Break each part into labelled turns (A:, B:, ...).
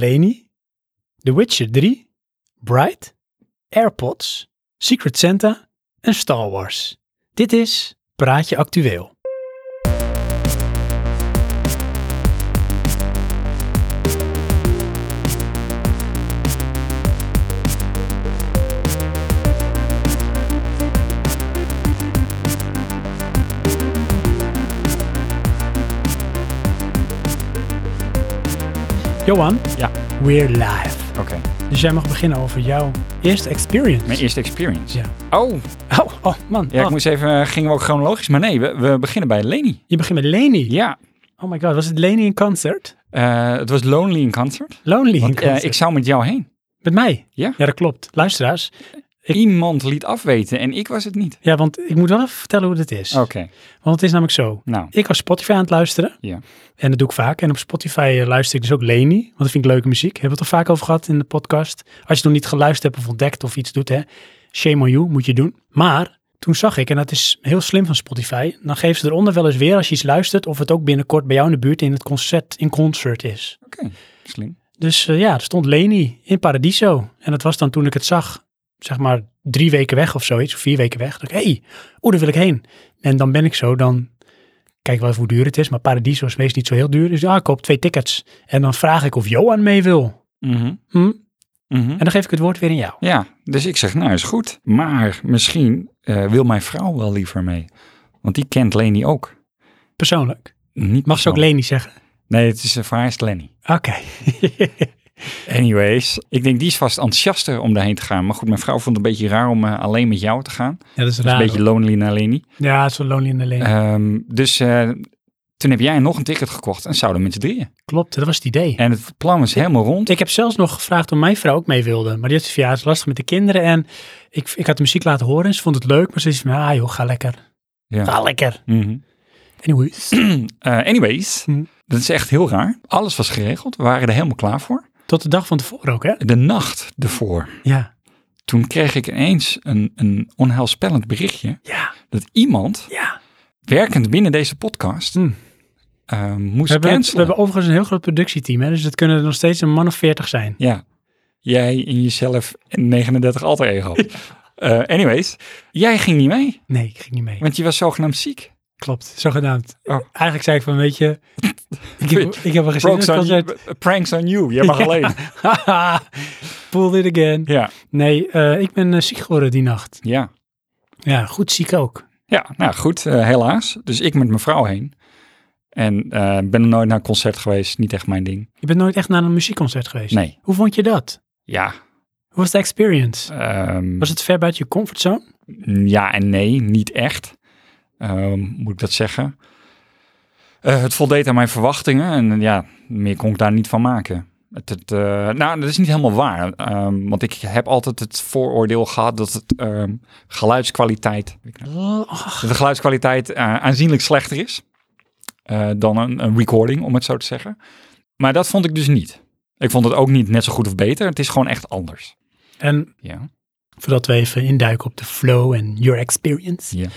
A: Leni, The Witcher 3, Bright, AirPods, Secret Santa en Star Wars. Dit is Praatje Actueel. Johan,
B: Ja.
A: we're live.
B: Oké.
A: Dus jij mag beginnen over jouw eerste experience.
B: Mijn eerste experience.
A: Ja.
B: Oh,
A: Oh, oh man.
B: ja, ik
A: oh.
B: moest even, eh, gingen we ook chronologisch, maar nee, we, we beginnen bij Leni.
A: Je begint met Leni.
B: Ja,
A: Oh my god, was het Leni in concert?
B: eh, het was Lonely in Concert.
A: Lonely in
B: Want, eh,
A: concert.
B: ik zou met jou heen.
A: Met mij?
B: Ja.
A: Ja, dat klopt. Luisteraars. Ik-
B: Iemand liet afweten en ik was het niet.
A: Ja, want ik moet wel even vertellen hoe dit is.
B: Oké,
A: Want het is namelijk zo.
B: nou,
A: Ik was Spotify aan het luisteren.
B: Ja.
A: En dat doe ik vaak. En op Spotify eh, luister ik dus ook Leni. Want dat vind ik leuke muziek. Hebben we het al vaak over gehad in de podcast. Als je het nog niet geluisterd hebt of ontdekt of iets doet, hè. Shame on you, moet je doen. Maar toen zag ik, en dat is heel slim van Spotify. Dan geven ze eronder wel eens weer als je iets luistert. Of het ook binnenkort bij jou in de buurt in het concert, in concert is.
B: oké, slim.
A: Dus eh, ja, er stond Leni in Paradiso. En dat was dan toen ik het zag, zeg maar drie weken weg of zoiets, of vier weken weg. Dacht ik, hé, hey, oeh, daar wil ik heen. En dan ben ik zo, dan kijk wel even hoe duur het is. Maar Paradiso is meestal niet zo heel duur. Dus ja, ik koop twee tickets. En dan vraag ik of Johan mee wil.
B: Mhm,
A: Hm?
B: mhm.
A: En dan geef ik het woord weer aan jou.
B: Ja, dus ik zeg, nou is goed. Maar misschien eh, wil mijn vrouw wel liever mee. Want die kent Leni ook.
A: Persoonlijk.
B: Niet
A: Mag ze ook
B: persoonlijk.
A: Leni zeggen?
B: Nee, het is, eh, voor haar is het Lenny.
A: Oké.
B: Anyways, ik denk die is vast enthousiaster om daarheen te gaan. Maar goed, mijn vrouw vond het een beetje raar om eh, alleen met jou te gaan.
A: ja, dat is
B: Dat
A: raar.
B: is een beetje lonely naar Lenny.
A: hoor. Ja, het is wel lonely in de lane.
B: Ehm, dus eh, toen heb jij nog een ticket gekocht en zouden mensen drieën.
A: Klopt, dat was het idee.
B: En het plan was helemaal rond.
A: Ik heb zelfs nog gevraagd of mijn vrouw ook mee wilde. Maar die had zoiets van, ja, het is lastig met de kinderen. En ik, ik had de muziek laten horen en ze vond het leuk. Maar ze zei van, ah joh, ga lekker.
B: Ja.
A: Ga lekker.
B: Mhm.
A: Anyways.
B: Eh, anyways,
A: Mhm.
B: dat is echt heel raar. Alles was geregeld. We waren er helemaal klaar voor.
A: Tot de dag van tevoren ook, hè?
B: De nacht ervoor,
A: Ja.
B: toen kreeg ik ineens een, een onheilspellend berichtje
A: Ja.
B: dat iemand,
A: Ja.
B: werkend binnen deze podcast,
A: Mhm.
B: eh,
A: We
B: moest
A: hebben, we
B: cancelen.
A: hebben overigens een heel groot productieteam, hè? Dus het kunnen er nog steeds een man of veertig zijn.
B: Ja, jij in jezelf en 39 alter ego. Eh, anyways, jij ging niet mee,
A: Nee, ik ging niet mee.
B: want je was zogenaamd ziek.
A: Klopt, zogenaamd.
B: Oh.
A: Eigenlijk zei ik van, weet je, ik heb, ik heb wel gezien in
B: Pranks
A: het
B: on,
A: concert.
B: eh, pranks on you, jij mag
A: Ja.
B: alleen.
A: Haha, Pulled it again.
B: Ja,
A: Nee, eh, ik ben eh, ziek geworden die nacht.
B: ja.
A: Ja, goed ziek ook.
B: Ja, nou goed, eh, helaas. Dus ik met mijn vrouw heen. En eh, ben er nooit naar een concert geweest, niet echt mijn ding.
A: Je bent nooit echt naar een muziekconcert geweest.
B: Nee,
A: Hoe vond je dat?
B: ja.
A: Hoe was de experience?
B: ehm,
A: Was het ver buiten je comfortzone?
B: Ja en nee, niet echt. Ehm, moet ik dat zeggen? Eh, het voldeed aan mijn verwachtingen en eh, ja, meer kon ik daar niet van maken. Het, het, eh, nou, dat is niet helemaal waar. ehm, want ik heb altijd het vooroordeel gehad dat het ehm, geluidskwaliteit,
A: Ach,
B: dat de geluidskwaliteit eh, aanzienlijk slechter is eh, dan een, een recording, om het zo te zeggen. Maar dat vond ik dus niet. Ik vond het ook niet net zo goed of beter. Het is gewoon echt anders.
A: En
B: Ja.
A: voordat we even induiken op de flow en your experience,
B: Ja.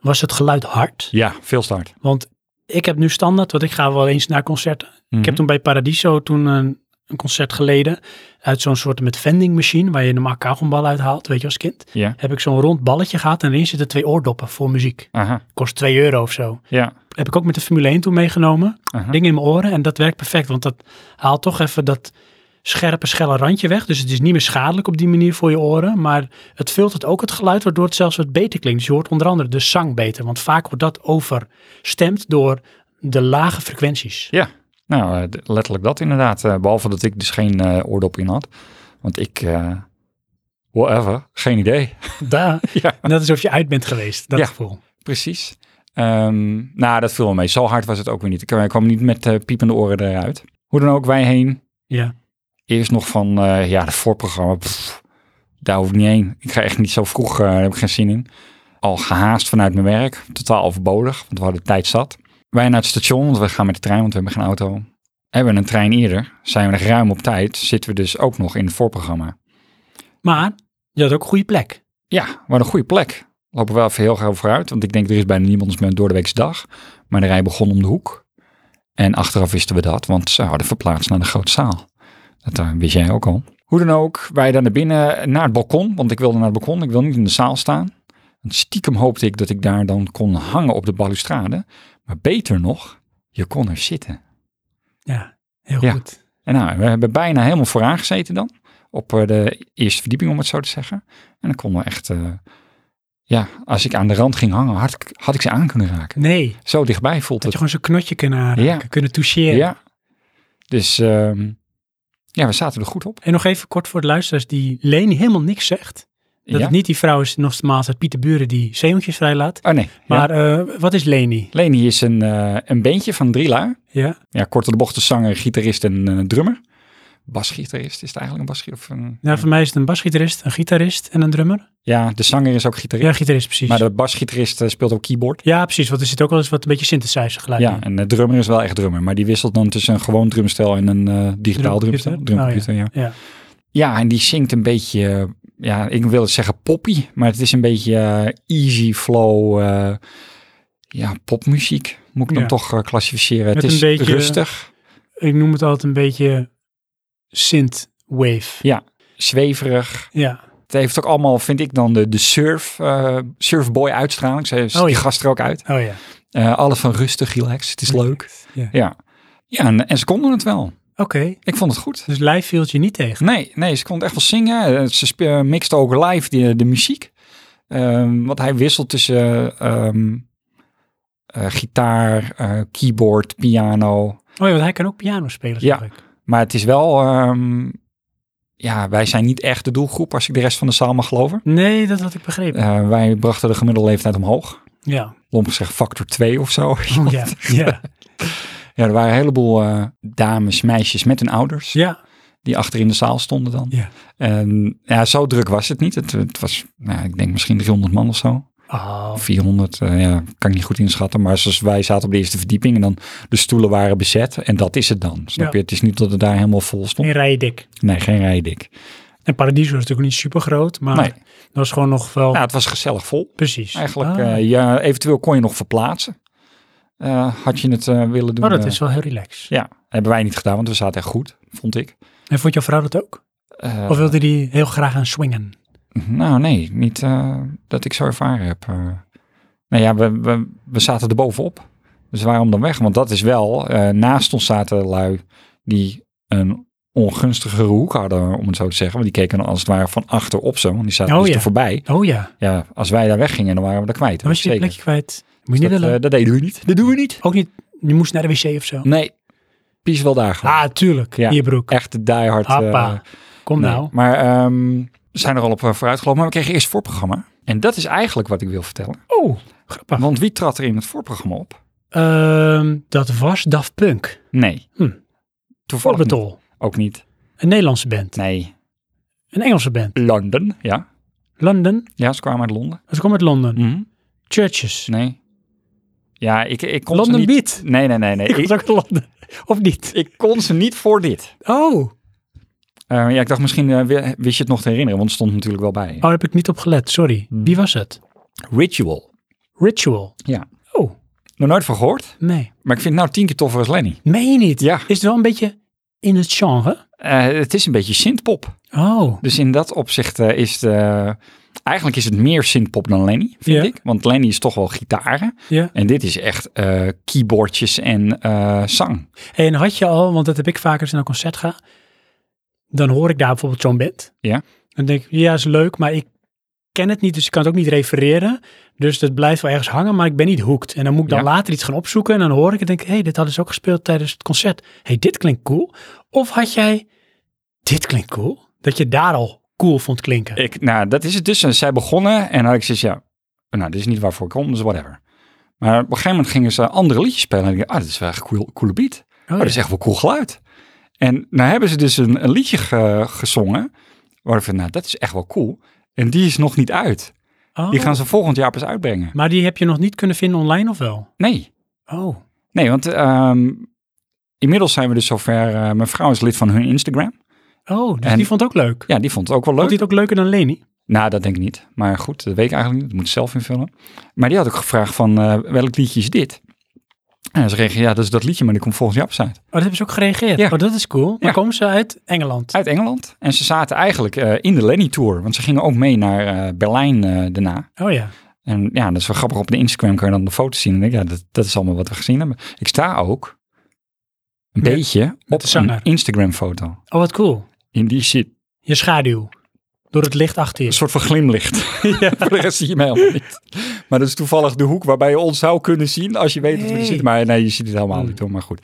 A: was het geluid hard?
B: Ja, veel start.
A: Want ik heb nu standaard, want ik ga wel eens naar concerten. Ik
B: Mhm.
A: heb toen bij Paradiso toen een, een concert geleden uit zo'n soort met vending machine waar je normaal kauwgombal uithaalt, weet je als kind.
B: Ja.
A: Heb ik zo'n rond balletje gehad en erin zitten twee oordoppen voor muziek.
B: Aha.
A: Kost 2 euro of zo.
B: Ja.
A: Heb ik ook met de Formule 1 toen meegenomen.
B: Aha.
A: dingen in mijn oren. En dat werkt perfect, want dat haalt toch even dat scherpe, schelle randje weg. Dus het is niet meer schadelijk op die manier voor je oren. Maar het filtert ook het geluid, waardoor het zelfs wat beter klinkt. Dus je hoort onder andere de zang beter. Want vaak wordt dat overstemd door de lage frequenties.
B: Ja, nou, eh, d- letterlijk dat inderdaad. Eh, behalve dat ik dus geen eh, oordop in had. Want ik, eh whatever, geen idee.
A: Daar.
B: ja,
A: En dat is alsof je uit bent geweest, dat
B: Ja.
A: gevoel.
B: precies. Ehm, nou, dat viel wel mee. Zo hard was het ook weer niet. Ik eh, kwam niet met eh, piepende oren eruit. Hoe dan ook, wij heen.
A: Ja.
B: Eerst nog van, eh, ja, de voorprogramma. pff, daar hoef ik niet heen. Ik ga echt niet zo vroeg, eh, daar heb ik geen zin in. Al gehaast vanuit mijn werk. Totaal overbodig, want we hadden tijd zat. Wij naar het station, want we gaan met de trein, want we hebben geen auto. Hebben we een trein eerder, zijn we nog ruim op tijd, zitten we dus ook nog in het voorprogramma.
A: Maar je had ook een goede plek.
B: Ja, wat een goede plek. Lopen we wel even heel gauw vooruit, want ik denk er is bijna niemand ons meer door de weekse dag. Maar de rij begon om de hoek. En achteraf wisten we dat, want ze hadden verplaatst naar de grote zaal. Dat eh, wist jij ook al. Hoe dan ook, wij daar naar binnen, naar het balkon. Want ik wilde naar het balkon, ik wil niet in de zaal staan. Want stiekem hoopte ik dat ik daar dan kon hangen op de balustrade. Maar beter nog, je kon er zitten.
A: Ja, heel
B: Ja.
A: goed.
B: En nou, we hebben bijna helemaal vooraan gezeten dan. Op eh, de eerste verdieping, om het zo te zeggen. En dan konden we echt... eh, ja, als ik aan de rand ging hangen, had ik, had ik ze aan kunnen raken.
A: Nee,
B: Zo dichtbij voelt
A: dat je gewoon
B: het.
A: zo'n knotje kunnen aanraken, kunnen toucheren.
B: Ja. Dus ehm, ja, we zaten er goed op.
A: En nog even kort voor de luisteraars die Leni helemaal niks zegt. Dat
B: ja.
A: het niet die vrouw is, nogmaals, uit Pieter Buren die zeehondjes vrijlaat.
B: Oh nee. ja.
A: Maar eh, wat is Leni?
B: Leni is een, eh een bandje van drie lui.
A: Ja,
B: Ja, korte de bocht een zanger, gitarist en eh, drummer. Basgitarist, is het eigenlijk een basgitarist? Of een-
A: nou, voor mij is het een basgitarist, een gitarist en een drummer.
B: Ja, de zanger is ook gitarist.
A: Ja, gitarist precies.
B: maar de basgitarist eh, speelt ook keyboard.
A: Ja, precies, want er zit ook wel eens wat een beetje synthesizer geluid in.
B: Ja, en de drummer is wel echt drummer. Maar die wisselt dan tussen een gewoon drumstel en een eh, digitaal
A: Drumcomputer. Oh,
B: drumstel. Drumcomputer, ja.
A: Ja.
B: Ja, en die zingt een beetje, eh, ja, ik wil het zeggen poppy, maar het is een beetje eh, easy flow, eh, ja, popmuziek moet ik dan
A: Ja.
B: toch eh, klassificeren.
A: Met
B: het is
A: een beetje-
B: rustig,
A: Ik noem het altijd een beetje synthwave.
B: Ja. zweverig.
A: Ja,
B: Het heeft ook allemaal, vind ik dan, de, de surf, eh, surfboy uitstraling. Ze ziet
A: Oh,
B: die
A: ja.
B: gast er ook uit.
A: oh ja.
B: Eh alles van rustig, relaxed, het is leuk.
A: Ja.
B: Ja, ja en, en ze konden het wel.
A: Oké,
B: Ik vond het goed.
A: dus live viel het je niet tegen.
B: Nee, nee, ze kon het echt wel zingen. Eh, Ze spe- eh, mixte ook live de, de muziek. Ehm, want hij wisselt tussen ehm, eh, gitaar, eh, keyboard, piano.
A: Oh ja, want hij kan ook piano spelen,
B: Ja.
A: zeg ik.
B: Maar het is wel... ehm, ja, wij zijn niet echt de doelgroep, als ik de rest van de zaal mag geloven.
A: Nee, dat had ik begrepen.
B: Eh, wij brachten de gemiddelde leeftijd omhoog.
A: Ja,
B: Lomp gezegd factor 2 of zo.
A: oh, ja, ja,
B: Ja, er waren een heleboel eh, dames, meisjes met hun ouders.
A: ja.
B: die achter in de zaal stonden dan.
A: Ja.
B: En ja, zo druk was het niet. Het, het was, nou, ik denk misschien 300 man of zo.
A: Oh,
B: Of 400, eh, ja, kan ik niet goed inschatten. Maar zoals wij zaten op de eerste verdieping en dan de stoelen waren bezet. En dat is het dan, snap
A: Ja.
B: je? Het is niet dat het daar helemaal vol stond.
A: in rijen dik.
B: Nee, geen rijdik.
A: En Paradiso is natuurlijk niet super groot, maar
B: Nee,
A: dat was gewoon nog wel...
B: ja, het was gezellig vol.
A: precies.
B: Eigenlijk,
A: Ah,
B: eh, ja, eventueel kon je nog verplaatsen. Eh, had je het eh, willen doen.
A: maar Oh, dat
B: eh,
A: is wel heel relaxed.
B: Ja, hebben wij niet gedaan, want we zaten echt goed, vond ik.
A: En vond jouw vrouw dat ook?
B: Eh,
A: Of wilde die heel graag aan swingen?
B: Nou, nee, niet eh, dat ik zo ervaren heb. eh. nou ja, we, we, we zaten er bovenop. Dus waarom dan weg? Want dat is wel, eh, naast ons zaten lui die een ongunstige hoek hadden, om het zo te zeggen. Want die keken als het ware van achter op zo. Want die zaten
A: Oh,
B: dus
A: ja.
B: er voorbij.
A: Oh ja,
B: Ja, als wij daar weggingen, dan waren we er kwijt.
A: dan was je je
B: Zeker.
A: plekje kwijt. Moet je
B: Dus
A: niet
B: dat,
A: willen.
B: eh, dat deden we niet. Dat doen we niet.
A: ook niet, je moest naar de wc of zo.
B: Nee, Pies wel daar gewoon.
A: Ah, tuurlijk,
B: Ja.
A: in je broek.
B: Echt de diehard. eh,
A: Happa. Kom
B: Nee,
A: nou.
B: Maar ehm, we zijn er al op eh, vooruit gelopen. Maar we kregen eerst voorprogramma. En dat is eigenlijk wat ik wil vertellen.
A: Oh, grappig.
B: Want wie trad er in het voorprogramma op?
A: Ehm, dat was Daft Punk.
B: Nee.
A: Hm.
B: Toevallig niet.
A: Orbitol.
B: ook niet.
A: Een Nederlandse band.
B: Nee.
A: Een Engelse band.
B: London, ja.
A: London.
B: Ja, ze kwamen uit Londen.
A: Ze komt uit Londen.
B: Mhm.
A: Churches.
B: Nee. Ja, ik, ik kon
A: London
B: ze Mm. niet...
A: Beat.
B: Nee, nee, nee. nee.
A: Die komt
B: ik,
A: ook uit Londen. Of niet?
B: ik kon ze niet voor dit.
A: Oh. Oh,
B: Eh, ja, ik dacht misschien eh, wi- wist je het nog te herinneren, want het stond natuurlijk wel bij.
A: daar Oh, heb ik niet op gelet. Sorry.
B: Mm.
A: Wie was het?
B: Ritual.
A: Ritual.
B: Ja.
A: Oh,
B: Nog nooit van gehoord,
A: nee.
B: maar ik vind het nou tien keer toffer als Lenny.
A: Meen je niet?
B: Ja.
A: Is het wel een beetje in het genre?
B: Eh, het is een beetje synthpop.
A: Oh.
B: Dus in dat opzicht eh, is het... eh, eigenlijk is het meer synthpop dan Lenny, vind
A: Ja.
B: ik. Want Lenny is toch wel gitaren.
A: Ja.
B: En dit is echt eh, keyboardjes en eh zang.
A: En had je al, want dat heb ik vaker als ik naar een concert ga, dan hoor ik daar bijvoorbeeld zo'n band.
B: Ja.
A: Dan denk ik, ja, is leuk, maar ik ken het niet, dus ik kan het ook niet refereren. Dus dat blijft wel ergens hangen, maar ik ben niet hooked. En dan moet ik dan
B: Ja.
A: later iets gaan opzoeken en dan hoor ik het en denk ik, hé, hey, dit hadden ze ook gespeeld tijdens het concert. hey, dit klinkt cool. Of had jij, dit klinkt cool, dat je daar al cool vond klinken.
B: Ik, nou, dat is het dus. En Zij begonnen en had ik zoiets, ja, nou, dit is niet waarvoor ik kom, dus whatever. Maar op een gegeven moment gingen ze andere liedjes spelen. En ik dacht, ah, dit is wel echt een cool, coole beat. Oh,
A: Oh,
B: dat is echt wel cool geluid. En nou hebben ze dus een, een liedje ge- gezongen. Waarvan, nou, dat is echt wel cool. En die is nog niet uit.
A: ja.
B: Die
A: Oh.
B: gaan ze volgend jaar pas uitbrengen.
A: Maar die heb je nog niet kunnen vinden online of wel?
B: Nee,
A: Oh,
B: nee, want ehm, inmiddels zijn we dus zover. eh, mijn vrouw is lid van hun Instagram.
A: oh dus
B: En-
A: die vond het ook leuk.
B: Ja, die vond het ook wel leuk.
A: Vond die het ook leuker dan Leni?
B: Nou, dat denk ik niet. Maar goed, dat weet ik eigenlijk niet. Dat moet ik zelf invullen. Maar die had ook gevraagd van, eh, welk liedje is dit? En ze reageerde, ja, dat is dat liedje, maar die komt volgens jouw website.
A: Oh, dat hebben ze ook gereageerd.
B: Ja.
A: Oh, dat is cool. Maar
B: Ja.
A: komen ze uit Engeland?
B: Uit Engeland. En ze zaten eigenlijk eh, in de Lenny Tour, want ze gingen ook mee naar eh, Berlijn eh, daarna.
A: Oh ja.
B: En ja, dat is wel grappig. Op de Instagram kan je dan de foto's zien. En denk, ik, ja, dat, dat is allemaal wat we gezien hebben. Ik sta ook een
A: Met-
B: beetje
A: de
B: op een
A: zanger.
B: Instagram foto.
A: Oh, wat cool.
B: In die zit
A: Je schaduw. Door het licht achter
B: een
A: je.
B: soort van glimlicht. Voor de rest zie je mij helemaal niet. Maar dat is toevallig de hoek waarbij je ons zou kunnen zien als je weet dat we er
A: Nee.
B: zitten. Maar nee, je ziet het helemaal
A: Hmm.
B: niet hoor. Maar goed.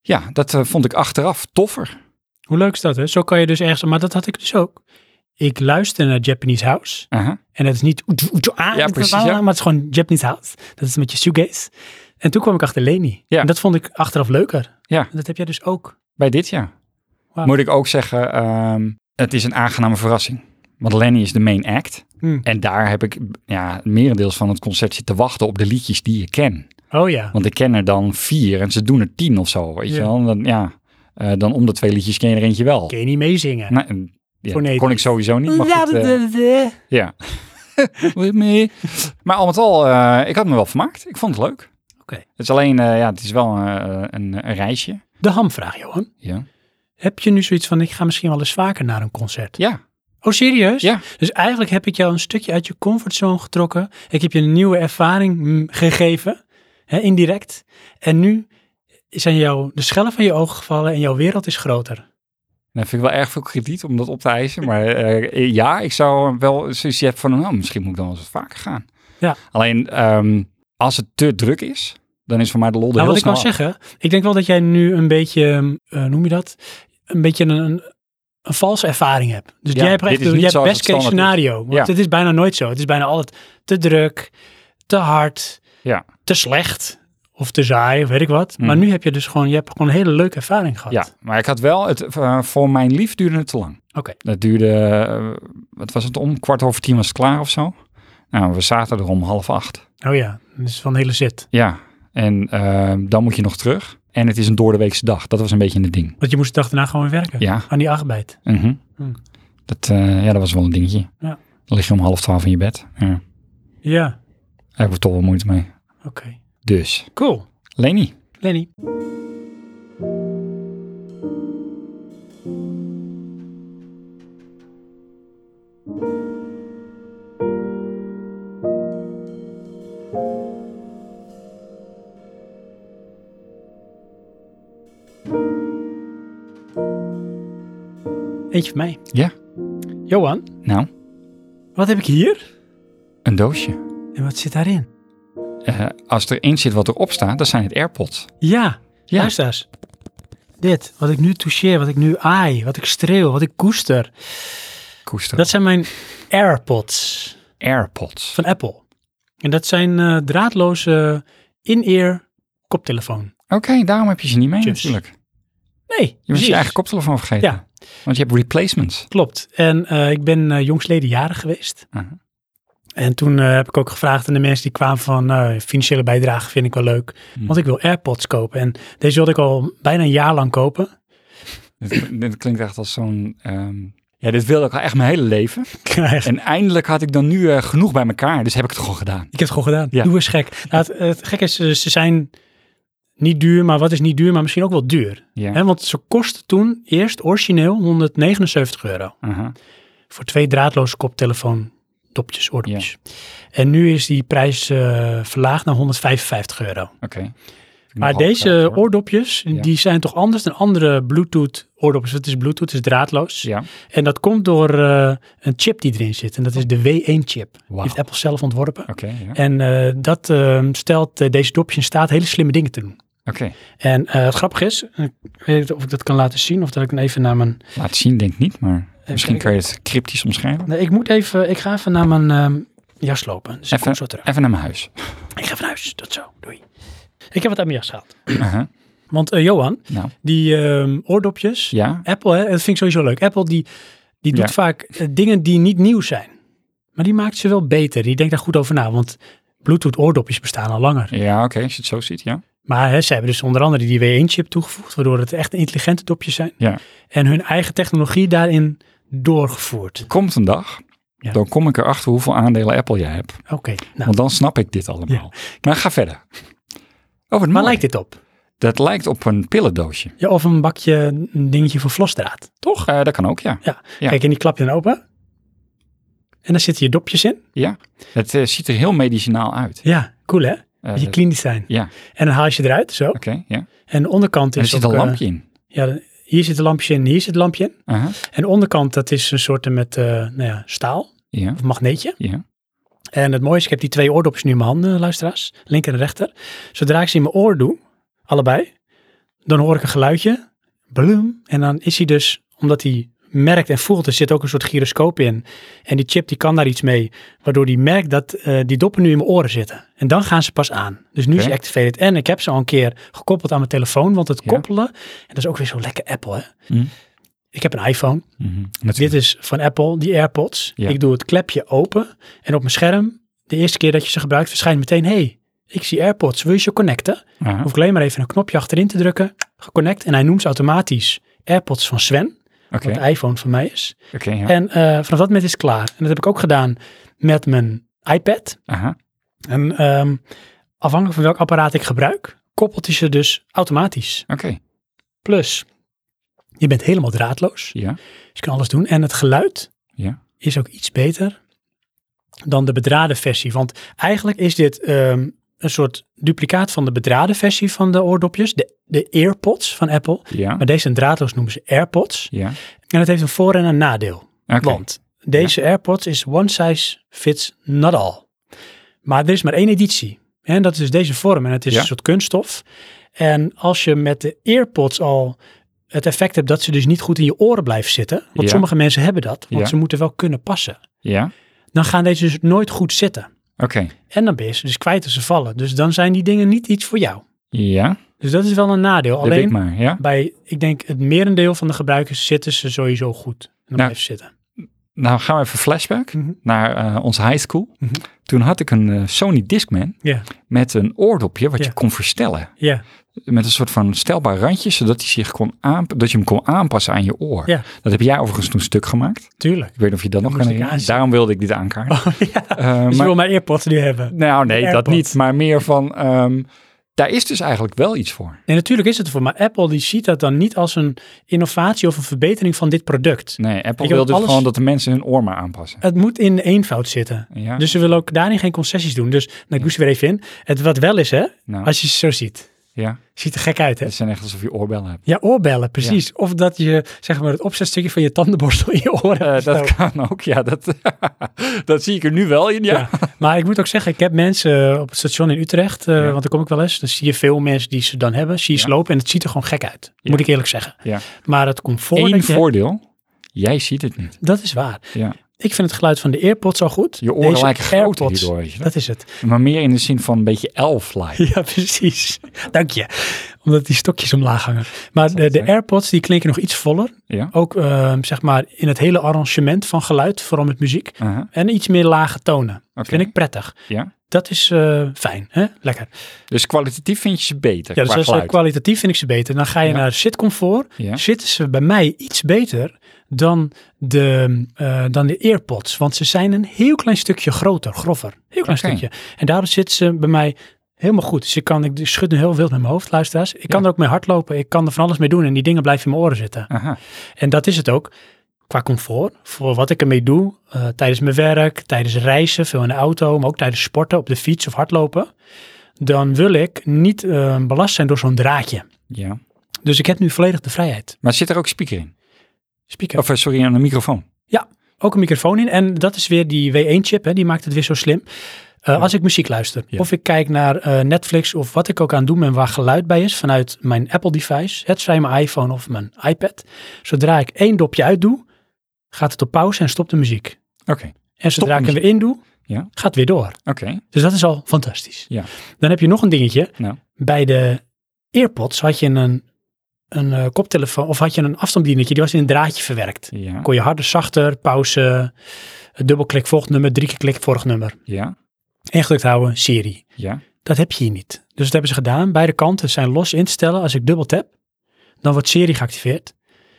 B: Ja, dat eh, vond ik achteraf toffer.
A: Hoe leuk is dat, hè? Zo kan je dus ergens... Maar dat had ik dus ook. Ik luister naar Japanese House.
B: Aha.
A: En dat is niet... oet- oet- ah,
B: Ja, precies, ja.
A: Maar het is gewoon Japanese House. Dat is met je shoegaze. En toen kwam ik achter Leni.
B: Ja.
A: En dat vond ik achteraf leuker.
B: Ja.
A: En Dat heb jij dus ook.
B: Bij dit jaar.
A: Wauw.
B: Moet ik ook zeggen, ehm, het is een aangename verrassing. Want Lenny is de main act.
A: Hm.
B: En daar heb ik ja, merendeels van het concert zitten wachten op de liedjes die ik ken.
A: Oh ja.
B: Want ik ken er dan vier en ze doen er tien of zo. Weet je
A: Ja.
B: wel? En Dan, ja, eh, dan om de twee liedjes ken je er eentje wel.
A: Kun je niet meezingen.
B: Nou, en- ja, dat
A: Fonetisch.
B: kon ik sowieso
A: Nou,
B: niet. Maar goed, eh, ja. With me. Maar al met al, eh, ik had me wel vermaakt. Ik vond het leuk.
A: Oké.
B: Het is alleen, eh, ja, het is wel eh, een, een reisje.
A: De hamvraag, Johan.
B: Ja.
A: Heb je nu zoiets van, ik ga misschien wel eens vaker naar een concert?
B: ja.
A: Oh, serieus?
B: Ja.
A: Dus eigenlijk heb ik jou een stukje uit je comfortzone getrokken. Ik heb je een nieuwe ervaring mm, gegeven, hè, indirect. En nu zijn jou de schellen van je ogen gevallen en jouw wereld is groter.
B: Dan vind ik wel erg veel krediet om dat op te eisen. Maar eh, ja, ik zou wel zoiets hebben van, nou, misschien moet ik dan wel eens wat vaker gaan.
A: Ja.
B: Alleen, ehm, als het te druk is, dan is voor mij de lol er
A: Nou,
B: heel
A: wat ik kan
B: snel
A: zeggen, ik denk wel dat jij nu een beetje, eh, noem je dat, een beetje een, een, een valse ervaring hebt. Dus
B: Ja,
A: jij hebt
B: dit
A: echt
B: is niet
A: jij hebt
B: zoals
A: best
B: het
A: case
B: standaard
A: scenario. Want
B: Ja.
A: het is bijna nooit zo. Het is bijna altijd te druk, te hard,
B: Ja.
A: te slecht of te saai of weet ik wat.
B: Mm.
A: Maar nu heb je dus gewoon, je hebt gewoon een hele leuke ervaring gehad.
B: Ja, maar ik had wel, het, eh, voor mijn lief duurde het te lang.
A: Oké.
B: Dat duurde, eh, wat was het om? Kwart over tien was het klaar of zo. Nou, we zaten er om half acht.
A: Oh ja, dat is van hele zit.
B: Ja, en eh, dan moet je nog terug. En het is een doordeweekse dag. Dat was een beetje het ding.
A: Want je moest de dag daarna gewoon weer werken.
B: Ja.
A: Aan die arbeid.
B: mhm.
A: Hm.
B: Dat, eh, ja, dat was wel een dingetje.
A: Ja.
B: Dan lig je om half twaalf in je bed. Ja, daar
A: Ja,
B: heb ik toch wel moeite mee.
A: oké.
B: Dus,
A: Cool.
B: Leni.
A: Lenny. Eentje van mij.
B: Ja.
A: Johan,
B: Nou,
A: wat heb ik hier?
B: een doosje.
A: En wat zit daarin?
B: Eh, als er één zit wat erop staat, dan zijn het AirPods.
A: Ja,
B: Ja.
A: luister eens. Dit, wat ik nu toucheer, wat ik nu aai, wat ik streel, wat ik koester.
B: Koester.
A: Dat zijn mijn AirPods
B: AirPods.
A: van Apple. En dat zijn eh, draadloze in-ear koptelefoon.
B: Oké, daarom heb je ze niet mee
A: Chips.
B: natuurlijk.
A: Nee,
B: Je was
A: precies.
B: je eigen koptelefoon vergeten.
A: Ja.
B: Want je hebt replacements.
A: Klopt. En eh, ik ben eh, jongstleden jarig geweest.
B: Aha.
A: En toen eh, heb ik ook gevraagd aan de mensen die kwamen van eh, financiële bijdrage vind ik wel leuk.
B: Hmm.
A: Want ik wil AirPods kopen. En deze wilde ik al bijna een jaar lang kopen.
B: dit, dit klinkt echt als zo'n... ehm, ja, dit wilde ik al echt mijn hele leven.
A: Krijg.
B: En eindelijk had ik dan nu eh, genoeg bij elkaar. Dus heb ik het gewoon gedaan.
A: Ik heb het gewoon gedaan.
B: Ja.
A: Doe eens gek. Nou, het, het gekke is, eh, ze zijn niet duur, maar wat is niet duur, maar misschien ook wel duur.
B: Ja.
A: Hè, want ze kostten toen eerst origineel 179 euro.
B: Aha.
A: Voor twee draadloze koptelefoon dopjes, oordopjes. En nu is die prijs eh, verlaagd naar 155 euro.
B: Oké. Vind ik
A: Maar
B: nogal
A: deze
B: graag, hoor.
A: oordopjes,
B: Ja.
A: die zijn toch anders dan andere Bluetooth oordopjes. Het is Bluetooth, het is draadloos.
B: Ja.
A: En dat komt door eh, een chip die erin zit. En dat is de W1 chip. Die
B: Wauw.
A: heeft
B: Oké,
A: Apple zelf ontworpen.
B: ja.
A: En eh, dat eh, stelt eh, deze dopjes in staat hele slimme dingen te doen.
B: Oké.
A: En eh, het grappige is, eh, ik weet niet of ik dat kan laten zien of dat ik even naar mijn...
B: Laat zien denk ik niet, maar misschien
A: kijken.
B: kan je het cryptisch omschrijven.
A: Nee, ik moet even, ik ga even naar mijn ehm, jas lopen. Dus ik kom zo terug.
B: Even naar mijn huis.
A: Ik ga van huis, tot zo, doei. Ik heb wat uit mijn jas gehaald.
B: Aha.
A: Want eh, Johan,
B: Nou,
A: die ehm, oordopjes,
B: ja.
A: Apple, hè, dat vind ik sowieso leuk. Apple die, die doet
B: Ja.
A: vaak eh, dingen die niet nieuw zijn. Maar die maakt ze wel beter. Die denkt daar goed over na, want Bluetooth oordopjes bestaan al langer.
B: Ja, oké, als je het zo ziet, ja.
A: Maar hè, ze hebben dus onder andere die W1-chip toegevoegd, waardoor het echt intelligente dopjes zijn.
B: Ja.
A: En hun eigen technologie daarin doorgevoerd.
B: Komt een dag,
A: Ja.
B: dan kom ik erachter hoeveel aandelen Apple jij hebt.
A: Oké, nou,
B: Want dan snap ik dit allemaal. Maar ga verder. Oké, Oh,
A: Waar
B: wat mooi.
A: lijkt dit op?
B: Dat lijkt op een pillendoosje.
A: Ja, of een bakje, een dingetje voor vlosdraad, toch?
B: Eh, dat kan ook, ja.
A: Ja.
B: Ja.
A: Kijk, en die klap je dan open. En dan zitten je dopjes in.
B: ja. Het eh, ziet er heel medicinaal uit.
A: Ja, cool hè?
B: Eh,
A: Dat je klinisch zijn.
B: ja,
A: En dan haal je ze eruit, zo.
B: oké. ja. En
A: En de onderkant is
B: er zit een
A: ook, eh,
B: lampje in.
A: ja, hier zit een lampje in, hier zit een lampje in.
B: Aha.
A: En de onderkant, dat is een soort met eh, nou ja, staal
B: Ja,
A: of magneetje.
B: ja.
A: En het mooie is, ik heb die twee oordopjes nu in mijn handen, luisteraars. Linker en rechter. Zodra ik ze in mijn oor doe, allebei, dan hoor ik een geluidje. Bloem. En dan is hij dus, omdat hij merkt en voelt, er zit ook een soort gyroscoop in. En die chip die kan daar iets mee, waardoor die merkt dat eh, die doppen nu in mijn oren zitten. En dan gaan ze pas aan. Dus nu is
B: Oké.
A: hij activated. En ik heb ze al een keer gekoppeld aan mijn telefoon, want het
B: Ja.
A: koppelen, en dat is ook weer zo lekker Apple hè.
B: Mm.
A: Ik heb een iPhone.
B: Mhm.
A: Dit is van Apple, die AirPods.
B: Ja.
A: Ik doe het klepje open en op mijn scherm, de eerste keer dat je ze gebruikt, verschijnt meteen, hey, ik zie AirPods, wil je ze connecten?
B: Aha.
A: Hoef ik alleen maar even een knopje achterin te drukken, geconnect en hij noemt ze automatisch AirPods van Sven,
B: Oké,
A: wat de iPhone van mij is.
B: oké, ja.
A: En eh, vanaf dat moment is het klaar. En dat heb ik ook gedaan met mijn iPad.
B: Aha.
A: En ehm, afhankelijk van welk apparaat ik gebruik, koppelt hij ze dus automatisch.
B: Oké,
A: Plus, je bent helemaal draadloos.
B: ja.
A: Dus je kan alles doen. En het geluid
B: Ja.
A: is ook iets beter dan de bedraden versie. Want eigenlijk is dit ehm, een soort duplicaat van de bedraden versie van de oordopjes. De, de AirPods van Apple.
B: Ja,
A: Maar deze zijn draadloos noemen ze AirPods.
B: ja.
A: En dat heeft een voor- en een nadeel.
B: Oké.
A: Want deze AirPods is one size fits not all. Maar er is maar één editie. En dat is dus deze vorm. En het is
B: Ja.
A: een soort kunststof. En als je met de AirPods al het effect hebt dat ze dus niet goed in je oren blijven zitten. Want
B: Ja.
A: sommige mensen hebben dat. Want
B: Ja.
A: ze moeten wel kunnen passen.
B: Ja,
A: Dan gaan deze dus nooit goed zitten.
B: oké.
A: En dan ben je ze dus kwijt als ze vallen. Dus dan zijn die dingen niet iets voor jou.
B: Ja,
A: Dus dat is wel een nadeel.
B: dat weet ik
A: Alleen
B: maar. Ja.
A: bij, ik denk, het merendeel van de gebruikers zitten ze sowieso goed. En dan
B: Nou,
A: blijven ze zitten.
B: Nou, gaan we even flashback
A: Mhm.
B: naar eh, onze high school.
A: Mhm.
B: Toen had ik een eh, Sony Discman
A: Ja,
B: met een oordopje wat
A: Ja.
B: je kon verstellen.
A: ja,
B: Met een soort van stelbaar randje, zodat, hij zich kon aanp- dat je hem kon aanpassen aan je oor.
A: Ja.
B: Dat heb jij overigens toen stuk gemaakt.
A: tuurlijk.
B: Ik weet niet of je dat nog
A: moest
B: kan
A: ik
B: herinneren.
A: aanzien.
B: Daarom wilde ik dit aankaarten.
A: ja.
B: Eh,
A: Dus
B: maar-
A: je wil mijn AirPods nu hebben.
B: nou, nee, dat
A: AirPods.
B: niet. Maar meer van, ehm, daar is dus eigenlijk wel iets voor.
A: Nee, natuurlijk is het ervoor. Maar Apple die ziet dat dan niet als een innovatie of een verbetering van dit product.
B: Nee, Apple
A: Ik heb
B: wil dus
A: alles-
B: gewoon dat de mensen hun oor maar aanpassen.
A: Het moet in eenvoud zitten.
B: Ja,
A: Dus ze willen ook daarin geen concessies doen. Dus nou, ik moest er weer even in. Het wat wel is, hè,
B: nou,
A: als je ze zo ziet.
B: ja.
A: Ziet er gek uit, hè?
B: Het zijn echt alsof je oorbellen hebt.
A: Ja, oorbellen, precies. Of dat je, zeg maar, het opzetstukje van je tandenborstel in je oren
B: Eh,
A: hebt
B: dat
A: gestoken.
B: kan ook, ja. Dat, dat zie ik er nu wel in, ja.
A: Ja. Maar ik moet ook zeggen, ik heb mensen eh, op het station in Utrecht, eh,
B: Ja.
A: want daar kom ik wel eens, dan zie je veel mensen die ze dan hebben, zie je ze
B: Ja.
A: lopen en het ziet er gewoon gek uit.
B: Ja.
A: Moet ik eerlijk zeggen.
B: Ja.
A: Maar het comfort,
B: Eén
A: dat je-
B: voordeel, jij ziet het niet.
A: dat is waar.
B: Ja.
A: Ik vind het geluid van de AirPods al goed.
B: Je oren
A: Deze
B: lijken groter
A: AirPods,
B: hierdoor, weet je wel.
A: Dat is het.
B: Maar meer in de zin van een beetje elf-like.
A: Ja, precies. Dank je. Omdat die stokjes omlaag hangen. Maar de,
B: het
A: de
B: zijn.
A: AirPods die klinken nog iets voller.
B: Ja.
A: Ook eh, zeg maar in het hele arrangement van geluid, vooral met muziek.
B: Aha,
A: En iets meer lage tonen.
B: oké.
A: Vind ik prettig.
B: Ja.
A: Dat is eh, fijn. Hè? Lekker.
B: Dus kwalitatief vind je ze beter
A: Ja, dus
B: qua
A: als, eh,
B: geluid.
A: kwalitatief vind ik ze beter. Dan ga je
B: Ja.
A: naar zitcomfort.
B: Ja.
A: Zitten ze bij mij iets beter dan de, eh, dan de AirPods. Want ze zijn een heel klein stukje groter, grover. Heel klein
B: Oké.
A: stukje. En daardoor zitten ze bij mij helemaal goed. Dus ik, kan, ik schud nu heel wild met mijn hoofd, luisteraars. Ik kan
B: Ja.
A: er ook mee hardlopen. Ik kan er van alles mee doen. En die dingen blijven in mijn oren zitten.
B: Aha,
A: En dat is het ook. Qua comfort, voor wat ik ermee doe, eh, tijdens mijn werk, tijdens reizen, veel in de auto, maar ook tijdens sporten, op de fiets of hardlopen, dan wil ik niet eh, belast zijn door zo'n draadje.
B: ja.
A: Dus ik heb nu volledig de vrijheid.
B: Maar zit er ook speaker in?
A: Speaker.
B: Of eh, sorry, een microfoon.
A: ook een microfoon in en dat is weer die W1-chip, hè, die maakt het weer zo slim. Eh, Als ik muziek luister,
B: Ja.
A: of ik kijk naar eh, Netflix of wat ik ook aan doe en waar geluid bij is vanuit mijn Apple-device, het zijn mijn iPhone of mijn iPad, zodra ik één dopje uitdoe, gaat het op pauze en stopt de muziek.
B: Oké,
A: En zodra ik hem
B: muziek.
A: weer in doe,
B: Ja.
A: gaat het weer door.
B: oké.
A: Dus dat is al fantastisch.
B: Ja.
A: Dan heb je nog een dingetje.
B: Nou.
A: Bij de AirPods had je een, een eh, koptelefoon of had je een afstandsbedienetje. Die was in een draadje verwerkt.
B: Ja,
A: Kon je harder, zachter, pauze, dubbelklik volgend nummer, drie keer klik vorig nummer.
B: ja,
A: Ingedrukt houden, serie.
B: ja.
A: Dat heb je hier niet. Dus dat hebben ze gedaan. Beide kanten zijn los in te stellen. Als ik dubbel tap, dan wordt serie geactiveerd.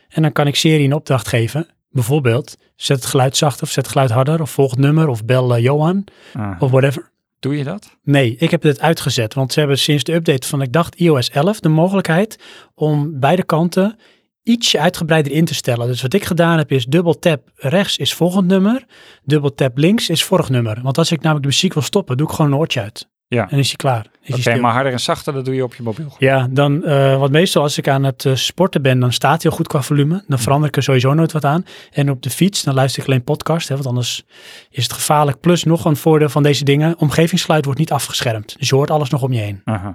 A: En dan kan ik serie een opdracht geven. Bijvoorbeeld, zet het geluid zachter of zet het geluid harder. Of volg het nummer of bel eh, Johan
B: Ah,
A: of whatever.
B: Doe je dat?
A: Nee, ik heb dit uitgezet, want ze hebben sinds de update van, ik dacht, iOS 11 de mogelijkheid om beide kanten ietsje uitgebreider in te stellen. Dus wat ik gedaan heb is dubbel tap rechts is volgend nummer, dubbel tap links is vorig nummer. Want als ik namelijk de muziek wil stoppen, doe ik gewoon een oortje uit.
B: Ja.
A: En is hij klaar. Is hij
B: Oké,
A: stil.
B: maar harder en zachter, dat doe je op je mobiel.
A: Ja, dan, eh wat meestal als ik aan het eh, sporten ben, dan staat hij heel goed qua volume. Dan verander ik er sowieso nooit wat aan. En op de fiets, dan luister ik alleen podcast, hè, want anders is het gevaarlijk. Plus nog een voordeel van deze dingen, omgevingsgeluid wordt niet afgeschermd. Dus je hoort alles nog om je heen.
B: Aha.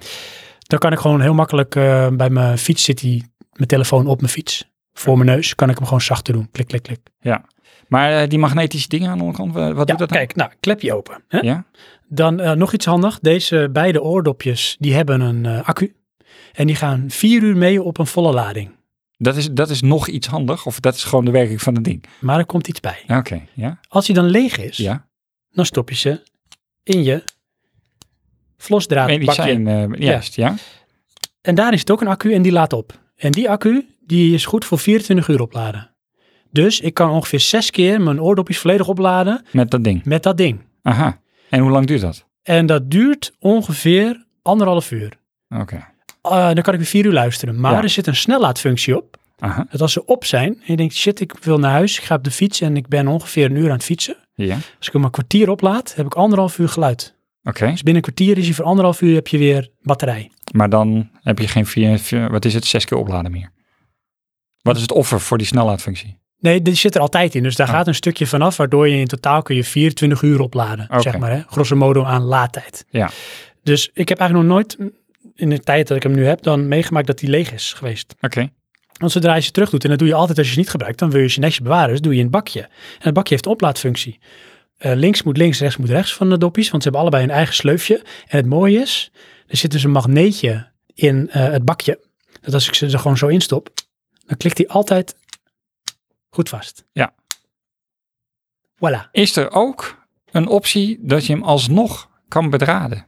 A: Dan kan ik gewoon heel makkelijk, eh, bij mijn fiets zit die, mijn telefoon op mijn fiets. Voor mijn neus kan ik hem gewoon zachter doen. Klik, klik, klik.
B: Maar eh, die magnetische dingen aan de onderkant, wa- wat
A: Ja,
B: doet dat nou?
A: kijk, nou, klepje open. Hè?
B: Ja?
A: Dan eh, nog iets handig. Deze beide oordopjes, die hebben een eh, accu. En die gaan vier uur mee op een volle lading.
B: Dat is, dat is nog iets handig, of dat is gewoon de werking van het ding.
A: Maar er komt iets bij.
B: Oké, ja?
A: Als die dan leeg is,
B: Ja?
A: dan stop je ze in je
B: Medicijn,
A: vlosdraadbakje.
B: eh, juist, ja?
A: En daar is het ook een accu en die laat op. En die accu die is goed voor 24 uur opladen. Dus ik kan ongeveer zes keer mijn oordopjes volledig opladen
B: Met dat ding.
A: met dat ding.
B: Aha. En hoe lang duurt dat?
A: En dat duurt ongeveer anderhalf uur.
B: Oké.
A: Eh, dan kan ik weer vier uur luisteren. Maar
B: Ja.
A: er zit een snellaadfunctie op.
B: Aha.
A: Dat als ze op zijn en je denkt, shit, ik wil naar huis. Ik ga op de fiets en ik ben ongeveer een uur aan het fietsen.
B: Ja.
A: Als ik hem een kwartier oplaad, heb ik anderhalf uur geluid.
B: Oké.
A: Dus binnen een kwartier is hij voor anderhalf uur heb je weer batterij.
B: Maar dan heb je geen vier, vier- wat is het, zes keer opladen meer. Wat is het offer voor die snellaadfunctie?
A: Nee, die zit er altijd in. Dus daar
B: Ah.
A: gaat een stukje vanaf, waardoor je in totaal kun je 24 uur opladen.
B: Oké.
A: Zeg maar, hè? grosso modo aan laadtijd.
B: Ja.
A: Dus ik heb eigenlijk nog nooit mm, in de tijd dat ik hem nu heb, dan meegemaakt dat hij leeg is geweest.
B: Oké.
A: Want zodra je ze terug doet, en dat doe je altijd als je ze niet gebruikt, dan wil je ze netjes bewaren. Dus doe je in het bakje. En het bakje heeft een oplaadfunctie. Eh, links moet links, rechts moet rechts van de doppies, want ze hebben allebei een eigen sleufje. En het mooie is, er zit dus een magneetje in eh, het bakje. Dat als ik ze er gewoon zo instop, dan klikt hij altijd goed vast.
B: Ja.
A: Voilà.
B: Is er ook een optie dat je hem alsnog kan bedraden?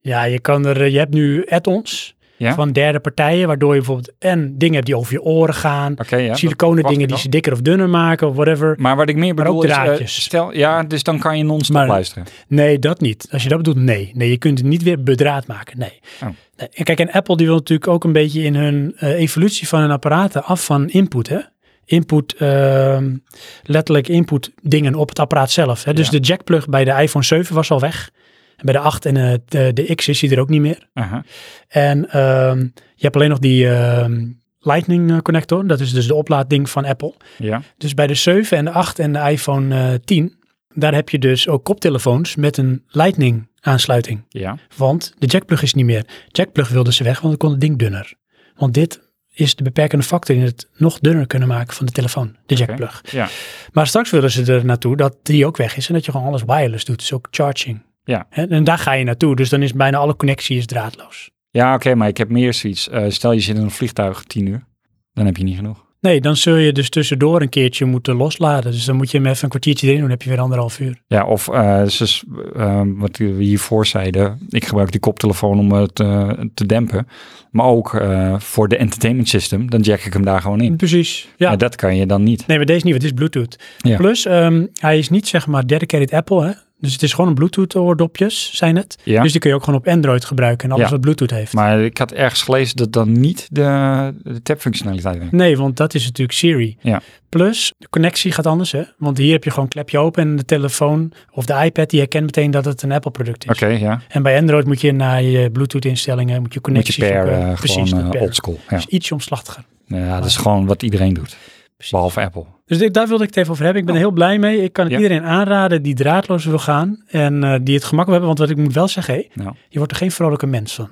A: Ja, je, kan er, eh, je hebt nu add-ons
B: Ja.
A: van derde partijen, waardoor je bijvoorbeeld en dingen hebt die over je oren gaan.
B: Oké, ja.
A: siliconen
B: dat verwacht
A: dingen
B: ik
A: die
B: al.
A: ze dikker of dunner maken of whatever.
B: Maar wat ik meer
A: Maar
B: bedoel
A: ook
B: is, eh,
A: draadjes.
B: stel, ja, dus dan kan je non-stop
A: Maar-
B: luisteren.
A: Nee, dat niet. Als je dat bedoelt, nee. Nee, je kunt het niet weer bedraad maken. Nee.
B: Oh.
A: Nee. En kijk, en Apple die wil natuurlijk ook een beetje in hun eh, evolutie van hun apparaten af van input, hè? Input, ehm, letterlijk input dingen op het apparaat zelf. Hè? Dus
B: Ja.
A: de jackplug bij de iPhone 7 was al weg. En bij de 8 en eh, de, de X is die er ook niet meer.
B: Aha.
A: En ehm, je hebt alleen nog die ehm, Lightning eh, connector. Dat is dus de oplaadding van Apple.
B: Ja.
A: Dus bij de 7 en de 8 en de iPhone eh, 10, daar heb je dus ook koptelefoons met een Lightning aansluiting.
B: Ja.
A: Want de jackplug is niet meer. Jackplug wilden ze weg, want dan kon het ding dunner. Want dit is de beperkende factor in het nog dunner kunnen maken van de telefoon, de jackplug.
B: Ja.
A: Maar straks willen ze er naartoe dat die ook weg is en dat je gewoon alles wireless doet, dus ook charging.
B: Ja.
A: En, en daar ga je naartoe, dus dan is bijna alle connectie is draadloos.
B: Ja, oké, maar ik heb meer zoiets. Eh, stel je zit in een vliegtuig tien uur, dan heb je niet genoeg.
A: Nee, dan zul je dus tussendoor een keertje moeten losladen. Dus dan moet je hem even een kwartiertje erin doen, dan heb je weer anderhalf uur.
B: Ja, of eh, zoals, eh, wat we hiervoor zeiden, ik gebruik die koptelefoon om het eh, te dempen. Maar ook eh, voor de entertainment system, dan jack ik hem daar gewoon in.
A: Precies.
B: Ja.
A: Ja.
B: dat kan je dan niet.
A: Nee, maar deze niet, want het is Bluetooth.
B: Ja.
A: Plus, ehm, hij is niet zeg maar dedicated Apple, hè? Dus het is gewoon een Bluetooth oordopjes, zijn het.
B: Ja.
A: Dus die kun je ook gewoon op Android gebruiken en alles
B: Ja.
A: wat Bluetooth heeft.
B: Maar ik had ergens gelezen dat dan niet de, de tapfunctionaliteit werkt.
A: Nee, want dat is natuurlijk Siri.
B: Ja.
A: Plus, de connectie gaat anders, hè? Want hier heb je gewoon een klepje open en de telefoon of de iPad, die herkent meteen dat het een Apple-product is.
B: Oké, ja.
A: En bij Android moet je naar je Bluetooth-instellingen, moet je
B: Moet je
A: connectie
B: per
A: zoeken.
B: eh,
A: Precies,
B: gewoon
A: dat
B: eh,
A: per.
B: oldschool. Ja.
A: Dus ietsje omslachtiger.
B: ja, dat is gewoon wat iedereen doet.
A: Precies.
B: Behalve Apple.
A: Dus ik- daar wilde ik het even over hebben. Ik ben
B: Oh.
A: er heel blij mee. Ik kan het
B: Ja.
A: iedereen aanraden die draadloos wil gaan en eh, die het gemak wil hebben. Want wat ik moet wel zeggen, hé,
B: Nou.
A: je wordt er geen vrolijke mens van.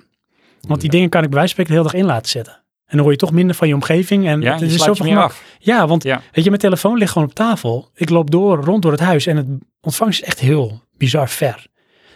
A: Want die dingen kan ik bij wijze van spreken de hele dag in laten zetten. En dan hoor je toch minder van je omgeving. En
B: Ja,
A: het
B: je
A: is
B: sluit je
A: zoveel
B: meer
A: gemak.
B: af.
A: Ja, want
B: Ja.
A: weet je, mijn telefoon ligt gewoon op tafel. Ik loop door, rond door het huis en het ontvangst is echt heel bizar ver.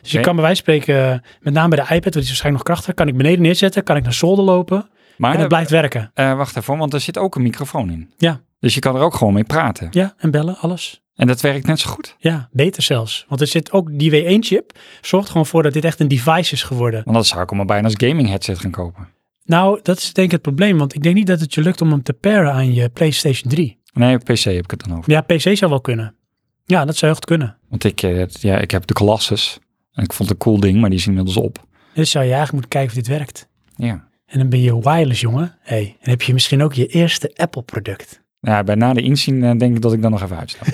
A: Dus
B: Oké.
A: ik kan bij wijze van spreken, eh, met name bij de iPad, want die is waarschijnlijk nog krachtiger, kan ik beneden neerzetten, kan ik naar zolder lopen
B: Maar
A: en het blijft werken.
B: eh, wacht even, want er zit ook een microfoon in.
A: Ja.
B: Dus je kan er ook gewoon mee praten.
A: Ja, en bellen, alles.
B: En dat werkt net zo goed.
A: Ja, beter zelfs. Want er zit ook die W1-chip, zorgt gewoon voor dat dit echt een device is geworden.
B: Want dat zou ik hem al bijna als gaming headset gaan kopen.
A: Nou, dat is denk ik het probleem, want ik denk niet dat het je lukt om hem te paren aan je PlayStation 3.
B: Nee, PC heb ik het dan over.
A: Ja, PC zou wel kunnen. Ja, dat zou heel goed kunnen.
B: Want ik, eh, ja, ik heb de Colossus. En ik vond het een cool ding, maar die is inmiddels op.
A: Dus zou je eigenlijk moeten kijken of dit werkt.
B: Ja.
A: En dan ben je wireless, jongen. Hé, hey, en heb je misschien ook je eerste Apple-product.
B: ja bij na de inzien eh, denk ik dat ik dan nog even uitsta.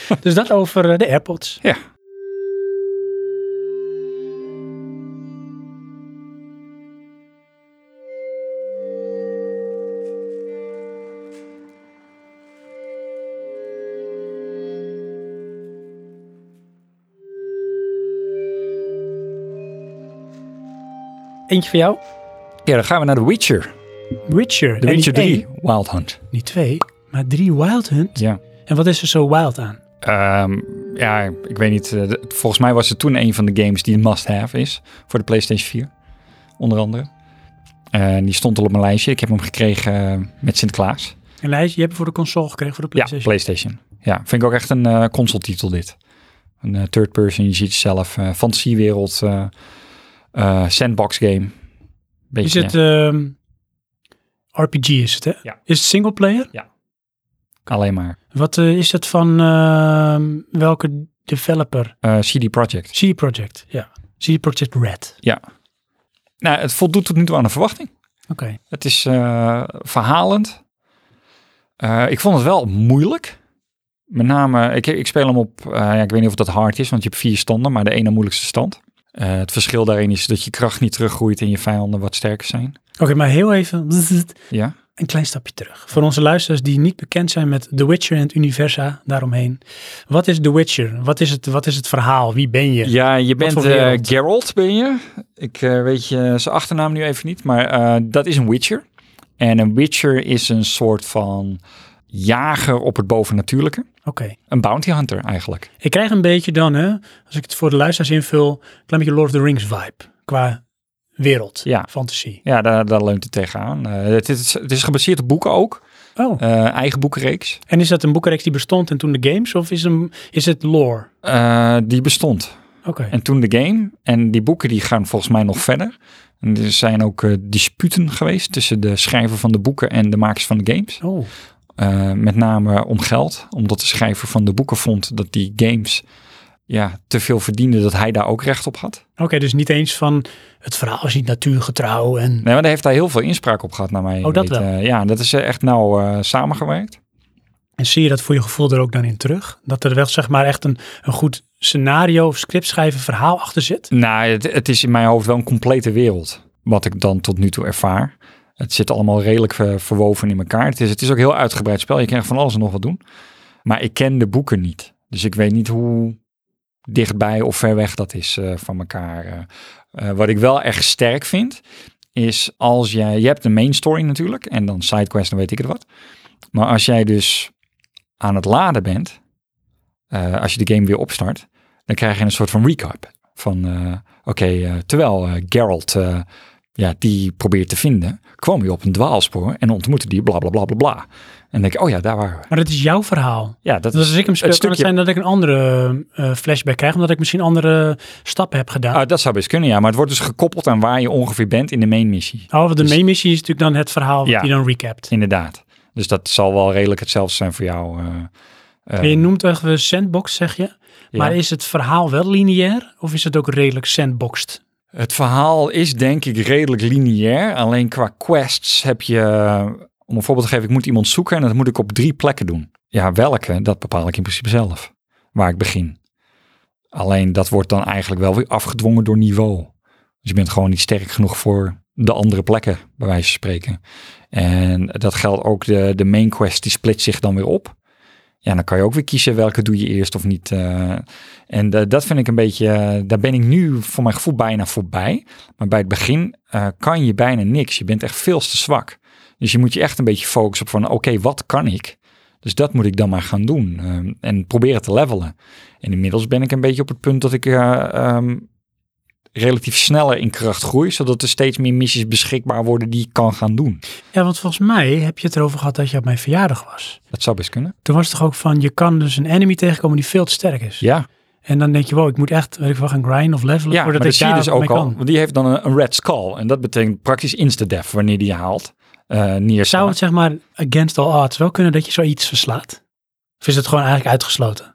A: dus dat over eh, de AirPods.
B: ja.
A: Eentje voor jou.
B: ja, dan gaan we naar The Witcher.
A: Witcher.
B: The
A: En
B: Witcher
A: niet
B: 3,
A: één,
B: Wild Hunt.
A: niet twee, maar drie Wild Hunt.
B: Ja.
A: En wat is er zo wild aan?
B: Ehm, ja, ik weet niet. eh, de- volgens mij was het toen een van de games die een must-have is. Voor de PlayStation 4, onder andere. Eh, En die stond al op mijn lijstje. Ik heb hem gekregen eh, met Sinterklaas.
A: Een lijstje, je hebt hem voor de console gekregen, voor de
B: Ja,
A: PlayStation.
B: PlayStation. Ja, vind ik ook echt een eh console-titel dit. Een eh, third person, je ziet jezelf. eh fantasiewereld, eh, eh, sandbox game.
A: is
B: Beetje
A: het ehm, RPG is het, hè?
B: Ja.
A: Is het singleplayer?
B: alleen maar.
A: Wat eh, is het van ehm, welke developer?
B: Eh, CD Projekt.
A: CD Projekt, ja. CD Projekt Red.
B: Nou, het voldoet tot nu toe aan de verwachting.
A: Oké.
B: Het is eh, verhalend. Eh, ik vond het wel moeilijk. Met name, ik, ik speel hem op, eh, ja, ik weet niet of dat hard is, want je hebt vier standen, maar de ene moeilijkste stand. Eh, het verschil daarin is dat je kracht niet teruggroeit en je vijanden wat sterker zijn.
A: Oké, maar heel even
B: Ja,
A: een klein stapje terug. Voor onze luisteraars die niet bekend zijn met The Witcher en het universa daaromheen. Wat is The Witcher? Wat is het, wat is het verhaal? Wie ben je?
B: ja je
A: bent,
B: bent eh,
A: voor wereld?
B: Geralt, ben je. Ik eh, weet je, zijn achternaam nu even niet, maar eh, dat is een witcher. En een witcher is een soort van jager op het bovennatuurlijke.
A: Oké.
B: Een bounty hunter eigenlijk.
A: Ik krijg een beetje dan, hè, als ik het voor de luisteraars invul, een klein beetje Lord of the Rings vibe. Qua wereld,
B: Ja.
A: fantasie.
B: Ja, daar, daar leunt het tegenaan. Eh, het, is, het is gebaseerd op boeken ook.
A: Oh,
B: Eh, eigen boekenreeks.
A: en is dat een boekenreeks die bestond en toen de games? Of is, hem, is het lore?
B: Eh, die bestond.
A: Oké.
B: En toen de game. En die boeken die gaan volgens mij nog verder. En er zijn ook eh, disputen geweest tussen de schrijver van de boeken en de makers van de games.
A: Oh,
B: Eh, met name om geld. Omdat de schrijver van de boeken vond dat die games ja, te veel verdienden. Dat hij daar ook recht op had.
A: oké, dus niet eens van het verhaal is niet natuurgetrouw en...
B: Nee, maar daar heeft hij heel veel inspraak op gehad naar mij.
A: Oh, dat wel.
B: ja, dat is eh, echt nauw eh, samengewerkt.
A: En zie je dat voor je gevoel er ook dan in terug? Dat er wel zeg maar echt een, een goed scenario of scriptschrijven verhaal achter zit?
B: Nou, het, het is in mijn hoofd wel een complete wereld. Wat ik dan tot nu toe ervaar. Het zit allemaal redelijk eh, verwoven in elkaar. Het is, het is ook een heel uitgebreid spel. Je kan echt van alles en nog wat doen. Maar ik ken de boeken niet. Dus ik weet niet hoe dichtbij of ver weg dat is eh, van elkaar. eh. Eh, wat ik wel erg sterk vind, is als jij... Je hebt de main story natuurlijk. En dan sidequest en weet ik het wat. Maar als jij dus aan het laden bent... eh, als je de game weer opstart... dan krijg je een soort van recap. Van, eh, oké, eh, terwijl eh, Geralt eh, ja, die probeert te vinden, kwam hij op een dwaalspoor en ontmoette die bla bla bla bla bla. En dan denk ik, oh ja, daar waren we.
A: Maar dat is jouw verhaal.
B: Ja, dat
A: Dus als ik hem speel,
B: het
A: kan het
B: stukje-
A: zijn dat ik een andere eh, flashback krijg, omdat ik misschien andere stappen heb gedaan.
B: Ah, dat zou best kunnen, ja. Maar het wordt dus gekoppeld aan waar je ongeveer bent in de main missie.
A: Oh, want de
B: Dus-
A: main missie is natuurlijk dan het verhaal wat
B: Ja.
A: die dan recapt.
B: Inderdaad. Dus dat zal wel redelijk hetzelfde zijn voor jou. eh, eh,
A: En je noemt echt een sandbox, zeg je.
B: ja.
A: Maar is het verhaal wel lineair of is het ook redelijk sandboxed?
B: Het verhaal is denk ik redelijk lineair. Alleen qua quests heb je... Om een voorbeeld te geven, ik moet iemand zoeken en dat moet ik op drie plekken doen. Ja, welke? Dat bepaal ik in principe zelf. Waar ik begin. Alleen dat wordt dan eigenlijk wel weer afgedwongen door niveau. Dus je bent gewoon niet sterk genoeg voor de andere plekken, bij wijze van spreken. En dat geldt ook, de, de main quest die split zich dan weer op. Ja, dan kan je ook weer kiezen welke doe je eerst of niet. eh, en eh, dat vind ik een beetje, eh, daar ben ik nu voor mijn gevoel bijna voorbij. Maar bij het begin eh, kan je bijna niks. Je bent echt veel te zwak. Dus je moet je echt een beetje focussen op van oké, wat kan ik? Dus dat moet ik dan maar gaan doen ehm, en proberen te levelen. En inmiddels ben ik een beetje op het punt dat ik eh, ehm, relatief sneller in kracht groei, zodat er steeds meer missies beschikbaar worden die ik kan gaan doen.
A: Ja, want volgens mij heb je het erover gehad dat je op mijn verjaardag was.
B: Dat zou best kunnen.
A: Toen was het toch ook van, je kan dus een enemy tegenkomen die veel te sterk is.
B: Ja,
A: En dan denk je, wow, ik moet echt, weet ik wel, gaan grinden of levelen
B: Ja, maar
A: voordat
B: dat
A: ik
B: zie je
A: daar
B: dus ook
A: mee
B: al.
A: kan.
B: Want die heeft dan een, een red skull. En dat betekent praktisch insta-death wanneer die je haalt. eh neerslaat.
A: Zou het zeg maar against all odds wel kunnen dat je zoiets verslaat? Of is het gewoon eigenlijk uitgesloten?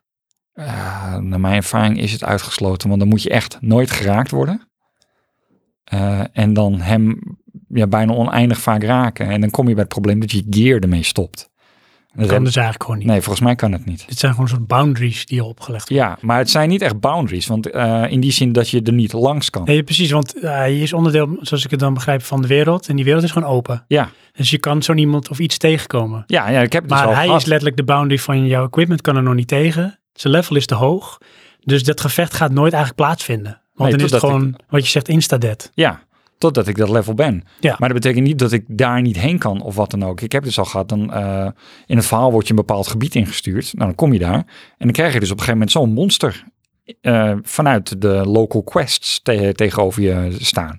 B: Eh, naar mijn ervaring is het uitgesloten, want dan moet je echt nooit geraakt worden. Eh, en dan hem ja, bijna oneindig vaak raken. En dan kom je bij het probleem dat je gear ermee stopt. Dat
A: kan
B: heb-
A: dus eigenlijk gewoon niet.
B: nee, volgens mij kan het niet.
A: Dit zijn gewoon soort boundaries die je opgelegd worden.
B: Ja, maar het zijn niet echt boundaries, want eh, in die zin dat je er niet langs kan.
A: Nee, precies, want eh, hij is onderdeel, zoals ik het dan begrijp, van de wereld. En die wereld is gewoon open.
B: Ja,
A: Dus je kan zo'n iemand of iets tegenkomen.
B: ja, ja ik heb het dus
A: Maar
B: al
A: hij
B: gehad.
A: is letterlijk de boundary van jouw equipment, kan er nog niet tegen. Zijn level is te hoog. Dus dat gevecht gaat nooit eigenlijk plaatsvinden. Want
B: Nee,
A: dan is het
B: totdat
A: gewoon, wat je zegt, instadet.
B: Ja, totdat ik dat level ben.
A: Ja.
B: Maar dat betekent niet dat ik daar niet heen kan of wat dan ook. Ik heb dus al gehad, dan eh, in een verhaal word je een bepaald gebied ingestuurd. Nou, dan kom je daar. En dan krijg je dus op een gegeven moment zo'n monster eh, vanuit de local quests te- tegenover je staan.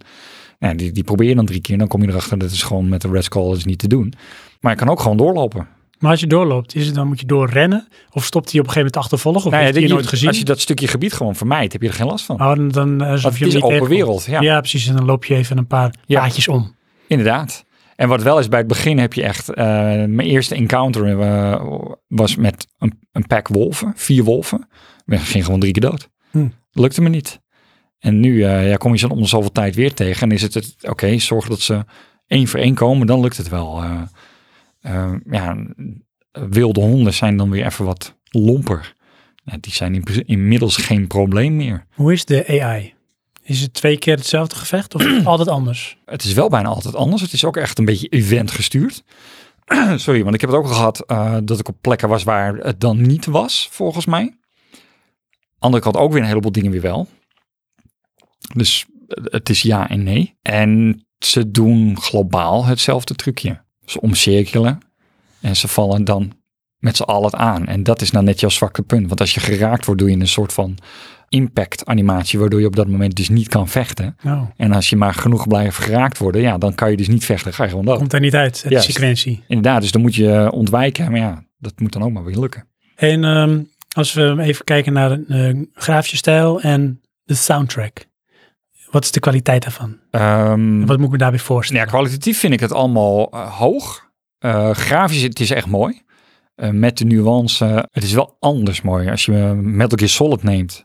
B: Nou, die, die probeer je dan drie keer. Dan kom je erachter dat is gewoon met de Red Skull is niet te doen. Maar je kan ook gewoon doorlopen.
A: Maar als je doorloopt, is het dan moet je doorrennen? Of stopt hij op een gegeven moment achtervolgen? Of
B: Nou ja,
A: heeft hij je
B: dat-
A: nooit gezien?
B: Als je dat stukje gebied gewoon vermijdt, heb je er geen last van.
A: Oh, dan, dan, eh, alsof
B: Want
A: je
B: het
A: hem
B: is
A: niet
B: open
A: tegenkomt.
B: wereld, ja.
A: precies. En dan loop je even een paar
B: Ja.
A: paadjes om.
B: Inderdaad. En wat wel is, bij het begin heb je echt... eh, mijn eerste encounter eh, was met een, een pack wolven. Vier wolven. Ik ging gewoon drie keer dood.
A: Hm.
B: Lukte me niet. En nu eh, ja, kom je ze om de zoveel tijd weer tegen. En is het, het oké, zorg dat ze één voor één komen. Dan lukt het wel. Eh, eh, ja, wilde honden zijn dan weer even wat lomper. Ja, die zijn in- inmiddels geen probleem meer.
A: Hoe is de AI? Is het twee keer hetzelfde gevecht of is het altijd anders?
B: Het is wel bijna altijd anders. Het is ook echt een beetje event gestuurd. Sorry, want ik heb het ook al gehad eh, dat ik op plekken was waar het dan niet was, volgens mij. Andere kant ook weer een heleboel dingen weer wel. Dus eh, het is ja en nee. En ze doen globaal hetzelfde trucje. Ze omcirkelen en ze vallen dan met z'n allen aan. En dat is nou net jouw zwakke punt. Want als je geraakt wordt, doe je een soort van impact animatie, waardoor je op dat moment dus niet kan vechten.
A: Nou,
B: En als je maar genoeg blijft geraakt worden, ja, dan kan je dus niet vechten. Ga je gewoon dood.
A: komt er niet uit, de
B: Juist.
A: sequentie.
B: Inderdaad, dus dan moet je eh, ontwijken. Maar ja, dat moet dan ook maar weer lukken.
A: En ehm, als we even kijken naar de grafische stijl en de soundtrack. Wat is de kwaliteit daarvan?
B: Ehm,
A: Wat moet ik me daarbij
B: ja,
A: voorstellen?
B: kwalitatief vind ik het allemaal eh, hoog. Eh, grafisch, het is echt mooi. Eh, met de nuance, eh, het is wel anders mooi. Als je eh, Metal Gear Solid neemt,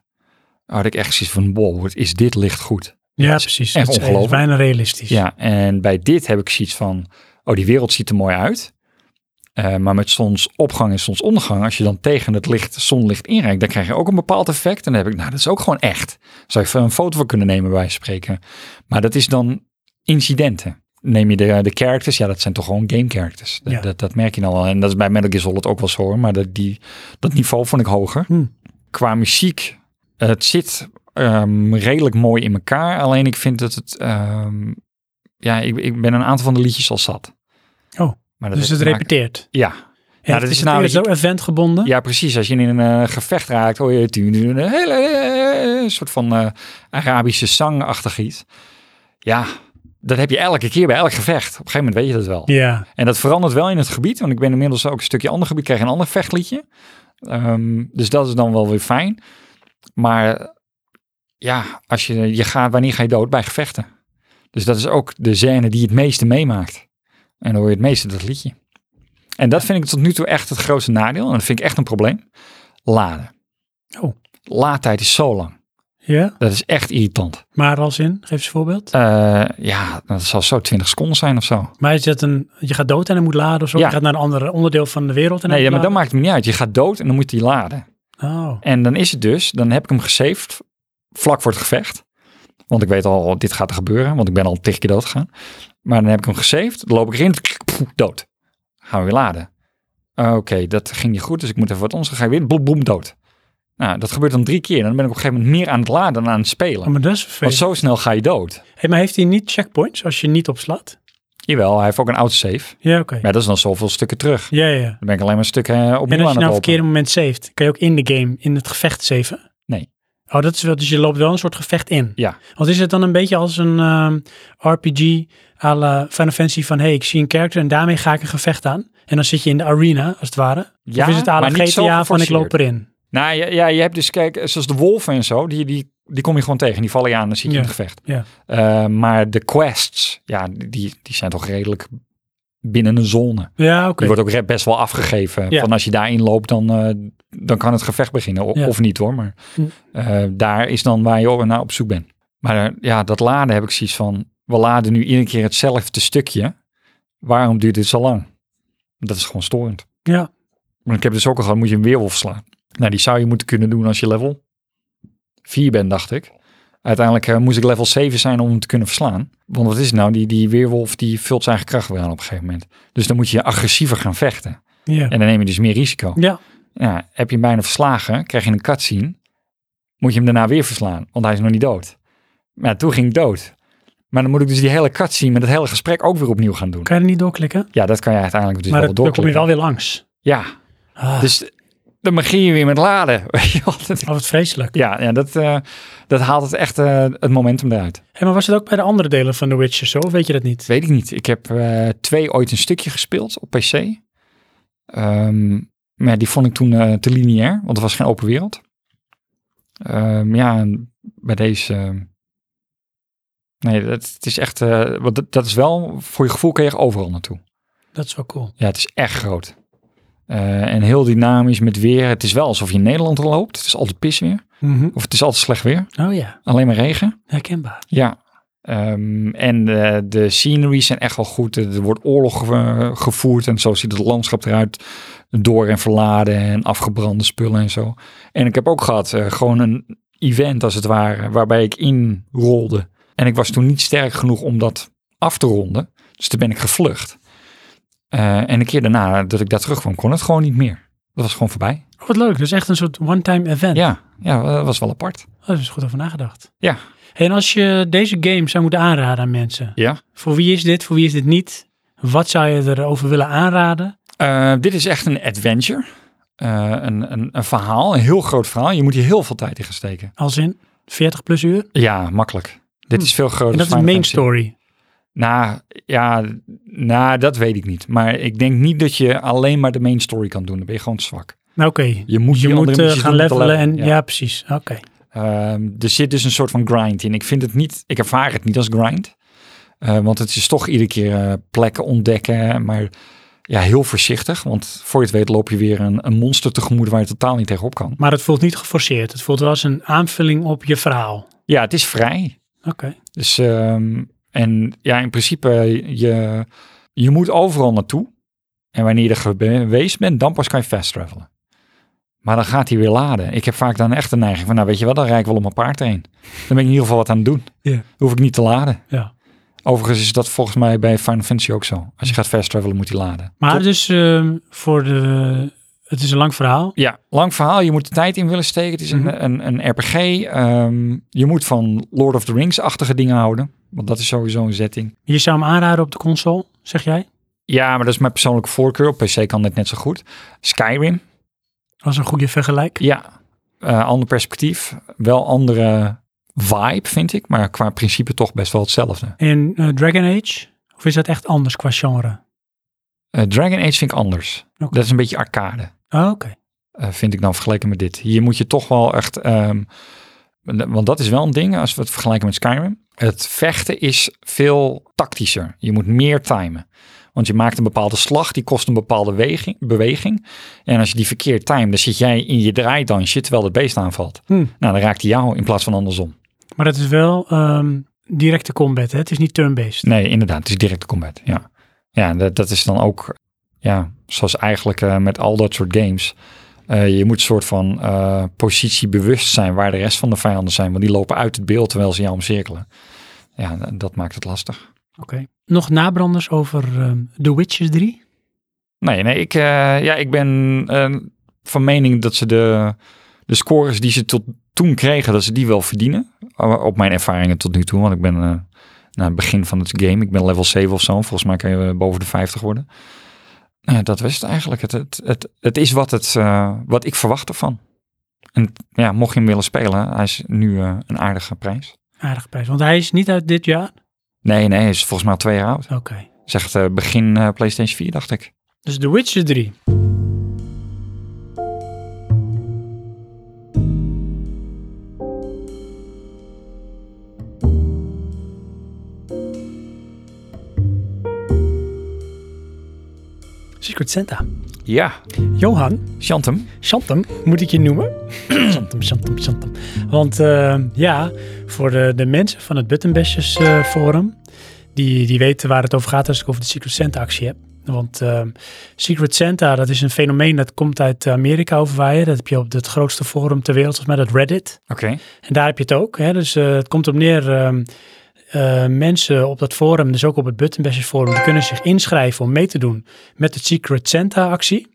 B: had ik echt zoiets van, wow, wat is dit licht goed.
A: Ja,
B: het is
A: precies.
B: echt
A: Het is- het is
B: ongelooflijk.
A: bijna realistisch.
B: Ja, en bij dit heb ik zoiets van, oh, die wereld ziet er mooi uit. Eh, maar met zonsopgang en zonsondergang, als je dan tegen het licht, zonlicht inreikt, dan krijg je ook een bepaald effect. En dan heb ik, nou, dat is ook gewoon echt. Zou je even een foto van kunnen nemen, bij wijze van spreken. Maar dat is dan incidenten. Neem je de, de characters, ja, dat zijn toch gewoon game characters. Dat,
A: Ja.
B: dat, dat merk je dan al. En dat is bij Metal Gear Solid ook wel zo hoor. Maar dat, die, dat niveau vond ik hoger.
A: Hm.
B: Qua muziek, het zit ehm, redelijk mooi in elkaar. Alleen ik vind dat het, ehm, ja, ik, ik ben een aantal van de liedjes al zat.
A: Oh,
B: maar dat
A: Dus
B: heeft
A: het
B: te maken-
A: repeteert.
B: Ja,
A: Ja,
B: dat
A: dat
B: is
A: is
B: nou-
A: nou zo event gebonden.
B: ja, precies. Als je in een eh, gevecht raakt, hoor je tu- tu- een hele eh, soort van eh, Arabische zangachtig iets. Ja, dat heb je elke keer bij elk gevecht. Op een gegeven moment weet je dat wel.
A: Ja.
B: En dat verandert wel in het gebied, want ik ben inmiddels ook een stukje ander gebied, krijg een ander vechtliedje. Ehm, dus dat is dan wel weer fijn. Maar eh, ja, als je, je gaat, wanneer ga je dood? Bij gevechten. Dus dat is ook de scène die het meeste meemaakt. En dan hoor je het meeste dat liedje. En dat vind ik tot nu toe echt het grootste nadeel. En dat vind ik echt een probleem. Laden.
A: Oh.
B: Laadtijd is zo lang.
A: ja,
B: Dat is echt irritant.
A: maar als in, geef eens een voorbeeld.
B: Eh, ja, dat zal zo 20 seconden zijn of zo.
A: Maar is dat een, je gaat dood en dan moet laden of zo?
B: Ja.
A: Je gaat naar een ander onderdeel van de wereld en dan
B: Nee, maar
A: moet
B: dat maakt het niet uit. Je gaat dood en dan moet je die laden.
A: laden? Oh,
B: En dan is het dus, dan heb ik hem gesaved vlak voor het gevecht. Want ik weet al, dit gaat er gebeuren, want ik ben al tig keer dood gegaan. Maar dan heb ik hem gesaved, dan loop ik erin, pff, dood. Gaan we weer laden. Oké, dat ging niet goed, dus ik moet even wat anders. Dan ga je weer, boem, boem, dood. Nou, dat gebeurt dan drie keer. En dan ben ik op een gegeven moment meer aan het laden dan aan het
A: Oh,
B: spelen.
A: maar dat is
B: Want
A: vervelend.
B: zo snel ga je dood.
A: Hey, maar heeft hij niet checkpoints als je niet opslaat?
B: Jawel, hij heeft ook een autosave.
A: Ja, oké.
B: Maar dat is dan zoveel stukken terug.
A: Ja, ja, ja.
B: Dan ben ik alleen maar stukken eh, opnieuw
A: En als
B: aan
A: je
B: het
A: nou op
B: lopen.
A: verkeerde moment saved, kan je ook in de game, in het gevecht saven?
B: Nee.
A: Oh, dat is wel, dus je loopt wel een soort gevecht in.
B: Ja.
A: Want is het dan een beetje als een ehm, RPG à la Final Fantasy van, hey, ik zie een character en daarmee ga ik een gevecht aan. En dan zit je in de arena, als het ware.
B: Ja,
A: of is het à la
B: maar niet zo
A: GTA van, ik
B: geforceerd.
A: loop erin.
B: Nou ja, ja, je hebt dus, kijk, zoals de wolven en zo, die, die, die kom je gewoon tegen. Die vallen je aan, dan zit je in het gevecht.
A: Ja.
B: Eh, maar de quests, ja, die, die zijn toch redelijk binnen een zone.
A: Ja, oké.
B: Die wordt ook re- best wel afgegeven.
A: Ja.
B: Van als je daarin loopt, dan eh, dan kan het gevecht beginnen. O-
A: Ja.
B: Of niet hoor, maar
A: Hm.
B: eh, daar is dan waar je op, naar op zoek bent. Maar eh, ja, dat laden heb ik zoiets van, we laden nu iedere keer hetzelfde stukje. Waarom duurt dit zo lang? Dat is gewoon storend.
A: Ja.
B: Want ik heb dus ook al gehad, moet je een weerwolf slaan. Nou, die zou je moeten kunnen doen als je level 4 bent, dacht ik. Uiteindelijk eh, moest ik level 7 zijn om hem te kunnen verslaan. Want wat is het nou? Die, die weerwolf die vult zijn eigen kracht weer aan op een gegeven moment. Dus dan moet je agressiever gaan vechten.
A: Ja.
B: En dan neem je dus meer risico.
A: Ja.
B: Ja, heb je hem bijna verslagen, krijg je een cutscene. Moet je hem daarna weer verslaan, want hij is nog niet dood. Maar ja, toen ging ik dood. Maar dan moet ik dus die hele cutscene met het hele gesprek ook weer opnieuw gaan doen.
A: Kan je er niet doorklikken?
B: Ja, dat kan je uiteindelijk dus
A: maar
B: wel
A: dat- dan kom je
B: doorklikken.
A: wel weer langs.
B: Ja,
A: Ah,
B: dus dan magie je weer met laden. weet je wel. Dat-
A: oh, wat vreselijk.
B: ja, ja dat, eh, dat haalt het echt eh, het momentum eruit.
A: Hé, maar was het ook bij de andere delen van The Witcher zo? Of weet je dat niet?
B: Weet ik niet. Ik heb eh, twee ooit een stukje gespeeld op PC. Ehm, maar ja, die vond ik toen eh, te lineair, want het was geen open wereld. Ehm, ja, en bij deze. ehm, nee, dat, het is echt. eh, want dat, dat is wel. Voor je gevoel kun je echt overal naartoe.
A: Dat is wel cool.
B: Ja, het is echt groot. Eh, en heel dynamisch met weer. Het is wel alsof je in Nederland loopt. Het is altijd pis weer. Of het is altijd slecht weer.
A: Mhm. Oh ja,
B: Alleen maar regen.
A: herkenbaar.
B: Ja. Ehm, en eh, de sceneries zijn echt wel goed. Er er wordt oorlog eh, gevoerd en zo ziet het landschap eruit. Door en verladen en afgebrande spullen en zo. En ik heb ook gehad eh, gewoon een event als het ware, waarbij ik inrolde. En ik was toen niet sterk genoeg om dat af te ronden. Dus toen ben ik gevlucht. Eh, en een keer daarna dat ik daar terugkwam, kon het gewoon niet meer. Dat was gewoon voorbij.
A: Oh, wat leuk. Dus echt een soort one-time event.
B: Ja, ja dat was wel apart.
A: Oh, daar is goed over nagedacht.
B: Ja.
A: Hé, en als je deze game zou moeten aanraden aan mensen.
B: Ja.
A: Voor wie is dit, voor wie is dit niet? Wat zou je erover willen aanraden?
B: Eh, dit is echt een adventure. Eh, een, een, een verhaal, een heel groot verhaal. Je moet hier heel veel tijd in gaan steken.
A: Als in 40 plus uur?
B: Ja, makkelijk. Dit
A: Hm.
B: is veel groter.
A: en dat is de
B: dan
A: main
B: Final Fantasy.
A: story.
B: Nou, ja, nou, dat weet ik niet. Maar ik denk niet dat je alleen maar de main story kan doen. Dan ben je gewoon zwak.
A: Nou, oké.
B: Je moet,
A: Je
B: die andere
A: moet eh,
B: missies
A: gaan
B: doen om te
A: levelen en ja,
B: ja.
A: precies. Oké.
B: Ehm, er zit dus een soort van grind in. Ik vind het niet, ik ervaar het niet als grind. Eh, want het is toch iedere keer eh, plekken ontdekken, maar ja, heel voorzichtig. Want voor je het weet loop je weer een, een monster tegemoet waar je totaal niet tegenop kan.
A: Maar het voelt niet geforceerd. Het voelt wel als een aanvulling op je verhaal.
B: Ja, het is vrij.
A: Oké.
B: Dus, ehm, en ja, in principe, je, je moet overal naartoe. En wanneer je er geweest bent, dan pas kan je fast travelen. Maar dan gaat hij weer laden. Ik heb vaak dan echt de neiging van, nou weet je wat, dan rijd ik wel op mijn paard heen. Dan ben ik in ieder geval wat aan het doen.
A: Ja.
B: Dan hoef ik niet te laden.
A: Ja.
B: Overigens is dat volgens mij bij Final Fantasy ook zo. Als je gaat fast travelen, moet hij laden.
A: Maar
B: Tot-
A: dus ehm, voor de... Het is een lang verhaal.
B: Ja, lang verhaal. Je moet de tijd in willen steken. Het is
A: Mhm.
B: een, een, een RPG. Ehm, je moet van Lord of the Rings-achtige dingen houden. Want dat is sowieso een setting.
A: Je zou hem aanraden op de console, zeg jij?
B: Ja, maar dat is mijn persoonlijke voorkeur. Op PC kan dit net zo goed. Skyrim,
A: Als een goede vergelijk.
B: ja. Eh, ander perspectief. Wel andere vibe, vind ik. Maar qua principe toch best wel hetzelfde.
A: In eh, Dragon Age? Of is dat echt anders qua genre?
B: Eh, Dragon Age vind ik anders.
A: Oké.
B: Dat is een beetje arcade,
A: Oh, Oké.
B: eh, vind ik dan vergeleken met dit. Hier moet je toch wel echt... ehm, want dat is wel een ding, als we het vergelijken met Skyrim. Het vechten is veel tactischer. Je moet meer timen. Want je maakt een bepaalde slag, die kost een bepaalde weging- beweging. En als je die verkeerd timt, dan zit jij in je draaidansje terwijl het beest aanvalt.
A: Hm.
B: Nou, dan raakt hij jou in plaats van andersom.
A: Maar dat is wel ehm, directe combat, hè? Het is niet turn-based.
B: Nee, inderdaad, het is directe combat. Ja, ja dat, dat is dan ook, ja, zoals eigenlijk eh, met al dat soort games. Eh, je moet een soort van eh, positie bewust zijn waar de rest van de vijanden zijn. Want die lopen uit het beeld terwijl ze jou omcirkelen. Ja, d- dat maakt het lastig.
A: Oké. Nog nabranders over ehm, The Witcher 3?
B: Nee, nee, ik, eh, ja, ik ben eh, van mening dat ze de, de scores die ze tot toen kregen, dat ze die wel verdienen. O- Op mijn ervaringen tot nu toe, want ik ben eh na het begin van het game, ik ben level 7 of zo. Volgens mij kan je eh, boven de 50 worden. Nou ja, dat was het eigenlijk. Het, het, het, het is wat, het, eh, wat ik verwacht ervan. En ja, mocht je hem willen spelen, hij is nu eh, een aardige prijs.
A: Aardige prijs. Want hij is niet uit dit jaar?
B: Nee, nee, hij is volgens mij al twee jaar oud.
A: Oké.
B: Zegt eh, begin eh, PlayStation 4, dacht ik.
A: Dus The Witcher 3. Ze Secret Santa.
B: Ja,
A: Johan,
B: Chantem.
A: Chantem, moet ik je noemen? Chantem, Chantem, Chantem. Want eh, ja, voor de, de mensen van het Buttonbashers eh, Forum, die, die weten waar het over gaat als ik over de Secret Santa actie heb. Want eh, Secret Santa, dat is een fenomeen dat komt uit Amerika overwaaien. Dat heb je op het grootste forum ter wereld, volgens mij dat Reddit.
B: Oké.
A: En daar heb je het ook. Hè? Dus eh, het komt op neer, ehm, eh, mensen op dat forum, dus ook op het Buttonbashers forum, die kunnen zich inschrijven om mee te doen met de Secret Santa actie.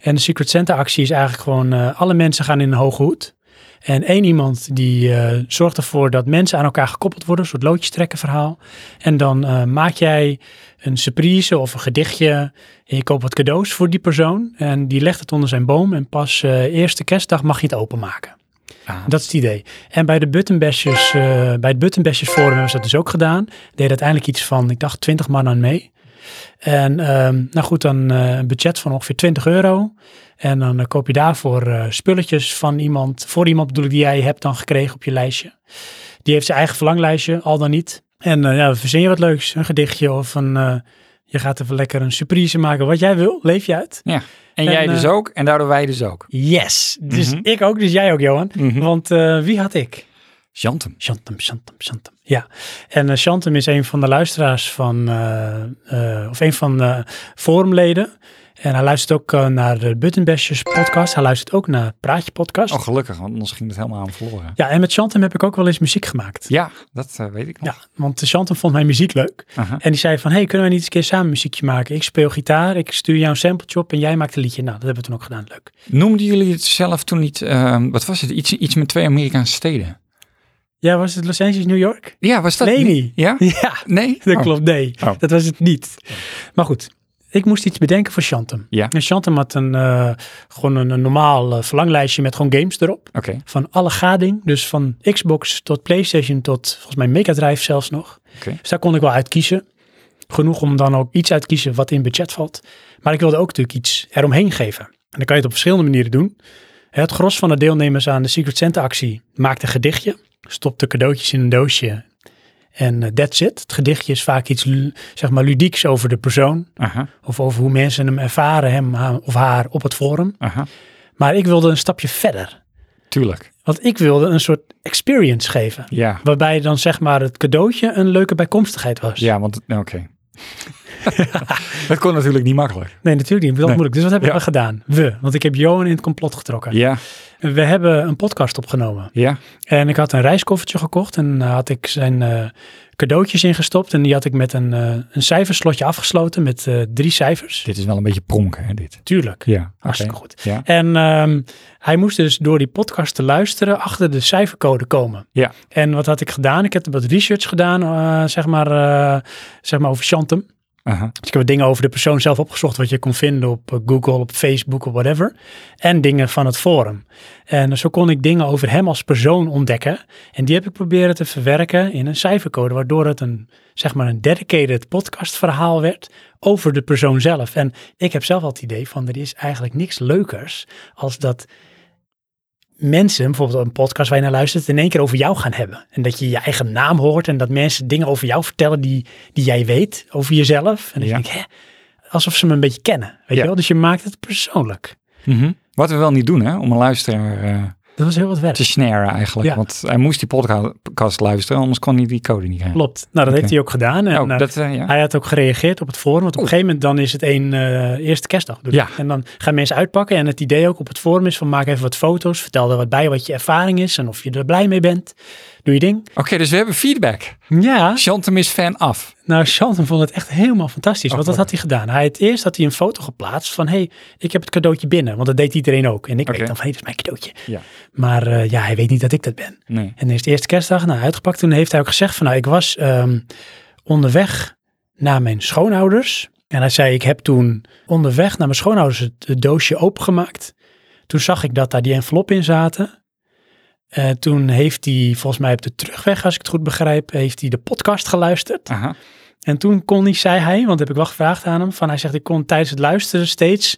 A: En de Secret Santa actie is eigenlijk gewoon, eh, alle mensen gaan in een hoge hoed. En één iemand die eh, zorgt ervoor dat mensen aan elkaar gekoppeld worden, een soort loodjes trekken verhaal. En dan eh, maak jij een surprise of een gedichtje en je koopt wat cadeaus voor die persoon. En die legt het onder zijn boom en pas eh, eerste kerstdag mag je het openmaken.
B: Ah,
A: Dat is het idee. En bij, de Buttonbashers, eh, bij het Buttonbashers Forum hebben ze dat dus ook gedaan. Deden uiteindelijk iets van, ik dacht, 20 man aan mee. En ehm, nou goed, dan eh, een budget van ongeveer 20 euro. En dan eh, koop je daarvoor eh, spulletjes van iemand, voor iemand bedoel ik, die jij hebt dan gekregen op je lijstje. Die heeft zijn eigen verlanglijstje, al dan niet. En eh, ja, dan verzin je wat leuks, een gedichtje of een, eh, je gaat even lekker een surprise maken. Wat jij wil, leef je uit.
B: ja. En,
A: En,
B: jij
A: eh,
B: dus ook en daardoor wij dus ook.
A: Yes, dus
B: Mhm.
A: ik ook, dus jij ook Johan. Want eh, wie had ik?
B: Chantem.
A: Chantem, Chantem, Chantem. Ja, en eh, Chantem is een van de luisteraars van, eh, eh, of een van de forumleden. En hij luistert ook eh, naar de Buttonbashers podcast. Hij luistert ook naar Praatje podcast.
B: Oh, gelukkig, want anders ging het helemaal aan verloren.
A: Ja, en met Chantem heb ik ook wel eens muziek gemaakt.
B: Ja, dat eh, weet ik nog.
A: Ja, want eh, Chantem vond mijn muziek leuk.
B: Aha.
A: En die zei van, hey, kunnen wij niet eens een keer samen muziekje maken? Ik speel gitaar, ik stuur jou een sampletje op en jij maakt een liedje. Nou, dat hebben we toen ook gedaan. Leuk.
B: Noemden jullie het zelf toen niet, ehm, wat was het, iets, iets met twee Amerikaanse steden?
A: Ja, was het Los Angeles, New York?
B: Ja, was dat?
A: Nee,
B: niet-
A: niet.
B: Ja?
A: Ja,
B: Nee?
A: Dat
B: Oh.
A: klopt, nee.
B: Oh.
A: Dat was het niet. Maar goed, ik moest iets bedenken voor Chantem.
B: Ja.
A: En Chantem had een, eh, gewoon een, een normaal eh, verlanglijstje met gewoon games erop.
B: Oké.
A: Van alle gading, dus van Xbox tot Playstation tot volgens mij Mega Drive zelfs nog.
B: Oké.
A: Dus daar kon ik wel uit kiezen. Genoeg om dan ook iets uit te kiezen wat in budget valt. Maar ik wilde ook natuurlijk iets eromheen geven. En dan kan je het op verschillende manieren doen. Het gros van de deelnemers aan de Secret Santa actie maakt een gedichtje, stopt de cadeautjes in een doosje en eh, that's it. Het gedichtje is vaak iets lu- zeg maar ludieks over de persoon
B: Aha,
A: of over hoe mensen hem ervaren, hem ha- of haar op het forum.
B: aha.
A: Maar ik wilde een stapje verder,
B: Tuurlijk.
A: want ik wilde een soort experience geven.
B: Ja.
A: Waarbij dan zeg maar het cadeautje een leuke bijkomstigheid was.
B: Ja, want, oké. dat kon natuurlijk niet makkelijk.
A: Nee, natuurlijk niet. Dat
B: Nee.
A: moeilijk. Dus wat hebben
B: Ja.
A: we gedaan? We. Want ik heb Johan in het complot getrokken.
B: Ja,
A: We hebben een podcast opgenomen.
B: ja.
A: En ik had een reiskoffertje gekocht en daar had ik zijn eh, cadeautjes ingestopt. En die had ik met een, eh, een cijferslotje afgesloten met eh, drie cijfers.
B: Dit is wel een beetje pronken, hè, dit.
A: Tuurlijk.
B: Ja, oké.
A: Hartstikke goed.
B: Ja.
A: En ehm, hij moest dus door die podcast te luisteren achter de cijfercode komen.
B: Ja.
A: En wat had ik gedaan? Ik heb wat research gedaan, eh, zeg, maar, eh, zeg maar over Chantem.
B: Aha.
A: Dus ik heb wat dingen over de persoon zelf opgezocht, wat je kon vinden op eh, Google, op Facebook of whatever. En dingen van het forum. En zo kon ik dingen over hem als persoon ontdekken. En die heb ik proberen te verwerken in een cijfercode, waardoor het een, zeg maar, een dedicated podcastverhaal werd over de persoon zelf. En ik heb zelf al het idee van, er is eigenlijk niks leukers als dat mensen, bijvoorbeeld een podcast waar je naar luistert, het in één keer over jou gaan hebben. En dat je je eigen naam hoort en dat mensen dingen over jou vertellen die, die jij weet over jezelf. En dan
B: Ja.
A: denk ik, hè, alsof ze me een beetje kennen. Weet
B: Ja.
A: je wel? Dus je maakt het persoonlijk.
B: Mhm. Wat we wel niet doen, hè, om een luisteraar eh,
A: Dat was heel wat werk.
B: te snaren eigenlijk.
A: Ja.
B: Want hij moest die podca- podcast luisteren, anders kon hij die code niet krijgen.
A: Klopt. Nou, dat heeft hij ook gedaan. En,
B: Oh,
A: eh,
B: dat, eh, ja.
A: Hij had ook gereageerd op het forum, want op een
B: Oeh.
A: gegeven moment dan is het één eh, eerste kerstdag. Dus-
B: Ja.
A: En dan gaan mensen uitpakken en het idee ook op het forum is van maak even wat foto's, vertel er wat bij wat je ervaring is en of je er blij mee bent. Doe je ding.
B: Oké, dus we hebben feedback.
A: Ja,
B: Chantem is fan af.
A: nou Chanten vond het echt helemaal fantastisch,
B: Oh,
A: want dat had hij gedaan. Hij, het eerst had hij een foto geplaatst van hey, ik heb het cadeautje binnen, want dat deed iedereen ook. En ik
B: Oké.
A: weet dan van hey, dat is mijn cadeautje.
B: Ja.
A: Maar eh, ja, hij weet niet dat ik dat ben.
B: Nee.
A: En dan is de eerste kerstdag nou, uitgepakt. Toen heeft hij ook gezegd van nou, ik was ehm, onderweg naar mijn schoonouders. En hij zei, ik heb toen onderweg naar mijn schoonouders het, het doosje opengemaakt. Toen zag ik dat daar die envelop in zaten. Eh, toen heeft hij, volgens mij op de terugweg, als ik het goed begrijp, heeft hij de podcast geluisterd.
B: Aha.
A: En toen kon hij, zei hij, want dat heb ik wel gevraagd aan hem, van hij zegt, ik kon tijdens het luisteren steeds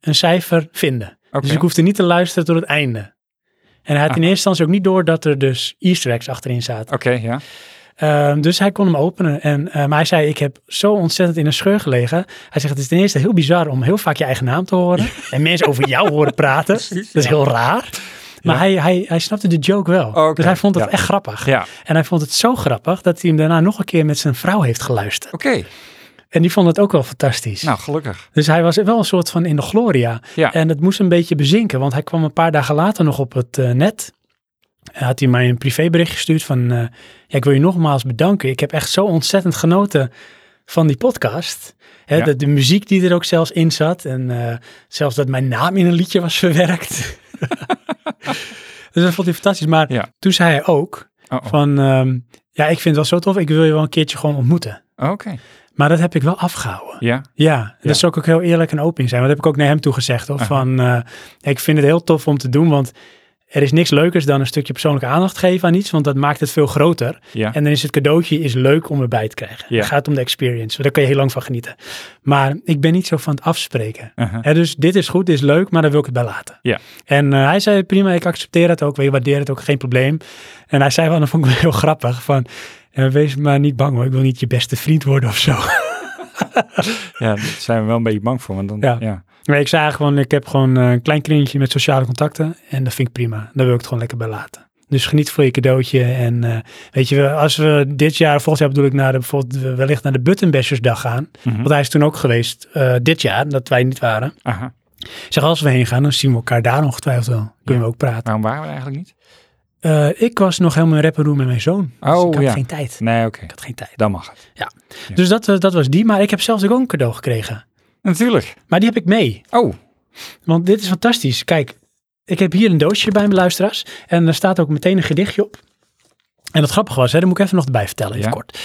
A: een cijfer vinden.
B: Oké.
A: Dus ik hoefde niet te luisteren tot het einde. En hij had in eerste instantie ook niet door dat er dus easter eggs achterin zaten.
B: Oké, ja.
A: Ehm, dus hij kon hem openen. En, eh, maar hij zei, ik heb zo ontzettend in een scheur gelegen. Hij zegt, het is ten eerste heel bizar om heel vaak je eigen naam te horen. en mensen over jou horen praten. dat is heel raar. Maar
B: Ja. Oh,
A: hij, hij, hij snapte de joke wel.
B: Oké,
A: Dus hij vond het
B: ja.
A: echt grappig.
B: Ja,
A: En hij vond het zo grappig dat hij hem daarna nog een keer met zijn vrouw heeft geluisterd.
B: oké.
A: En die vond het ook wel fantastisch.
B: Nou, gelukkig.
A: Dus hij was wel een soort van in de gloria.
B: Ja.
A: En het moest een beetje bezinken, want hij kwam een paar dagen later nog op het eh, net. Hij had hij mij een privébericht gestuurd van, eh, ja, ik wil je nogmaals bedanken. Ik heb echt zo ontzettend genoten van die podcast. Hè,
B: Ja.
A: de, de muziek die er ook zelfs in zat. En eh, zelfs dat mijn naam in een liedje was verwerkt. dus dat vond hij fantastisch. Maar
B: Ja.
A: toen zei hij ook
B: Oh, oh.
A: van, ehm, ja, ik vind het wel zo tof. Ik wil je wel een keertje gewoon ontmoeten.
B: Oké.
A: Maar dat heb ik wel afgehouden.
B: Ja.
A: Ja, en
B: Ja.
A: daar zou ik ook heel eerlijk en open in zijn. Want dat heb ik ook naar hem toe gezegd. Hoor,
B: Aha.
A: van, eh, ik vind het heel tof om te doen, want er is niks leukers dan een stukje persoonlijke aandacht geven aan iets, want dat maakt het veel groter.
B: Ja.
A: En dan is het cadeautje is leuk om erbij te krijgen.
B: Ja.
A: Het gaat om de experience, want daar kun je heel lang van genieten. Maar ik ben niet zo van het afspreken.
B: Uh-huh.
A: Hè, dus dit is goed, dit is leuk, maar daar wil ik het bij laten.
B: Ja.
A: En eh, hij zei prima, ik accepteer het ook, we waarderen het ook, geen probleem. En hij zei wel, dat vond ik wel heel grappig, van eh, wees maar niet bang hoor, ik wil niet je beste vriend worden of zo.
B: ja, daar zijn we wel een beetje bang voor. Want dan,
A: Ja.
B: ja.
A: Maar ik zei gewoon, ik heb gewoon eh, een klein kringetje met sociale contacten. En dat vind ik prima. Daar wil ik het gewoon lekker bij laten. Dus geniet van je cadeautje. En eh, weet je, wel, als we dit jaar, volgend jaar bedoel ik, naar de, bijvoorbeeld eh, wellicht naar de Buttonbashersdag gaan.
B: Mhm.
A: Want hij is toen ook geweest, eh, dit jaar, dat wij niet waren.
B: Aha.
A: Ik zeg, als we heen gaan, dan zien we elkaar daar ongetwijfeld wel. Kunnen we ook praten.
B: Waarom waren we er eigenlijk niet?
A: Eh, ik was nog helemaal in rapperoe met mijn zoon. dus
B: Oh,
A: ik had
B: ja.
A: geen tijd.
B: Nee, oké.
A: Ik had geen tijd.
B: Dan mag het. Ja.
A: Dus dat, eh, dat was die. Maar ik heb zelfs ook een cadeau gekregen.
B: Natuurlijk.
A: Maar die heb ik mee.
B: Oh,
A: Want dit is fantastisch. Kijk, ik heb hier een doosje bij mijn luisteraars. En er staat ook meteen een gedichtje op. En dat grappige was, hè, dat moet ik even nog erbij vertellen, even
B: Ja.
A: kort.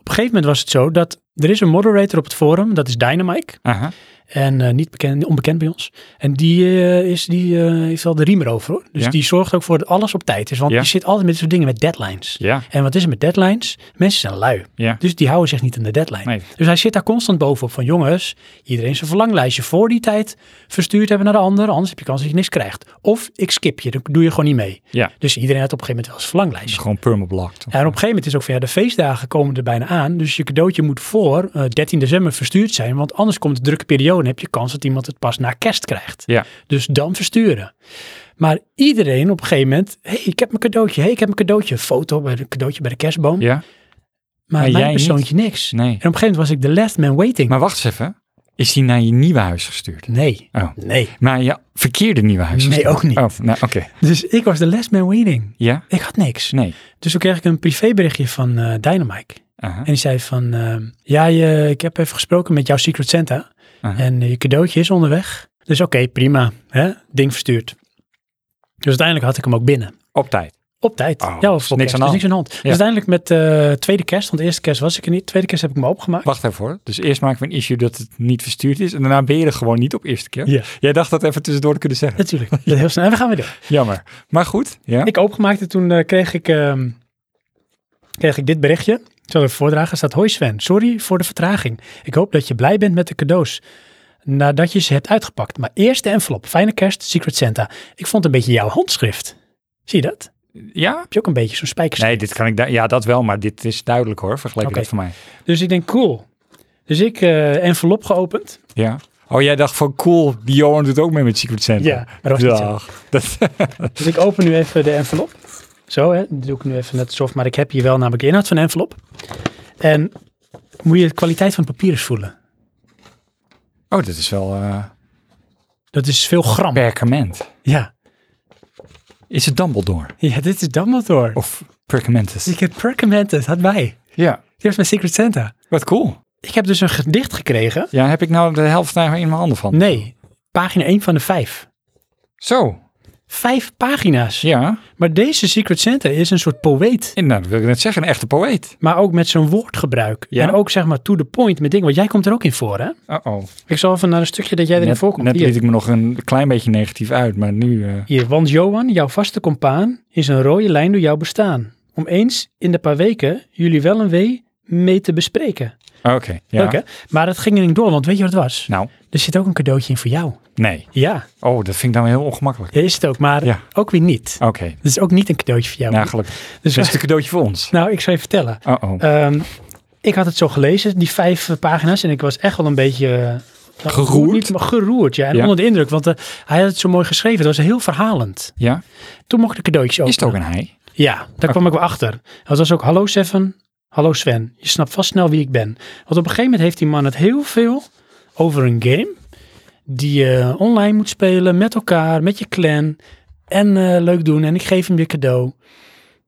A: Op een gegeven moment was het zo dat er is een moderator op het forum, dat is Dynamike.
B: aha.
A: En eh, niet bekend, onbekend bij ons. En die, eh, is, die eh, heeft wel de riem erover hoor. Dus
B: Ja.
A: die zorgt ook voor dat alles op tijd is. Want
B: Ja.
A: je zit altijd met dit soort dingen met deadlines.
B: Ja,
A: En wat is er met deadlines? Mensen zijn lui.
B: ja.
A: Dus die houden zich niet aan de deadline.
B: Nee.
A: Dus hij zit daar constant bovenop van jongens, iedereen zijn verlanglijstje voor die tijd verstuurd hebben naar de ander, anders heb je kans dat je niks krijgt. Of ik skip je, dan doe je gewoon niet mee.
B: Ja.
A: Dus iedereen had op een gegeven moment wel zijn verlanglijstje.
B: Gewoon permablocked.
A: En op een gegeven moment is ook van ja, de feestdagen komen er bijna aan, dus je cadeautje moet voor eh, 13 december verstuurd zijn, want anders komt de drukke periode en heb je kans dat iemand het pas na kerst krijgt.
B: Ja.
A: Dus dan versturen. Maar iedereen op een gegeven moment, hé, hey, ik heb mijn cadeautje, hé, hey, ik heb mijn cadeautje, foto bij de cadeautje bij de kerstboom,
B: Ja?
A: maar,
B: maar
A: mijn
B: jij niet.
A: persoontje niks.
B: Nee.
A: En op een gegeven moment was ik de last man waiting.
B: Maar wacht eens even. Is die naar je nieuwe huis gestuurd?
A: nee,
B: Oh.
A: nee.
B: Naar je verkeerde nieuwe huis
A: Nee,
B: gestuurd?
A: ook niet.
B: Oh, nou, oké.
A: Dus ik was de last man waiting.
B: Ja?
A: Ik had niks.
B: Nee.
A: Dus toen kreeg ik een privéberichtje van eh Dynamike.
B: Aha.
A: En die zei van, ehm, ja, je, ik heb even gesproken met jouw Secret Santa.
B: Aha.
A: En eh, je cadeautje is onderweg. Dus oké, prima. Hè? Ding verstuurd. Dus uiteindelijk had ik hem ook binnen.
B: Op tijd.
A: Op tijd.
B: Oh,
A: ja,
B: dus
A: voor
B: niks
A: kerst.
B: aan de
A: Dus niks aan de hand. Dus
B: Ja.
A: uiteindelijk met eh, tweede kerst, want de eerste kerst was ik er niet. Tweede kerst heb ik me opgemaakt.
B: Wacht even hoor. Dus eerst maken we een issue dat het niet verstuurd is. En daarna ben je er gewoon niet op eerste keer.
A: Ja.
B: Jij dacht dat even tussendoor te kunnen zeggen.
A: Natuurlijk. Dat Heel snel. En we gaan weer door.
B: Jammer. Maar goed. Ja.
A: ik opengemaakt en toen eh, kreeg, ik, ehm, kreeg ik dit berichtje. Ik zal even voordragen. Er staat, hoi Sven, sorry voor de vertraging. Ik hoop dat je blij bent met de cadeaus. Nadat je ze hebt uitgepakt. Maar eerst de envelop. Fijne kerst, Secret Santa. Ik vond een beetje jouw handschrift. Zie je dat?
B: Ja?
A: Heb je ook een beetje zo'n spijkers?
B: Nee, dit kan ik... da- Ja, dat wel. Maar dit is duidelijk hoor. Vergelijk
A: Oké.
B: dat voor mij.
A: Dus ik denk, cool. Dus ik eh, envelop geopend.
B: Ja. Oh, jij dacht van cool. Die Johan doet ook mee met Secret Santa.
A: Ja, maar dat was niet zo.
B: Dag. Dat,
A: Dus ik open nu even de envelop. Zo, hè. Dat doe ik nu even net alsof. Maar ik heb hier wel namelijk de inhoud van de envelop. En moet je de kwaliteit van het papier eens voelen.
B: oh, dat is wel eh
A: Dat is veel gram.
B: perkament.
A: Ja.
B: Is het Dumbledore?
A: Ja, dit is Dumbledore.
B: Of perkamentus?
A: Ik heb perkamentus, had mij.
B: Ja.
A: Die was mijn Secret Santa.
B: Wat cool.
A: Ik heb dus een gedicht gekregen.
B: Ja, heb ik nou de helft daar in mijn handen van?
A: Nee, pagina 1 van de 5.
B: Zo.
A: Vijf pagina's.
B: Ja.
A: Maar deze Secret Santa is een soort poëet.
B: En dat wil ik net zeggen. Een echte poëet.
A: Maar ook met zijn woordgebruik.
B: Ja.
A: En ook zeg maar to the point met dingen. Want jij komt er ook in voor, hè?
B: Uh-oh.
A: Ik zal even naar een stukje dat jij erin
B: Net,
A: voorkomt.
B: net
A: Hier.
B: liet ik me nog een klein beetje negatief uit, maar nu... eh,
A: Hier, want Johan, jouw vaste compaan, is een rode lijn door jouw bestaan. Om eens in de paar weken jullie wel een wee mee te bespreken.
B: oh, Oké, ja.
A: Leuk hè? Maar dat ging niet door, want weet je wat het was?
B: Nou,
A: Er zit ook een cadeautje in voor jou.
B: nee.
A: Ja,
B: Oh, dat vind ik dan heel ongemakkelijk.
A: ja is het ook, maar
B: Ja.
A: ook weer niet.
B: Oké,
A: Het is ook niet een cadeautje voor jou.
B: nou gelukkig.
A: dus,
B: Dus is het een cadeautje voor ons.
A: nou, ik zal je vertellen.
B: Oh, oh.
A: Ehm, ik had het zo gelezen, die vijf eh, pagina's, en ik was echt wel een beetje... eh, nou,
B: Geroerd?
A: Niet, maar geroerd, ja. En
B: Ja.
A: onder de indruk, want eh, hij had het zo mooi geschreven. Het was heel verhalend.
B: Ja,
A: Toen mocht ik de cadeautjes openen.
B: is het ook een hij?
A: Ja, daar kwam ik wel achter. Het was ook, hallo Seven, hallo Sven. Je snapt vast snel wie ik ben. Want op een gegeven moment heeft die man het heel veel over een game. Die je online moet spelen, met elkaar, met je clan. En eh, leuk doen. En ik geef hem je cadeau.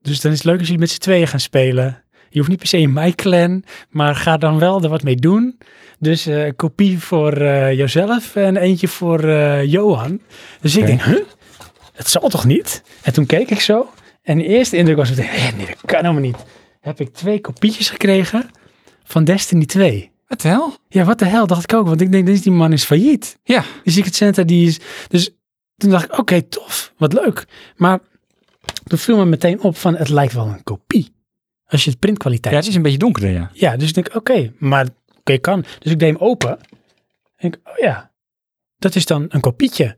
A: Dus dan is het leuk als jullie met z'n tweeën gaan spelen. Je hoeft niet per se in mijn clan, maar ga dan wel er wat mee doen. Dus eh, een kopie voor eh, jouzelf en eentje voor eh, Johan. Dus
B: Oké.
A: ik denk, huh? Het zal toch niet? En toen keek ik zo. En de eerste indruk was meteen, "Hé, nee, dat kan helemaal niet. Heb ik twee kopietjes gekregen van Destiny 2.
B: Wat de hel?
A: Ja, wat de hel, dacht ik ook. Want ik denk, deze die man is failliet.
B: Ja,
A: Die Secret Santa, die is... Dus toen dacht ik, oké, tof. Wat leuk. Maar toen viel me meteen op van, het lijkt wel een kopie. Als je het printkwaliteit...
B: ja het is een beetje donkerder, ja.
A: Ja, dus ik denk, oké, maar oké, kan. Dus ik deed hem open. En ik, oh ja, dat is dan een kopietje.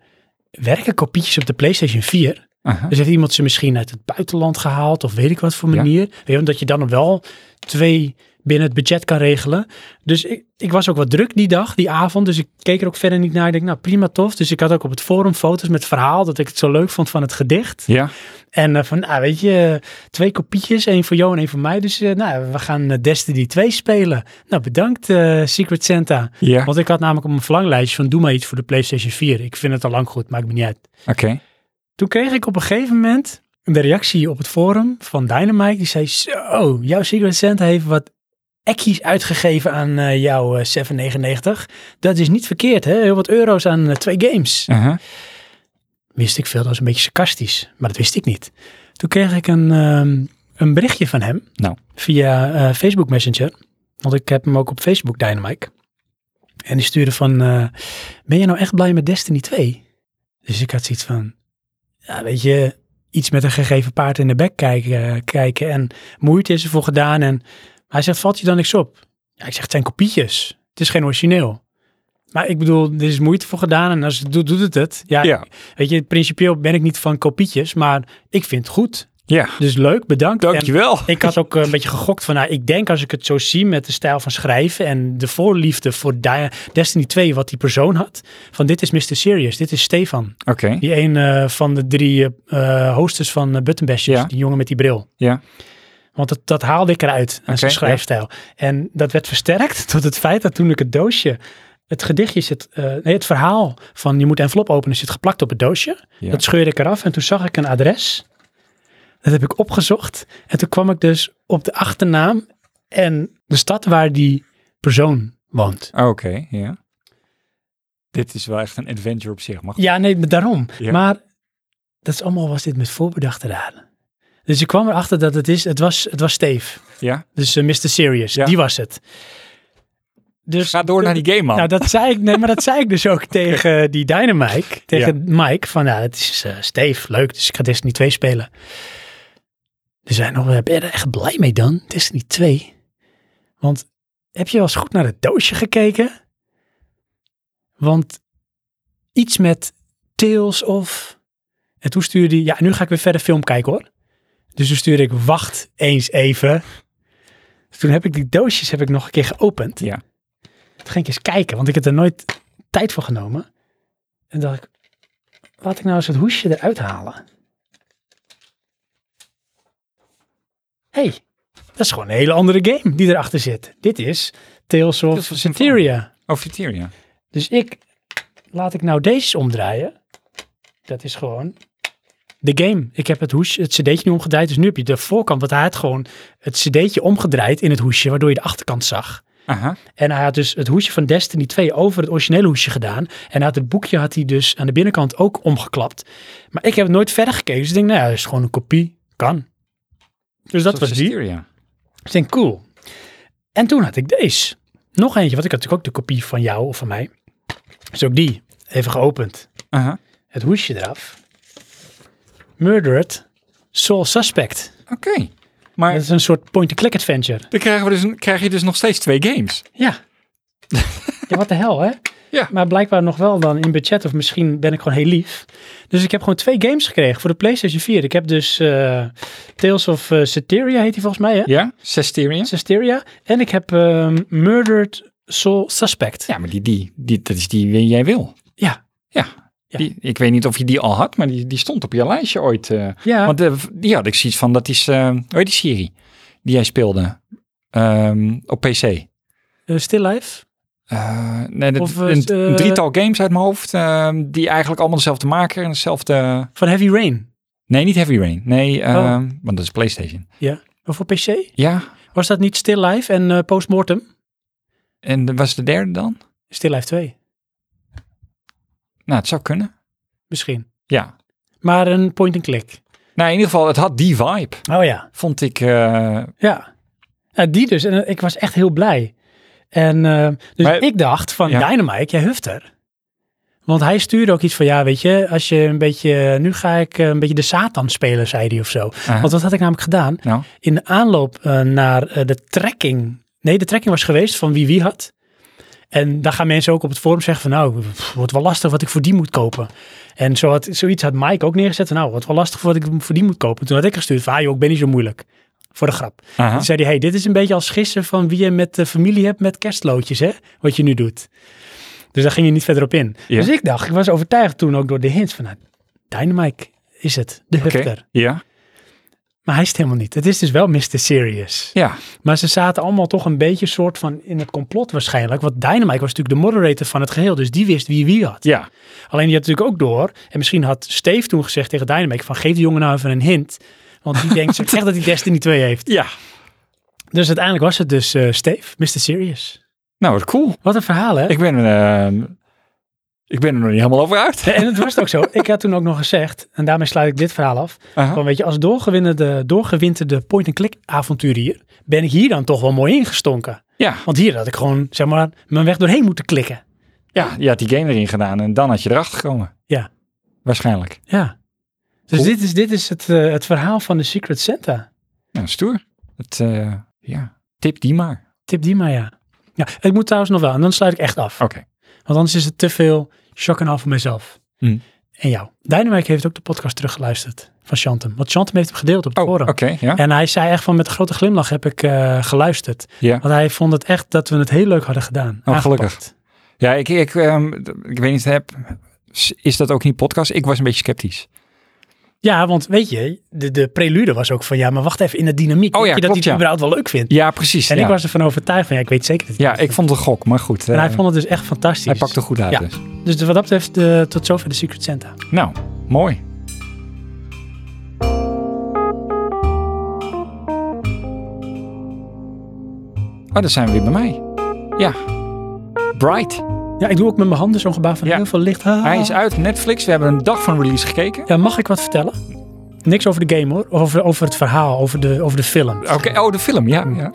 A: Werken kopietjes op de PlayStation 4?
B: Aha.
A: Dus heeft iemand ze misschien uit het buitenland gehaald of weet ik wat voor
B: Ja.
A: manier. Weet je, omdat je dan wel twee binnen het budget kan regelen. Dus ik, ik was ook wat druk die dag, die avond. Dus ik keek er ook verder niet naar. Ik denk, nou prima, tof. Dus ik had ook op het forum foto's met verhaal dat ik het zo leuk vond van het gedicht.
B: Ja,
A: En eh, van, nou weet je, twee kopietjes. één voor jou en één voor mij. Dus eh, nou, we gaan eh, Destiny 2 spelen. Nou, bedankt eh, Secret Santa.
B: ja.
A: Want ik had namelijk op mijn verlanglijstje van doe maar iets voor de PlayStation 4. Ik vind het al lang goed, maakt me niet uit.
B: Oké.
A: Toen kreeg ik op een gegeven moment de reactie op het forum van Dynamite. Die zei, zo, jouw Secret Santa heeft wat ekkies uitgegeven aan eh, jouw eh, 799. Dat is niet verkeerd, hè? Heel wat euro's aan eh, twee games.
B: Aha.
A: Wist ik veel, dat was een beetje sarcastisch. Maar dat wist ik niet. Toen kreeg ik een, ehm, een berichtje van hem.
B: Nou.
A: Via eh, Facebook Messenger. Want ik heb hem ook op Facebook, Dynamite. En die stuurde van, eh, ben je nou echt blij met Destiny 2? Dus ik had zoiets van, ja, weet je, iets met een gegeven paard in de bek kijken, kijken en moeite is ervoor gedaan. En hij zegt, valt je dan niks op? Ja, ik zeg, het zijn kopietjes. Het is geen origineel. Maar ik bedoel, er is moeite voor gedaan en als het doet, doet het het. Ja,
B: Ja.
A: weet je, principieel ben ik niet van kopietjes, maar ik vind het goed.
B: Ja,
A: Dus leuk, bedankt. En-
B: dankjewel.
A: ik had ook eh, een beetje gegokt van, nou, ik denk als ik het zo zie met de stijl van schrijven en de voorliefde voor Di- Destiny 2, wat die persoon had, van dit is Mr. Serious, dit is Stefan.
B: Oké,
A: Die een eh, van de drie eh eh, hosters van uh, Buttonbashers,
B: Ja.
A: die jongen met die bril.
B: ja.
A: Want dat, dat haalde ik eruit, aan zijn
B: ja.
A: schrijfstijl. En dat werd versterkt tot het feit dat toen ik het doosje, het gedichtje zit, eh, nee, het verhaal van je moet een envelop openen zit geplakt op het doosje.
B: Ja.
A: Dat scheurde ik eraf en toen zag ik een adres. Dat heb ik opgezocht. En toen kwam ik dus op de achternaam en de stad waar die persoon woont.
B: Ah, Oké, ja. Dit is wel echt een adventure op zich, mag
A: Ja, nee, daarom.
B: Ja.
A: Maar dat is allemaal was dit met voorbedachte raden. Dus ik kwam erachter dat het is, het was, het was Steve.
B: Ja.
A: Dus eh, Mr. Serious,
B: Ja.
A: die was het. Dus,
B: Ga door naar die game, man.
A: Nou, dat zei ik, nee, maar dat zei ik dus ook tegen die Dynamite, tegen Mike, van nou, het is eh, Steve, leuk, dus ik ga Destiny 2 spelen. Er zijn nog, eh, ben je er echt blij mee dan? Destiny 2? Want heb je wel eens goed naar het doosje gekeken? Want iets met Tales of... En toen stuurde hij, ja, nu ga ik weer verder film kijken hoor. Dus toen stuurde ik, wacht eens even. Dus Toen heb ik die doosjes heb ik nog een keer geopend.
B: Ja.
A: Toen ging ik eens kijken, want ik had er nooit tijd voor genomen. En dacht ik, laat ik nou eens het hoesje eruit halen. Hé, hey, dat is gewoon een hele andere game die erachter zit. Dit is Tales of
B: Tales of
A: Centuria.
B: Oh, Viteria.
A: Dus ik, laat ik nou deze omdraaien. Dat is gewoon de game. Ik heb het, hoesje, het cd'tje nu omgedraaid. Dus nu heb je de voorkant, want hij had gewoon het cd'tje omgedraaid in het hoesje, waardoor je de achterkant zag.
B: Aha.
A: En hij had dus het hoesje van Destiny 2 over het originele hoesje gedaan. En uit het boekje had hij dus aan de binnenkant ook omgeklapt. Maar ik heb het nooit verder gekeken. Dus ik denk, nou ja, dat is gewoon een kopie. Kan. Dus dat was die.
B: Viteria.
A: Ik denk, cool. En toen had ik deze. Nog eentje, want ik had natuurlijk ook de kopie van jou of van mij. Dus ook die. Even geopend.
B: Aha.
A: Het hoesje eraf. Murdered. Soul Suspect.
B: Oké. Maar
A: Dat is een soort point-and-click adventure.
B: dan krijgen we dus, een- krijg je dus nog steeds twee games.
A: Ja. ja, wat de hel, hè?
B: Ja.
A: Maar blijkbaar nog wel dan in budget, of misschien ben ik gewoon heel lief. Dus ik heb gewoon twee games gekregen voor de PlayStation 4. Ik heb dus eh, Tales of eh Ceteria, heet die volgens mij, hè?
B: Ja, Sesteria.
A: Cesteria. En ik heb ehm, Murdered Soul Suspect.
B: Ja, maar die, die, die, dat is die die jij wil.
A: Ja.
B: Ja.
A: Ja.
B: Die, ik weet niet of je die al had, maar die, die stond op je lijstje ooit. eh.
A: Ja,
B: Want eh, die had ik zoiets van, dat is, eh, hoe heet die serie die jij speelde Ehm, op PC?
A: eh, Still Life.
B: Eh, nee, dat,
A: Of, eh,
B: een, een
A: eh,
B: drietal games uit mijn hoofd, ehm, die eigenlijk allemaal dezelfde maker en dezelfde...
A: Van Heavy Rain.
B: Nee, niet Heavy Rain. Nee, ehm, want dat is PlayStation.
A: Of voor PC?
B: Ja,
A: Was dat niet Still Life en eh, Postmortem?
B: en de- was de derde dan?
A: Still Life 2,
B: Nou, het zou kunnen.
A: misschien.
B: Ja.
A: Maar een point-and-click.
B: Nou, in ieder geval, het had die vibe,
A: Oh ja.
B: vond ik. eh,
A: Ja. Nou, die dus. En eh, ik was echt heel blij. En eh, dus
B: Maar-
A: ik dacht van
B: Ja.
A: Dynamite, jij huft er. Want hij stuurde ook iets van, ja, weet je, als je een beetje, nu ga ik eh, een beetje de Satan spelen, zei hij of zo.
B: Aha.
A: Want wat had ik namelijk gedaan?
B: nou,
A: in de aanloop eh, naar eh, de trekking. Nee, de trekking was geweest van wie wie had. En daar gaan mensen ook op het forum zeggen van nou, pff, wordt wel lastig wat ik voor die moet kopen. En zo had, zoiets had Mike ook neergezet van nou, wordt wel lastig wat ik voor die moet kopen. Toen had ik gestuurd van ah joh, ik ben niet zo moeilijk. Voor de grap.
B: aha.
A: Toen zei hij, hey, dit is een beetje als gissen van wie je met de familie hebt met kerstloodjes, hè? Wat je nu doet. Dus daar ging je niet verder op in.
B: Ja.
A: Dus ik dacht, ik was overtuigd toen ook door de hints van nou, Dynamite is het, de
B: Oké.
A: hufter.
B: Ja,
A: Maar hij is het helemaal niet. Het is dus wel Mr. Serious.
B: ja,
A: Maar ze zaten allemaal toch een beetje soort van in het complot waarschijnlijk. Want Dynamite was natuurlijk de moderator van het geheel. Dus die wist wie wie had.
B: ja.
A: Alleen die had natuurlijk ook door. En misschien had Steve toen gezegd tegen Dynamite van geef die jongen nou even een hint. Want die denkt echt dat hij Destiny 2 heeft.
B: Ja.
A: Dus uiteindelijk was het dus eh, Steve, Mr. Serious.
B: Nou, wat cool.
A: Wat een verhaal hè?
B: Ik ben, eh, ik ben er nog niet helemaal over uit.
A: En het was ook zo. Ik had toen ook nog gezegd, en daarmee sluit ik dit verhaal af.
B: Aha.
A: Van, weet je, als doorgewinterde, doorgewinterde point-and-click avonturier ben ik hier dan toch wel mooi ingestonken.
B: Ja.
A: Want hier had ik gewoon, zeg maar, mijn weg doorheen moeten klikken.
B: ja, je had die game erin gedaan en dan had je erachter gekomen.
A: Ja.
B: Waarschijnlijk.
A: Ja. Dus
B: Cool.
A: dit is, dit is het, eh, het verhaal van de Secret Santa.
B: Nou, stoer. Het, eh, ja, tip die maar.
A: Tip die maar, ja. Ja, ik moet trouwens nog wel. En dan sluit ik echt af.
B: Oké.
A: Want anders is het te veel shock en half voor mezelf.
B: Hmm.
A: En jou. Dynamite heeft ook de podcast teruggeluisterd van Chantem. Want Chantem heeft hem gedeeld op het
B: Oh,
A: forum.
B: oké, ja.
A: En hij zei echt van met een grote glimlach heb ik eh, geluisterd.
B: Ja.
A: Want hij vond het echt dat we het heel leuk hadden gedaan.
B: Oh, gelukkig.
A: Aangepakt.
B: Ja, ik, ik, ehm, ik weet niet, heb, is dat ook niet podcast? Ik was een beetje sceptisch.
A: Ja, want weet je, de, de prelude was ook van ja, maar wacht even in de dynamiek.
B: Oh
A: weet
B: ja,
A: je dat
B: klopt,
A: hij het
B: ja.
A: überhaupt wel leuk vindt.
B: Ja, precies.
A: En
B: ja.
A: ik was ervan overtuigd van ja, ik weet zeker dat hij
B: ja,
A: het leuk
B: ik vond het een gok, maar goed.
A: En
B: eh,
A: hij vond het dus echt fantastisch.
B: hij pakte goed uit.
A: Ja.
B: Dus.
A: Dus wat dat betreft, eh, tot zover de Secret Santa.
B: Nou, mooi. Oh, dan zijn we weer bij mij. Ja. Bright.
A: Ja, ik doe ook met mijn handen zo'n gebaar van
B: Ja.
A: heel veel licht. Ah.
B: Hij is uit op Netflix. We hebben een dag van release gekeken.
A: Ja, mag ik wat vertellen? Niks over de game hoor, over, over het verhaal, over de, over de film.
B: Oké, oh, de film. Ja. ja.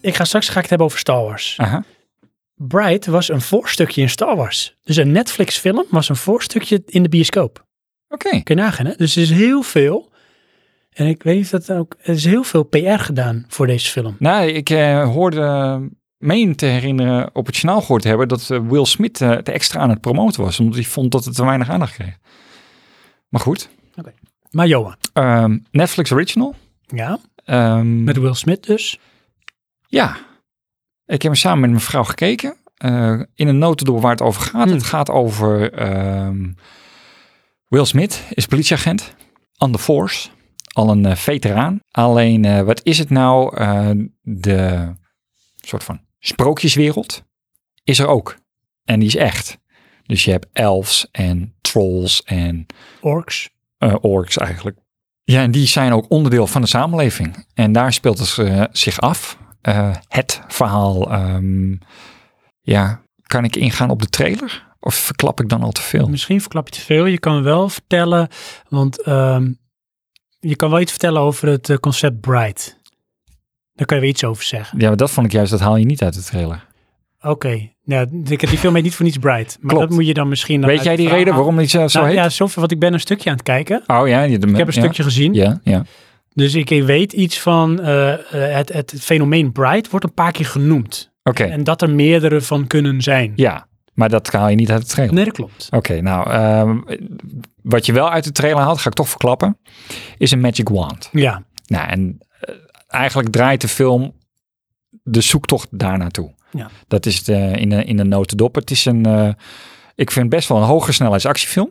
A: Ik ga straks ga ik het hebben over Star Wars.
B: Aha.
A: Bright was een voorstukje in Star Wars. Dus een Netflix film was een voorstukje in de bioscoop.
B: Oké.
A: Kun je nagaan hè? Dus er is heel veel, en ik weet niet of dat ook, er is heel veel PR gedaan voor deze film.
B: Nou, ik eh, hoorde, eh, meen te herinneren, op het journaal gehoord te hebben dat eh, Will Smith eh, het extra aan het promoten was. Omdat hij vond dat het te weinig aandacht kreeg. Maar goed.
A: Maar Johan,
B: Ehm, Netflix Original.
A: ja,
B: Ehm,
A: met Will Smith dus.
B: Ja, ik heb hem samen met mijn vrouw gekeken. Eh, in een notendop waar het over gaat.
A: Hmm.
B: Het gaat over ehm, Will Smith, is politieagent. On the force, al een eh, veteraan. Alleen, eh, wat is het nou? Eh, de soort van sprookjeswereld is er ook. En die is echt. Dus je hebt elves en trolls en
A: Orks.
B: eh, orks eigenlijk. Ja, en die zijn ook onderdeel van de samenleving. En daar speelt het eh, zich af. Eh, het verhaal. ehm, ja, kan ik ingaan op de trailer? Of verklap ik dan al te veel?
A: Misschien verklap je te veel. Je kan wel vertellen, want ehm, je kan wel iets vertellen over het eh, concept Bright. Daar kan je weer iets over zeggen.
B: Ja, maar dat vond ik juist, dat haal je niet uit de trailer.
A: Oké, nou, ik heb die film heet niet voor niets Bright. Maar
B: Klopt.
A: dat moet je dan misschien... dan
B: Weet
A: uit
B: jij die
A: het verhaal
B: reden waarom die zo, zo
A: Nou,
B: heet?
A: Ja, zover, want ik ben een stukje aan het kijken.
B: Oh ja, je-
A: Ik heb een
B: ja.
A: stukje gezien.
B: Ja, ja.
A: Dus ik weet iets van eh, eh, het, het fenomeen Bright wordt een paar keer genoemd.
B: Oké,
A: En dat er meerdere van kunnen zijn.
B: ja. Maar dat haal je niet uit de trailer.
A: Nee, dat klopt.
B: Oké, nou, ehm, wat je wel uit de trailer haalt, ga ik toch verklappen, is een Magic Wand.
A: Ja,
B: Nou, en eh, eigenlijk draait de film de zoektocht daar naartoe.
A: Ja.
B: Dat is de, in, de, in de notendop. Het is een, eh, ik vind best wel een hoge snelheidsactiefilm.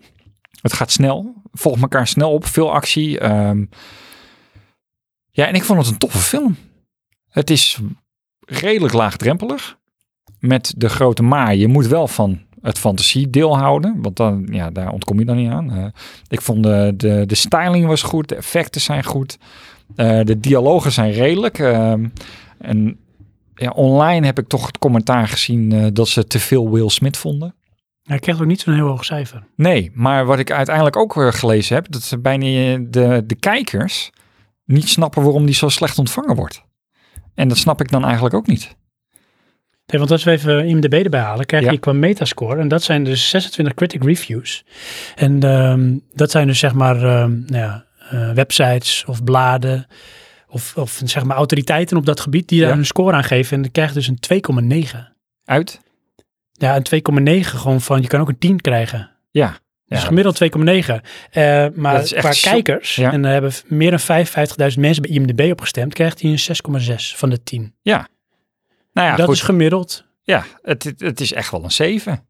B: Het gaat snel, volgt elkaar snel op, veel actie. ehm. ja, en ik vond het een toffe film. Het is redelijk laagdrempelig. Met de grote maar. Je moet wel van het fantasiedeel houden. Want dan, ja, daar ontkom je dan niet aan. Eh, ik vond de, de, de styling was goed. De effecten zijn goed. Eh, de dialogen zijn redelijk. Ehm, en ja, online heb ik toch het commentaar gezien eh, dat ze te veel Will Smith vonden.
A: hij kreeg ook niet zo'n heel hoog cijfer.
B: Nee, maar wat ik uiteindelijk ook weer gelezen heb, dat ze bijna eh, de, de kijkers niet snappen waarom die zo slecht ontvangen wordt. En dat snap ik dan eigenlijk ook niet.
A: Nee, want als we even IMDb erbij halen, krijg
B: Ja.
A: je qua metascore. En dat zijn dus 26 critic reviews. En ehm, dat zijn dus zeg maar ehm, nou ja, eh, websites of bladen of, of zeg maar autoriteiten op dat gebied die daar
B: Ja.
A: een score aan geven. En dan krijg je dus een 2,9.
B: Uit?
A: Ja, een 2,9 gewoon van, je kan ook een 10 krijgen.
B: Ja.
A: Dus
B: Ja.
A: gemiddeld 2,9. Eh maar
B: Dat is echt
A: qua
B: zo-
A: kijkers,
B: Ja.
A: en er hebben meer dan 55.000 mensen bij IMDb opgestemd, krijgt hij een 6,6 van de 10.
B: Nou ja,
A: dat
B: goed.
A: is gemiddeld.
B: Ja, het, het, het is echt wel een 7.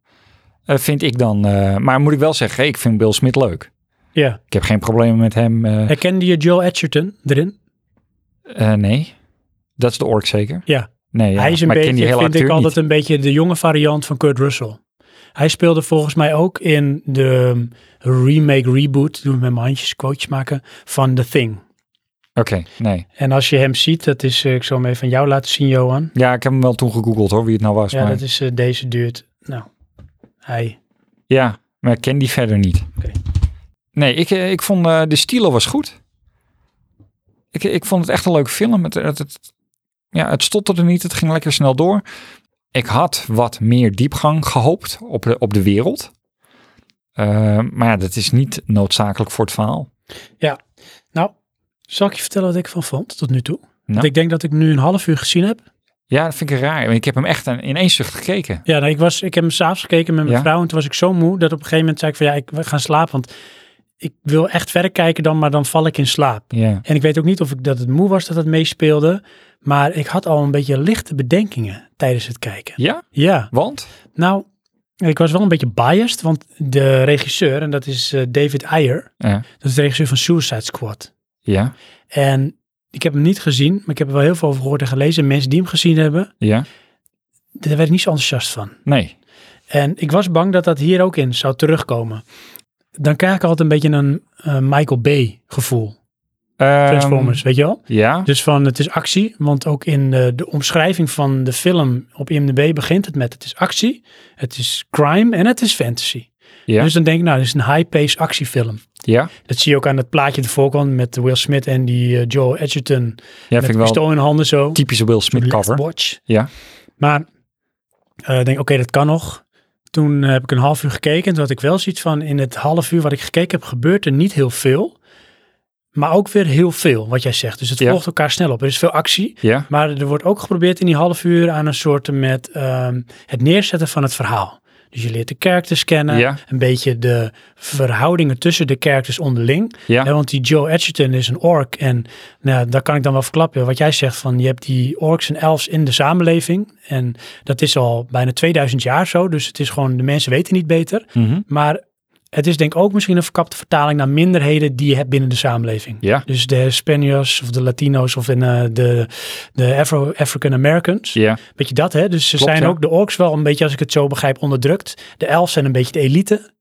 B: Eh, vind ik dan. eh, maar moet ik wel zeggen, ik vind Will Smith leuk.
A: Ja.
B: Ik heb geen problemen met hem. eh,
A: Herkende je Joel Edgerton erin?
B: eh, nee. Dat is de ork zeker?
A: Ja.
B: Nee, ja.
A: hij is een
B: maar ik ken die
A: beetje,
B: hele
A: vind
B: acteur
A: ik altijd,
B: niet.
A: een beetje de jonge variant van Kurt Russell. Hij speelde volgens mij ook in de um, remake, reboot, doen we met mijn handjes quotes maken, van The Thing.
B: Oké, nee.
A: En als je hem ziet, dat is, eh, ik zal hem even aan jou laten zien, Johan.
B: Ja, ik heb hem wel toen gegoogeld hoor, wie het nou was.
A: Ja,
B: maar,
A: dat is eh, deze duurt. Nou, hij.
B: ja, maar ik ken die verder niet.
A: Oké.
B: Nee, ik, eh, ik vond eh, de stilo was goed. Ik, ik vond het echt een leuke film. Het, het, het- ja, het stotterde niet, het ging lekker snel door. Ik had wat meer diepgang gehoopt op de, op de wereld. Eh, maar ja, dat is niet noodzakelijk voor het verhaal.
A: Nou, zal ik je vertellen wat ik van vond tot nu toe? Want
B: Nou.
A: ik denk dat ik nu een half uur gezien heb.
B: Ja, dat vind ik raar. want Ik heb hem echt aan- in één zucht gekeken.
A: Ja, nou, ik, was, ik heb hem s'avonds gekeken met mijn
B: Ja?
A: vrouw. En toen was ik zo moe dat op een gegeven moment zei ik van ja, ik we gaan slapen. Want ik wil echt verder kijken dan, maar dan val ik in slaap.
B: Ja,
A: En ik weet ook niet of ik dat het moe was dat het meespeelde. Maar ik had al een beetje lichte bedenkingen tijdens het kijken.
B: ja?
A: Ja,
B: want?
A: nou, ik was wel een beetje biased. Want de regisseur, en dat is eh, David Ayer.
B: Ja.
A: Dat is de regisseur van Suicide Squad.
B: Ja,
A: En ik heb hem niet gezien, maar ik heb er wel heel veel over gehoord en gelezen. En mensen die hem gezien hebben,
B: ja.
A: daar werd ik niet zo enthousiast van.
B: Nee.
A: En ik was bang dat dat hier ook in zou terugkomen. Dan krijg ik altijd een beetje een eh, Michael Bay gevoel.
B: Ehm,
A: Transformers, weet je wel?
B: ja,
A: Dus van het is actie, want ook in eh, de omschrijving van de film op IMDb begint het met het is actie, het is crime en het is fantasy.
B: ja,
A: Dus dan denk ik, nou, dit is een high-pace actiefilm.
B: ja.
A: Dat zie je ook aan het plaatje de voorkant met Will Smith en die eh, Joel Edgerton
B: Ja,
A: met
B: vind ik
A: een
B: wel
A: pistool in handen zo.
B: typische Will Smith
A: Left
B: cover.
A: Watch.
B: Ja.
A: Maar eh, ik denk, oké, dat kan nog. Toen heb ik een half uur gekeken. En toen had ik wel zoiets van, in het half uur wat ik gekeken heb, gebeurt er niet heel veel. Maar ook weer heel veel, wat jij zegt. Dus het
B: Ja.
A: volgt elkaar snel op. Er is veel actie.
B: Ja,
A: Maar er wordt ook geprobeerd in die half uur aan een soort met ehm, het neerzetten van het verhaal. Dus je leert de characters kennen.
B: Ja.
A: Een beetje de verhoudingen tussen de characters onderling. Hè,
B: ja,
A: want die Joe Edgerton is een ork. En nou, ja, daar kan ik dan wel verklappen. Wat jij zegt van je hebt die orks en elfs in de samenleving. En dat is al bijna 2000 jaar zo. Dus het is gewoon, de mensen weten niet beter.
B: mhm,
A: Maar het is denk ik ook misschien een verkapte vertaling naar minderheden die je hebt binnen de samenleving.
B: ja,
A: Dus de Spaniards of de Latino's of in, eh, de, de Afro- African Americans.
B: ja,
A: Weet je dat, hè? Dus ze
B: Klopt,
A: zijn
B: ja.
A: ook de orks wel een beetje, als ik het zo begrijp, onderdrukt. De elfs zijn een beetje de elite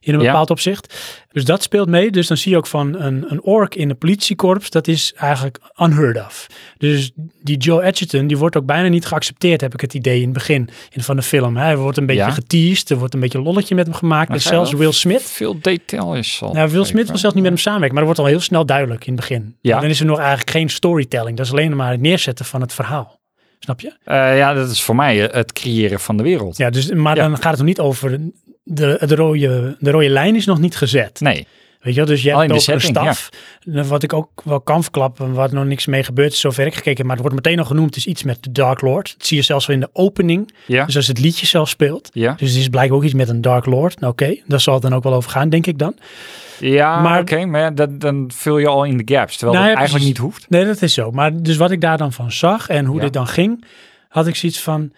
A: in een
B: Ja.
A: bepaald opzicht. Dus dat speelt mee. Dus dan zie je ook van een, een ork in een politiekorps, dat is eigenlijk unheard of. Dus die Joe Edgerton, die wordt ook bijna niet geaccepteerd, heb ik het idee in het begin in, van de film. Hij wordt een beetje
B: Ja.
A: geteased, er wordt een beetje een lolletje met hem gemaakt.
B: Maar
A: Dus
B: ga je
A: zelfs
B: wel
A: Will Smith.
B: Veel detail is al.
A: Nou, Will Smith
B: gegeven.
A: wil zelfs niet met hem samenwerken, maar dat wordt al heel snel duidelijk in het begin.
B: Ja.
A: Dan is er nog eigenlijk geen storytelling. Dat is alleen maar het neerzetten van het verhaal. Snap je?
B: Eh, ja, dat is voor mij eh, het creëren van de wereld.
A: Ja, dus, maar
B: Ja.
A: dan gaat het nog niet over. De, het rode, de rode lijn is nog niet gezet.
B: Nee,
A: Weet je wel, dus je hebt
B: Alleen
A: ook
B: de
A: een
B: setting, ja.
A: staf. Wat ik ook wel kan verklappen, waar nog niks mee gebeurd is, zover ik gekeken heb. Maar het wordt meteen al genoemd, is iets met de Dark Lord. Dat zie je zelfs wel in de opening.
B: Ja.
A: Dus als het liedje zelf speelt.
B: Ja,
A: Dus het is blijkbaar ook iets met een Dark Lord. Nou, Oké, daar zal het dan ook wel over gaan, denk ik dan.
B: ja
A: Maar-
B: oké, maar ja, dat, dan vul je al in de gaps, terwijl
A: Nou
B: dat
A: ja,
B: eigenlijk
A: precies.
B: niet hoeft.
A: Nee, dat is zo. Maar dus wat ik daar dan van zag en hoe
B: Ja.
A: dit dan ging, had ik zoiets van...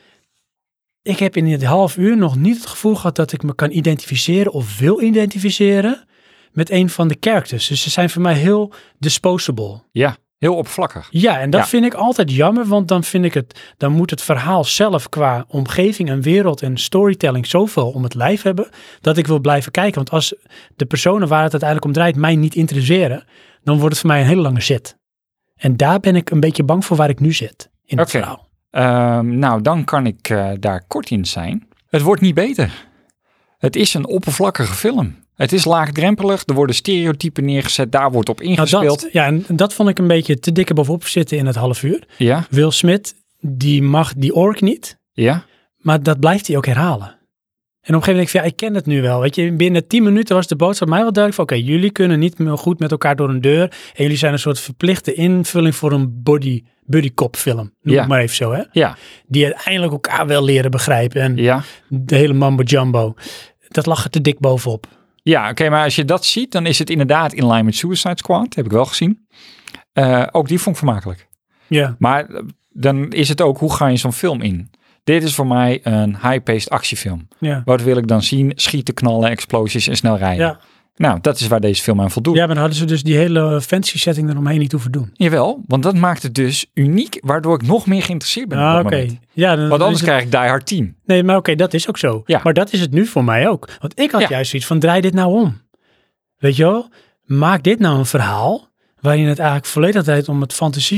A: Ik heb in dit half uur nog niet het gevoel gehad dat ik me kan identificeren of wil identificeren met een van de characters. Dus ze zijn voor mij heel disposable.
B: Ja, heel oppervlakkig.
A: Ja, en dat
B: Ja.
A: vind ik altijd jammer, want dan vind ik het, dan moet het verhaal zelf qua omgeving en wereld en storytelling zoveel om het lijf hebben, dat ik wil blijven kijken. Want als de personen waar het uiteindelijk om draait mij niet interesseren, dan wordt het voor mij een hele lange zit. En daar ben ik een beetje bang voor waar ik nu zit in het
B: Oké.
A: verhaal.
B: Ehm, nou, dan kan ik eh, daar kort in zijn. Het wordt niet beter. Het is een oppervlakkige film. Het is laagdrempelig, er worden stereotypen neergezet, daar wordt op
A: Nou,
B: ingespeeld.
A: dat, ja, en dat vond ik een beetje te dikke bovenop zitten in het half uur.
B: Ja,
A: Will Smith, die mag die ork niet.
B: ja.
A: Maar dat blijft hij ook herhalen. En op een gegeven moment denk ik van, ja, ik ken het nu wel. Weet je, binnen 10 minuten was de boodschap mij wel duidelijk van, oké, jullie kunnen niet meer goed met elkaar door een deur. En jullie zijn een soort verplichte invulling voor een body, buddy cop film. Noem
B: Ja.
A: het maar even zo, hè.
B: Ja,
A: Die uiteindelijk elkaar wel leren begrijpen. En
B: ja.
A: de hele mambo jumbo. Dat lag er te dik bovenop.
B: Ja, oké, maar als je dat ziet, dan is het inderdaad in lijn met Suicide Squad. Heb ik wel gezien. Eh, ook die vond ik vermakelijk.
A: Ja.
B: Maar eh, dan is het ook, hoe ga je zo'n film in? Dit is voor mij een high-paced actiefilm.
A: Ja.
B: Wat wil ik dan zien? Schieten, knallen, explosies en snel rijden.
A: Ja.
B: Nou, dat is waar deze film aan voldoet.
A: ja, maar dan hadden ze dus die hele fancy setting eromheen niet hoeven doen.
B: Jawel, want dat maakt het dus uniek, waardoor ik nog meer geïnteresseerd ben. op
A: Ah,
B: dat
A: oké.
B: moment.
A: Ja, dan
B: Want
A: is
B: anders
A: het-
B: krijg ik Die Hard 10.
A: Nee, maar oké, dat is ook zo.
B: Ja.
A: Maar dat is het nu voor mij ook. Want ik had
B: Ja.
A: juist zoiets van, draai dit nou om. Weet je wel? Maak dit nou een verhaal waarin het eigenlijk volledig draait om het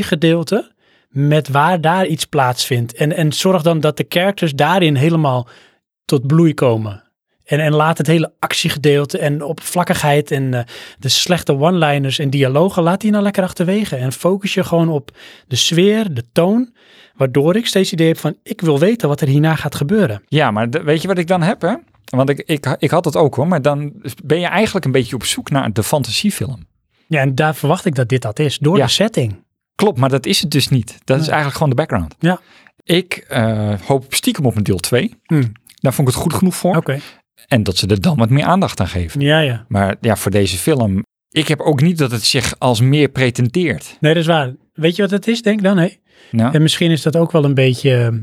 A: fantasiegedeelte met waar daar iets plaatsvindt. En, en zorg dan dat de characters daarin helemaal tot bloei komen. En, en laat het hele actiegedeelte en oppervlakkigheid en eh, de slechte one-liners en dialogen, laat die nou lekker achterwege. En focus je gewoon op de sfeer, de toon, waardoor ik steeds het idee heb van, ik wil weten wat er hierna gaat gebeuren.
B: Ja, maar de- weet je wat ik dan heb, hè? Want ik, ik, ik had dat ook hoor, maar dan ben je eigenlijk een beetje op zoek naar de fantasiefilm.
A: Ja, en daar verwacht ik dat dit dat is. Door
B: Ja.
A: de setting.
B: Klopt, maar dat is het dus niet. Dat
A: Nee.
B: is eigenlijk gewoon de background.
A: Ja.
B: Ik eh, hoop stiekem op een deel 2.
A: Hmm.
B: Daar vond ik het goed genoeg voor.
A: Oké.
B: En dat ze er dan wat meer aandacht aan geven.
A: Ja, ja.
B: Maar ja, voor deze film, ik heb ook niet dat het zich als meer pretendeert.
A: Nee, dat is waar. Weet je wat het is, denk ik dan? Hè?
B: Nou,
A: En misschien is dat ook wel een beetje... ehm,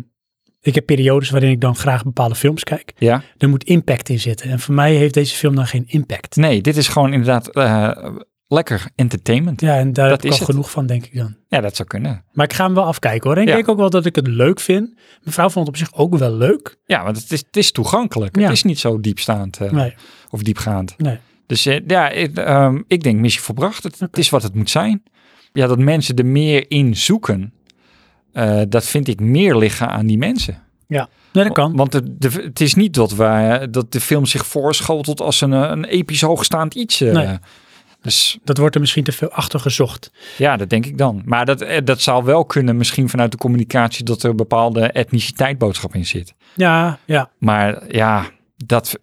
A: Ik heb periodes waarin ik dan graag bepaalde films kijk.
B: ja.
A: Er moet impact in zitten. En voor mij heeft deze film dan geen impact.
B: Nee, dit is gewoon inderdaad eh, lekker entertainment.
A: Ja, en daar
B: Dat
A: heb ik
B: is
A: al
B: het.
A: genoeg van, denk ik dan.
B: Ja, dat zou kunnen.
A: Maar ik ga hem wel afkijken hoor. En ik
B: Ja.
A: denk ook wel dat ik het leuk vind. Mijn vrouw vond het op zich ook wel leuk.
B: Ja, want het is, het is toegankelijk.
A: Ja.
B: Het is niet zo diepstaand eh,
A: Nee,
B: of diepgaand.
A: nee.
B: Dus eh, ja, ik, ehm, ik denk missie volbracht. Het, het
A: Oké.
B: is wat het moet zijn. Ja, dat mensen er meer in zoeken, eh, dat vind ik meer liggen aan die mensen.
A: Nee, dat kan.
B: Want de, de- het is niet dat, wij, dat de film zich voorschotelt als een, eh, een episch hoogstaand iets. eh.
A: Nee.
B: Dus
A: Dat wordt er misschien te veel achter gezocht.
B: Ja, dat denk ik dan. Maar dat, eh, dat zou wel kunnen, misschien vanuit de communicatie, dat er een bepaalde etniciteitboodschap in zit.
A: Ja, ja.
B: Maar ja, dat,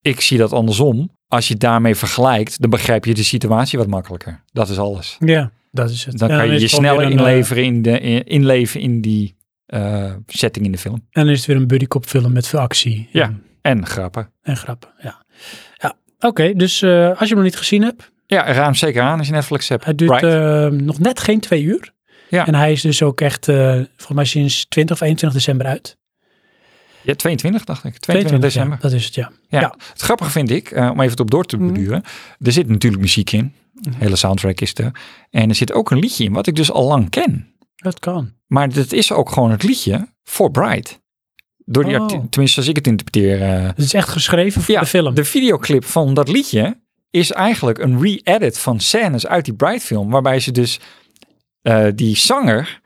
B: ik zie dat andersom. Als je het daarmee vergelijkt, dan begrijp je de situatie wat makkelijker. Dat is alles.
A: Ja, dat is het.
B: Dan
A: Ja,
B: kan je
A: is
B: je
A: het gewoon
B: sneller
A: weer een, eh,
B: inleveren in, de, in- inleven in die eh, setting in de film.
A: En dan is het weer een buddycop film met veel actie.
B: Ja. En grappen.
A: En grappen, ja. ja Oké, dus eh, als je hem nog niet gezien hebt,
B: Ja, raam zeker aan als je Netflix hebt.
A: hij duurt
B: Right.
A: eh, nog net geen twee uur.
B: Ja.
A: En hij is dus ook echt, eh volgens mij sinds 20 of 21 december uit.
B: ja, 22 dacht ik. 22
A: ja,
B: december.
A: dat is het, ja.
B: Het grappige vind ik, eh, om even het op door te
A: Mhm.
B: beduren, er zit natuurlijk muziek in. De hele soundtrack is er. En er zit ook een liedje in, wat ik dus al lang ken.
A: Dat kan.
B: Maar dat is ook gewoon het liedje voor Bright. Door die
A: Oh.
B: acte- tenminste, als ik het interpreteer. eh,
A: Het is echt geschreven voor
B: ja,
A: de film.
B: De videoclip van dat liedje is eigenlijk een re-edit van scènes uit die Bright film. Waarbij ze dus eh, die zanger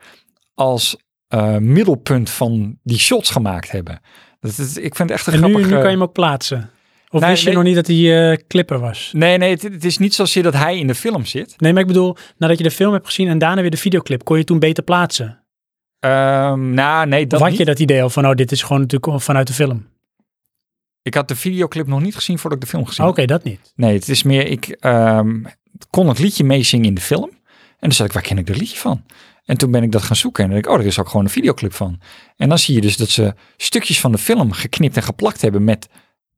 B: als eh, middelpunt van die shots gemaakt hebben. Dat, is- ik vind het echt een
A: en nu,
B: grappig...
A: nu
B: eh,
A: kan je hem ook plaatsen. Of
B: Nee,
A: wist je
B: nee.
A: nog niet dat hij eh, clipper was?
B: Nee, nee, het, het is niet zozeer dat hij in de film zit.
A: Nee, maar ik bedoel, nadat je de film hebt gezien en daarna weer de videoclip, kon je toen beter plaatsen?
B: Ehm nou, nee,
A: Of
B: dat
A: had
B: niet.
A: je dat idee al van, oh, dit is gewoon natuurlijk vanuit de film?
B: Ik had de videoclip nog niet gezien voordat ik de film gezien
A: Oké,
B: had.
A: dat niet.
B: Nee, het is meer, ik ehm, kon het liedje meezingen in de film. En toen zat ik, waar ken ik dat liedje van? En toen ben ik dat gaan zoeken en dan denk ik, oh, er is ook gewoon een videoclip van. En dan zie je dus dat ze stukjes van de film geknipt en geplakt hebben met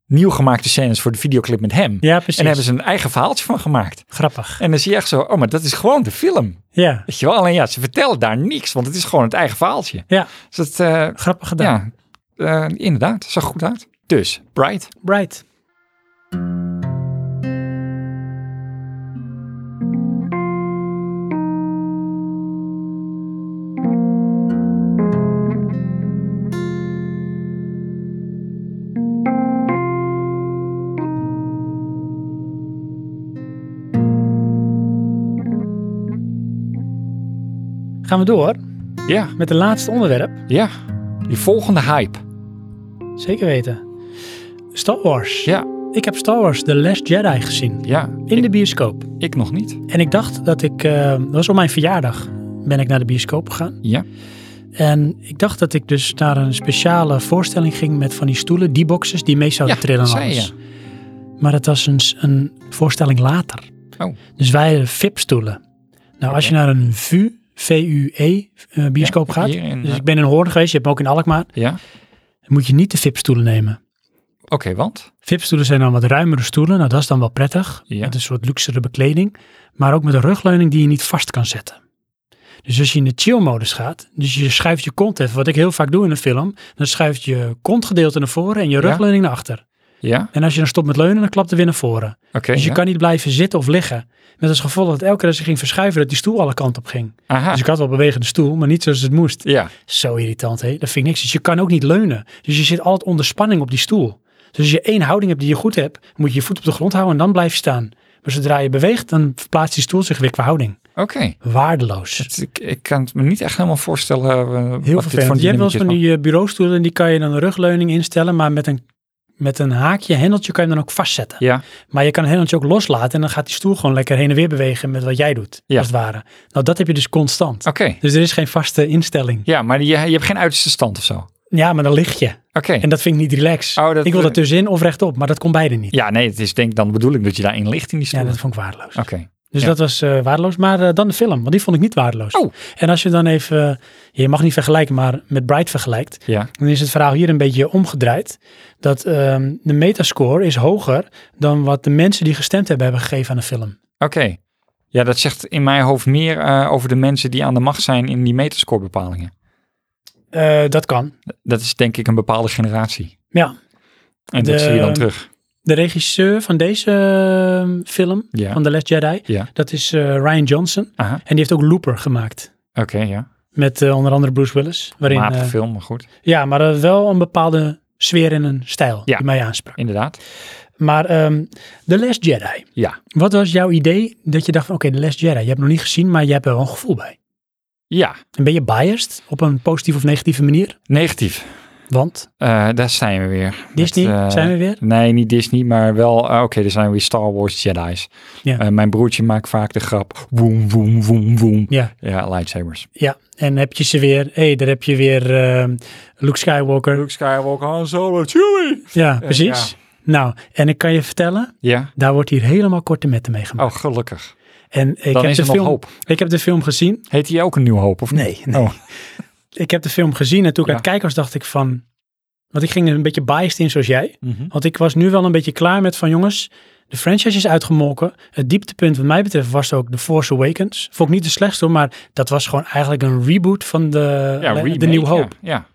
B: nieuw gemaakte scènes voor de videoclip met hem.
A: Ja,
B: en daar
A: precies.
B: hebben ze een eigen verhaaltje van gemaakt.
A: Grappig.
B: En dan zie je echt zo, oh, maar dat is gewoon de film.
A: Ja,
B: Weet je wel, alleen ja, ze vertellen daar niks, want het is gewoon het eigen verhaaltje.
A: Ja.
B: Dus dat, eh,
A: grappig gedaan.
B: ja, eh, inderdaad, zag goed uit. Dus, Bright.
A: Bright. Gaan we door
B: Ja,
A: met het laatste onderwerp.
B: ja. Die volgende hype.
A: Zeker weten. Star Wars.
B: Ja.
A: Ik heb Star Wars The Last Jedi gezien.
B: Ja,
A: In
B: ik,
A: de bioscoop.
B: ik nog niet.
A: En ik dacht dat ik... eh, dat was op mijn verjaardag. Ben ik naar de bioscoop gegaan.
B: Ja,
A: En ik dacht dat ik dus naar een speciale voorstelling ging... met van die stoelen, die boxes die mee zouden
B: Ja,
A: trillen en
B: zei
A: alles. Maar het was een, s- een voorstelling later.
B: Oh.
A: Dus wij hadden VIP-stoelen. Nou, als je naar een VU, VUE eh, bioscoop
B: Ja,
A: gaat...
B: hier in,
A: Dus
B: eh,
A: ik ben in Hoorn geweest, je hebt hem ook in Alkmaar...
B: ja.
A: dan moet je niet de VIP-stoelen nemen.
B: Oké, want?
A: VIP-stoelen zijn dan wat ruimere stoelen. Nou, dat is dan wel prettig.
B: Ja.
A: Met een soort luxere bekleding. Maar ook met een rugleuning die je niet vast kan zetten. Dus als je in de chill-modus gaat, dus je schuift je kont even, wat ik heel vaak doe in een film, dan schuift je kontgedeelte naar voren en je rugleuning naar achter.
B: Ja,
A: En als je dan stopt met leunen, dan klapt er weer naar voren.
B: oké.
A: Dus je
B: ja.
A: kan niet blijven zitten of liggen. Met als gevolg dat elke keer als je ging verschuiven, dat die stoel alle kanten op ging.
B: Aha.
A: Dus ik had wel bewegende stoel, maar niet zoals het moest.
B: ja,
A: Zo irritant, hé. Dat vind ik niks. Dus je kan ook niet leunen. Dus je zit altijd onder spanning op die stoel. Dus als je één houding hebt die je goed hebt, moet je je voet op de grond houden en dan blijf je staan. Maar zodra je beweegt, dan verplaatst die stoel zich weer qua houding.
B: oké.
A: Waardeloos.
B: Het- Ik, ik kan het me niet echt helemaal voorstellen eh, wat
A: Heel
B: dit voor
A: vervelend. Je hebt wel eens van
B: dynamiek is,
A: die eh, bureaustoelen en die kan je dan een rugleuning instellen, maar met een, met een haakje, hendeltje kan je hem dan ook vastzetten.
B: maar- Ja,
A: Maar je kan een hendeltje ook loslaten en dan gaat die stoel gewoon lekker heen en weer bewegen met wat jij doet,
B: Ja.
A: als het ware. Nou, dat heb je dus constant.
B: oké.
A: Dus er is geen vaste instelling.
B: Ja, maar je, je hebt geen uiterste stand of zo. Oké.
A: Ja, maar dan lig je. En dat vind ik niet relax.
B: Oh, dat-
A: ik wil dat tussenin of rechtop, maar dat kon beide niet.
B: Ja, nee, het is denk ik dan de bedoeling dat je daarin ligt in die
A: Ja,
B: stoel.
A: dat vond ik waardeloos.
B: Oké.
A: Dus
B: Oh, ja.
A: dat was eh, waardeloos. Maar eh, dan de film, want die vond ik niet waardeloos.
B: Oh.
A: En als je dan even, eh, je mag niet vergelijken, maar met Bright vergelijkt,
B: Ja,
A: dan is het verhaal hier een beetje omgedraaid. Dat ehm, de metascore is hoger dan wat de mensen die gestemd hebben, hebben gegeven aan een film.
B: oké. Ja, dat zegt in mijn hoofd meer eh, over de mensen die aan de macht zijn in die metascore bepalingen.
A: Eh, dat kan.
B: Dat is denk ik een bepaalde generatie.
A: Ja.
B: En
A: De-
B: dat zie je dan terug.
A: De regisseur van deze eh, film,
B: Ja.
A: van The Last Jedi,
B: Ja.
A: dat is eh, Ryan Johnson.
B: Aha.
A: En die heeft ook Looper gemaakt.
B: Oké, ja.
A: Met eh, onder andere Bruce Willis. Waarin,
B: Matige
A: eh,
B: film, maar goed.
A: Ja, maar eh, wel een bepaalde sfeer en een stijl
B: Ja.
A: die mij aansprak.
B: Inderdaad.
A: Maar ehm The Last Jedi.
B: Ja.
A: Wat was jouw idee dat je dacht van oké, The Last Jedi. Je hebt hem nog niet gezien, maar je hebt er wel een gevoel bij.
B: Ja,
A: En ben je biased op een positieve of negatieve manier?
B: negatief.
A: Want
B: Eh, daar zijn we weer.
A: Disney,
B: Met, eh,
A: zijn we weer?
B: Nee, niet Disney, maar wel... ah, Oké, er zijn weer Star Wars Jedi's.
A: Ja.
B: Eh, mijn broertje maakt vaak de grap... Woem, woem, woem, woem.
A: Ja,
B: Ja, lightsabers.
A: ja. En heb je ze weer? Hé, hey, daar heb je weer ehm, Luke Skywalker.
B: Skywalker, Han Solo, Chewie.
A: Ja, precies.
B: ja.
A: Nou, en ik kan je vertellen,
B: Ja?
A: daar wordt hier helemaal korte metten mee gemaakt.
B: Oh, gelukkig.
A: en ik
B: Dan
A: heb
B: is
A: de
B: er nog
A: film,
B: hoop.
A: Ik heb de film gezien.
B: Heet hij ook een nieuw hoop, of niet?
A: Nee, nee.
B: Oh.
A: Ik heb de film gezien en toen ik
B: Ja.
A: aan het kijken was, dacht ik van... Want ik ging er een beetje biased in zoals jij.
B: Mhm.
A: Want ik was nu wel een beetje klaar met van jongens, de franchise is uitgemolken. Het dieptepunt wat mij betreft was ook The Force Awakens. Vond ik niet de slechtste, hoor, maar dat was gewoon eigenlijk een reboot van de,
B: Ja, remake,
A: de New Hope.
B: Ja, ja.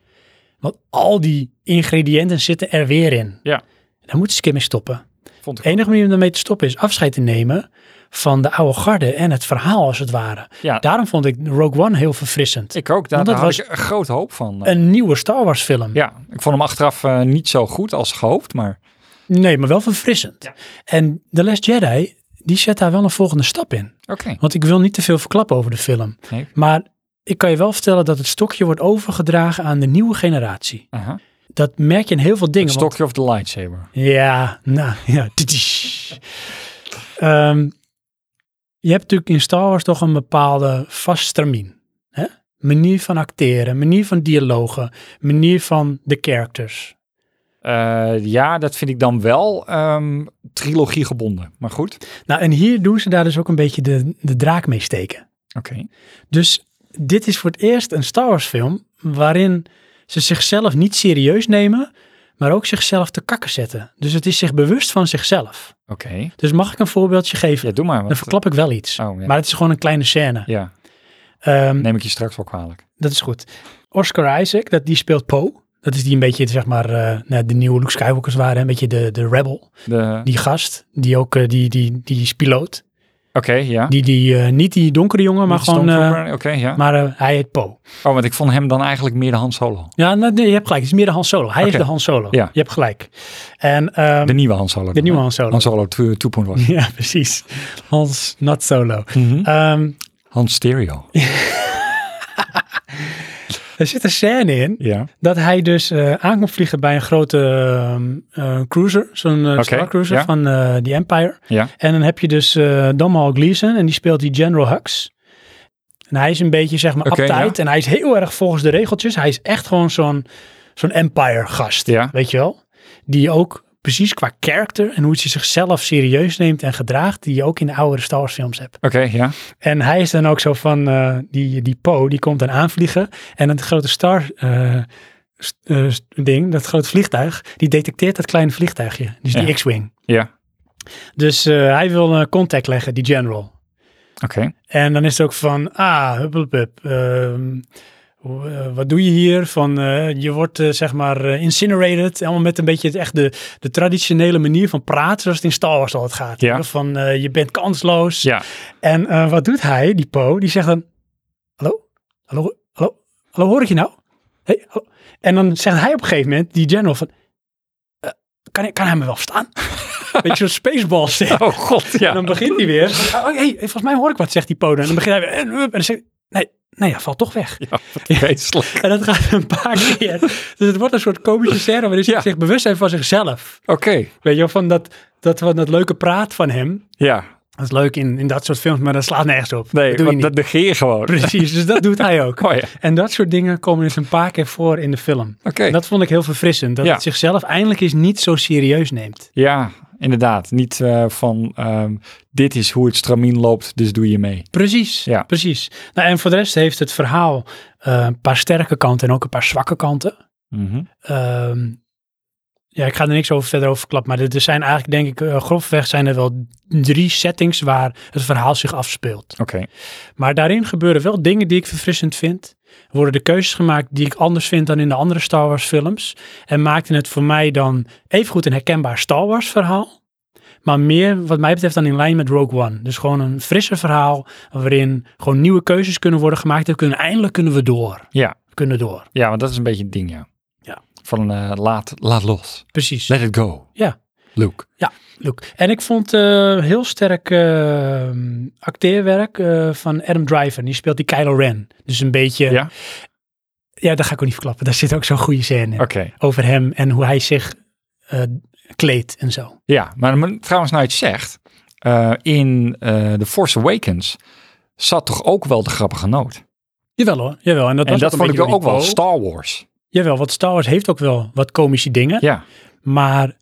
A: Want al die ingrediënten zitten er weer in.
B: Ja.
A: Daar moeten ze een keer mee stoppen.
B: vond ik.
A: De enige manier om daarmee te stoppen is afscheid te nemen van de oude garde en het verhaal als het ware.
B: Ja,
A: Daarom vond ik Rogue One heel verfrissend.
B: ik ook. Daar,
A: Want dat
B: daar had
A: was-
B: ik een grote hoop van. eh.
A: Een nieuwe Star Wars film.
B: Ja, ik vond hem achteraf eh, niet zo goed als gehoopt, maar...
A: Nee, maar wel verfrissend.
B: Ja.
A: En The Last Jedi, die zet daar wel een volgende stap in.
B: Oké.
A: Want ik wil niet te veel verklappen over de film.
B: Nee.
A: Maar ik kan je wel vertellen dat het stokje wordt overgedragen aan de nieuwe generatie.
B: Aha.
A: Dat merk je in heel veel dingen. want-
B: Stokje of the lightsaber.
A: ja, nou ja. Ehm, je hebt natuurlijk in Star Wars toch een bepaalde vast stramien. Hè? Manier van acteren, manier van dialogen, manier van de characters.
B: Eh, ja, dat vind ik dan wel ehm, trilogie gebonden. Maar goed.
A: Nou, en hier doen ze daar dus ook een beetje de, de draak mee steken.
B: Oké.
A: Dus dit is voor het eerst een Star Wars film waarin ze zichzelf niet serieus nemen, maar ook zichzelf te kakken zetten. Dus het is zich bewust van zichzelf.
B: Oké.
A: Dus mag ik een voorbeeldje geven?
B: Ja, doe maar. want-
A: Dan verklap ik wel iets.
B: Oh, ja.
A: Maar het is gewoon een kleine scène.
B: ja,
A: Ehm,
B: neem ik je straks wel kwalijk.
A: Dat is goed. Oscar Isaac, dat, die speelt Poe. Dat is die een beetje, zeg maar, eh, nou, de nieuwe Luke Skywalkers waren. Een beetje de, de rebel.
B: De-
A: Die gast, die ook, eh, die, die, die is piloot.
B: Oké, ja.
A: Die, die, eh, niet die donkere jongen, maar
B: Niet
A: gewoon... eh,
B: Stormtrooper, Oké, ja.
A: maar eh, hij heet Poe.
B: oh, want ik vond hem dan eigenlijk meer de Han Solo.
A: Ja, nou, nee, je hebt gelijk. Het is meer de Han Solo. Hij
B: Oké.
A: is de Han Solo.
B: Ja.
A: Je hebt gelijk. En ehm,
B: De nieuwe Han Solo.
A: de
B: dan,
A: nieuwe
B: hè?
A: Han Solo.
B: Han Solo 2- 2.1.
A: Ja, precies. Hans Not Solo.
B: Mhm.
A: Ehm,
B: Han Stereo.
A: er zit een scène in
B: Ja.
A: dat hij dus eh aan kon vliegen bij een grote ehm, eh, cruiser, zo'n eh,
B: Oké,
A: Star Cruiser
B: ja.
A: van eh The Empire.
B: Ja.
A: En dan heb je dus eh Domhnall Gleeson en die speelt die General Hux. En hij is een beetje zeg maar
B: Oké,
A: uptight en hij is heel erg volgens de regeltjes. Hij is echt gewoon zo'n zo'n Empire gast,
B: Ja.
A: weet je wel? Die ook precies qua karakter en hoe hij zichzelf serieus neemt en gedraagt, die je ook in de oudere Star Wars films hebt.
B: Oké, ja.
A: En hij is dan ook zo van, eh, die, die Po, die komt dan aanvliegen. En het grote star eh, st- eh, st- ding, dat grote vliegtuig, die detecteert dat kleine vliegtuigje. Dus die
B: Ja.
A: X-Wing.
B: Ja.
A: Dus eh, hij wil eh, contact leggen, die general.
B: Oké.
A: En dan is het ook van, ah, huppelpup, ehm, hoe, eh, wat doe je hier? Van, eh, je wordt eh, zeg maar eh, incinerated. Allemaal met een beetje het, echt de, de traditionele manier van praten, zoals het in Star Wars altijd gaat.
B: Ja.
A: Van, eh, je bent kansloos.
B: Ja.
A: En eh, wat doet hij, die Po? Die zegt dan: Hallo? Hallo? Hallo? Hallo, hoor ik je nou? Hey, hallo?" En dan zegt hij op een gegeven moment, die general, van: "Eh, kan, hij- kan hij me wel verstaan? Beetje zo'n spaceball zeg.
B: Oh god,
A: En dan
B: ja.
A: begint hij weer. Oh, hey, volgens mij hoor ik wat, zegt die Po. dan. En dan begint hij weer. eh, En, en dan zegt hij, Nee, nee, hij valt toch weg.
B: Ja, wat vreselijk.
A: En dat gaat een paar keer. Dus het wordt een soort komische scène waarin hij
B: Ja.
A: zich bewust zijn van zichzelf.
B: Oké,
A: Weet je wel, van dat, dat, van dat leuke praat van hem.
B: ja.
A: Dat is leuk in, in dat soort films, maar dat slaat nergens op.
B: Nee,
A: dat doe je
B: want
A: niet.
B: dat negeer je gewoon.
A: Precies, dus dat doet hij ook.
B: Oh, ja.
A: En dat soort dingen komen dus een paar keer voor in de film.
B: Oké.
A: En dat vond ik heel verfrissend. Dat
B: Ja.
A: het zichzelf eindelijk eens niet zo serieus neemt.
B: Ja, inderdaad. Niet eh, van ehm, dit is hoe het stramien loopt, dus doe je mee.
A: Precies,
B: Ja.
A: precies. Nou, en voor de rest heeft het verhaal eh, een paar sterke kanten en ook een paar zwakke kanten.
B: Mhm.
A: Ehm, ja, ik ga er niks over verder over verklappen, maar er er zijn eigenlijk denk ik, eh, grofweg zijn er wel drie settings waar het verhaal zich afspeelt.
B: Oké.
A: Maar daarin gebeuren wel dingen die ik verfrissend vind. Er worden de keuzes gemaakt die ik anders vind dan in de andere Star Wars films. En maakten het voor mij dan evengoed een herkenbaar Star Wars verhaal. Maar meer, wat mij betreft, dan in lijn met Rogue One. Dus gewoon een frisse verhaal waarin gewoon nieuwe keuzes kunnen worden gemaakt. En kunnen, eindelijk kunnen we door.
B: Ja.
A: We kunnen door.
B: ja, want dat is een beetje het ding, ja.
A: Ja.
B: Van eh, laat, laat los.
A: Precies.
B: Let it go.
A: Ja.
B: Luke.
A: Luke. En ik vond eh, heel sterk eh, acteerwerk eh, van Adam Driver. Die speelt die Kylo Ren. Dus een beetje...
B: Ja?
A: Ja, dat ga ik ook niet verklappen. Daar zit ook zo'n goede scène in.
B: Oké.
A: over hem en hoe hij zich eh, kleedt en zo.
B: Ja, maar m- trouwens, nou je het zegt, eh, in eh The Force Awakens zat toch ook wel de grappige noot.
A: Jawel hoor, jawel. En dat,
B: En
A: was
B: dat
A: een
B: vond ik
A: beetje
B: wel ook
A: door
B: wel
A: die Po.
B: Star Wars.
A: Jawel, want Star Wars heeft ook wel wat komische dingen.
B: Ja.
A: Maar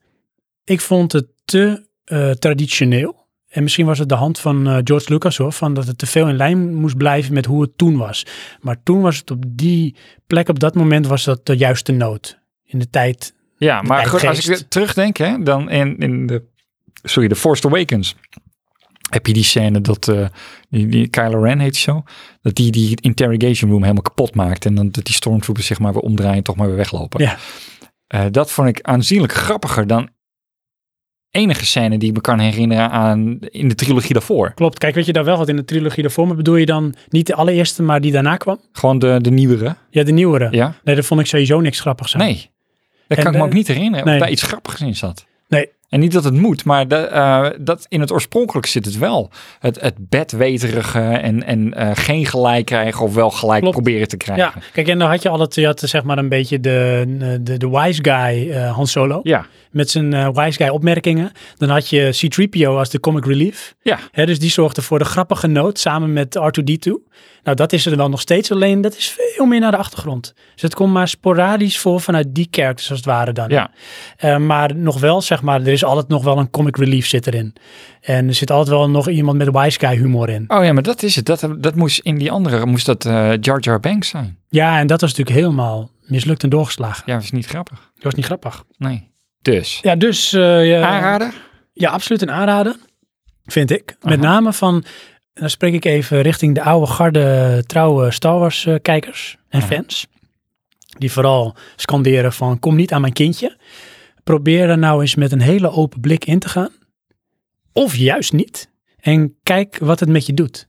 A: ik vond het te eh, traditioneel. En misschien was het de hand van eh, George Lucas hoor, van dat het te veel in lijn moest blijven met hoe het toen was. Maar toen was het op die plek, op dat moment was dat de juiste nood. In de tijd.
B: Ja, maar goed, als ik
A: tijdgeest.
B: er- terugdenk, hè, dan in, in de, sorry, de Force Awakens heb je die scène dat eh, die, die Kylo Ren heet die zo, dat die die interrogation room helemaal kapot maakt en dan dat die stormtroopers zich maar weer omdraaien en toch maar weer weglopen.
A: Ja.
B: Eh, dat vond ik aanzienlijk grappiger dan enige scène die ik me kan herinneren aan in de trilogie daarvoor.
A: Klopt, kijk, weet je daar wel wat in de trilogie daarvoor, maar bedoel je dan niet de allereerste, maar die daarna kwam?
B: Gewoon de, de nieuwere,
A: Ja, de nieuwere.
B: ja?
A: Nee, daar vond ik sowieso niks grappigs aan.
B: Nee, dat
A: En
B: kan ik me
A: de-
B: ook niet herinneren of
A: Nee.
B: daar iets grappigs in zat.
A: Nee,
B: En niet dat het moet, maar de, eh, dat in het oorspronkelijk zit het wel. Het, het bedweterige en, en eh, geen gelijk krijgen of wel gelijk
A: Klopt.
B: proberen te
A: Ja,
B: krijgen.
A: kijk, en dan had je al het, je had zeg maar een beetje de, de, de wise guy eh Han Solo.
B: Ja,
A: Een met zijn eh, wise guy opmerkingen. Dan had je C-3PO als de comic relief.
B: Ja,
A: Hè, dus die zorgde voor de grappige noot samen met R2-D2. Nou, dat is er wel nog steeds, alleen dat is veel meer naar de achtergrond. Dus het komt maar sporadisch voor vanuit die characters als het ware dan.
B: ja.
A: Eh, maar nog wel, zeg maar, er is altijd nog wel een comic relief zit erin. En er zit altijd wel nog iemand met wise guy humor in.
B: Oh ja, maar dat is het. Dat, dat moest in die andere, moest dat eh, Jar Jar Banks zijn.
A: Ja, en dat was natuurlijk helemaal mislukt en doorgeslagen.
B: Ja, dat is niet grappig.
A: Dat was niet grappig.
B: Nee. Dus.
A: Ja, dus... eh, ja,
B: Ah, Aanrader?
A: Ja, absoluut een aanrader, vind ik. Met
B: Aha.
A: name van, en dan spreek ik even richting de oude garde trouwe Star Wars eh, kijkers en
B: Ja.
A: fans. Die vooral scanderen van, kom niet aan mijn kindje. Probeer er nou eens met een hele open blik in te gaan. Of juist niet. En kijk wat het met je doet.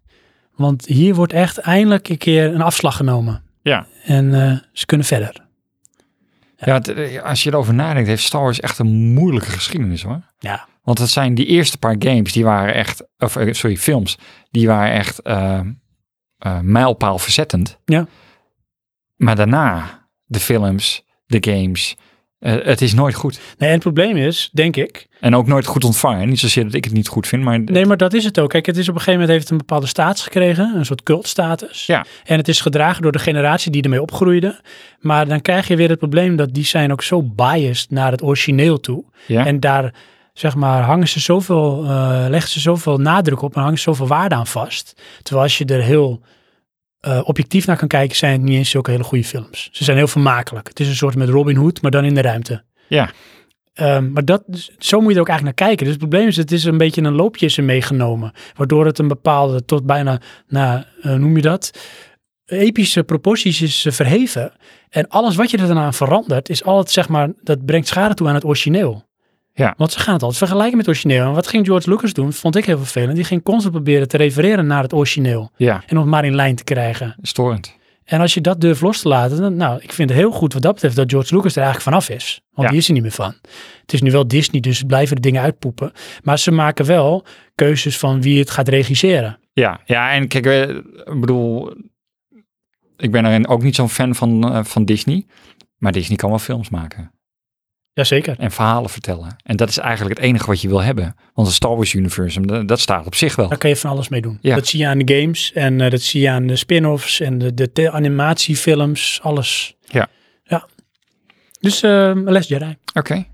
A: Want hier wordt echt eindelijk een keer een afslag genomen.
B: Ja.
A: En eh, ze kunnen verder.
B: Ja, het, eh, als je erover nadenkt, heeft Star Wars echt een moeilijke geschiedenis hoor.
A: Ja.
B: Want dat zijn die eerste paar games, die waren echt, of eh, sorry, films, die waren echt eh, eh, mijlpaal verzettend.
A: Ja.
B: Maar daarna, de films, de games, eh, het is nooit goed.
A: Nee, en het probleem is, denk ik,
B: En ook nooit goed ontvangen. Niet zozeer dat ik het niet goed vind, maar
A: Nee, maar dat is het ook. Kijk, het is op een gegeven moment heeft het een bepaalde status gekregen, een soort cultstatus.
B: Ja.
A: En het is gedragen door de generatie die ermee opgroeide. Maar dan krijg je weer het probleem dat die zijn ook zo biased naar het origineel toe.
B: ja,
A: En daar, zeg maar, hangen ze zoveel, eh, leggen ze zoveel nadruk op en hangen ze zoveel waarde aan vast. Terwijl als je er heel eh, objectief naar kan kijken, zijn het niet eens zulke hele goede films. Ze zijn heel vermakelijk. Het is een soort met Robin Hood, maar dan in de ruimte.
B: Ja.
A: Ehm, maar dat, dus zo moet je er ook eigenlijk naar kijken. Dus het probleem is, het is een beetje een loopje is er meegenomen. Waardoor het een bepaalde, tot bijna, nou, eh, noem je dat? Epische proporties is eh, verheven. En alles wat je er daarna aan verandert, is altijd, zeg maar, dat brengt schade toe aan het origineel. Want ze gaan het altijd vergelijken met het origineel. En wat ging George Lucas doen, vond ik heel vervelend. Die ging constant proberen te refereren naar het origineel.
B: ja,
A: En om het maar in lijn te krijgen.
B: storend.
A: En als je dat durft los te laten, dan, nou, ik vind het heel goed wat dat betreft dat George Lucas er eigenlijk vanaf is. Want
B: Ja.
A: die is er niet meer van. Het is nu wel Disney, dus ze blijven de dingen uitpoepen. Maar ze maken wel keuzes van wie het gaat regisseren.
B: Ja, ja, en kijk, eh, ik bedoel, ik ben erin ook niet zo'n fan van, eh, van Disney. Maar Disney kan wel films maken
A: Jazeker.
B: en verhalen vertellen. En dat is eigenlijk het enige wat je wil hebben. Want het Star Wars universum, dat, dat staat op zich wel.
A: Daar kan je van alles mee doen.
B: Ja.
A: Dat zie je aan de games en eh, dat zie je aan de spin-offs en de, de te- animatiefilms, alles.
B: Ja.
A: ja. Dus eh Les Jedi.
B: Oké.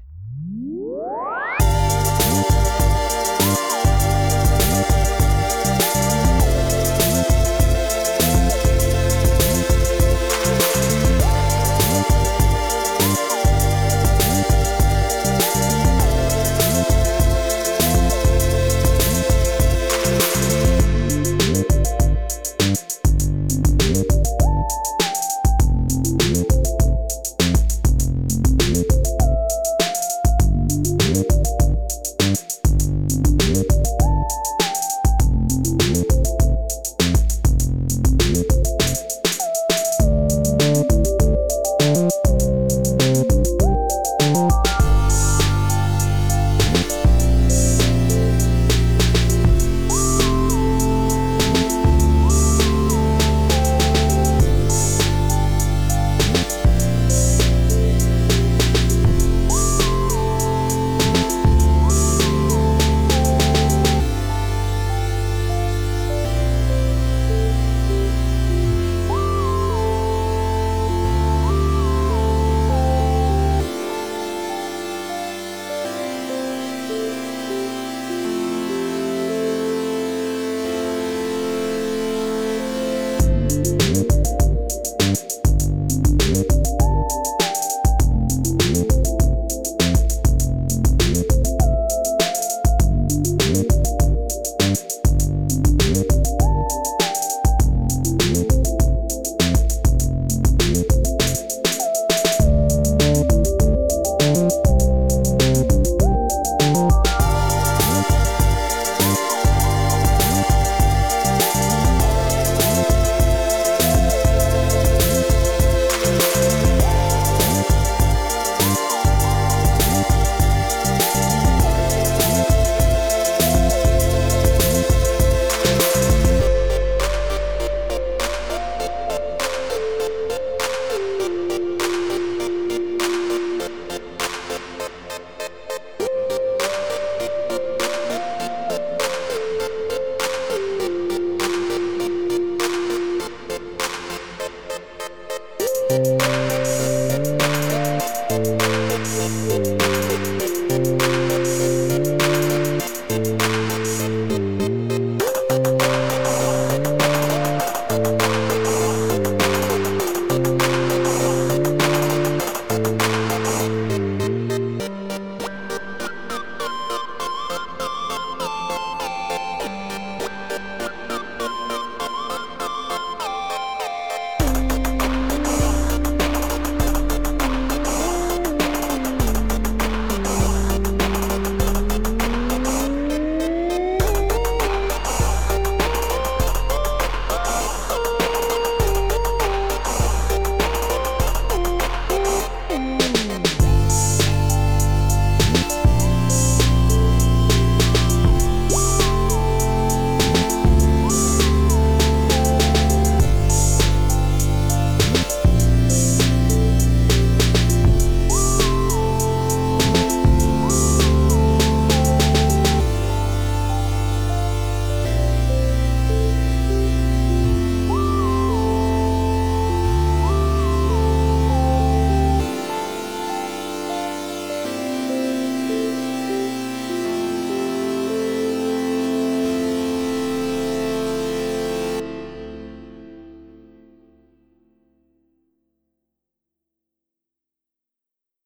B: week.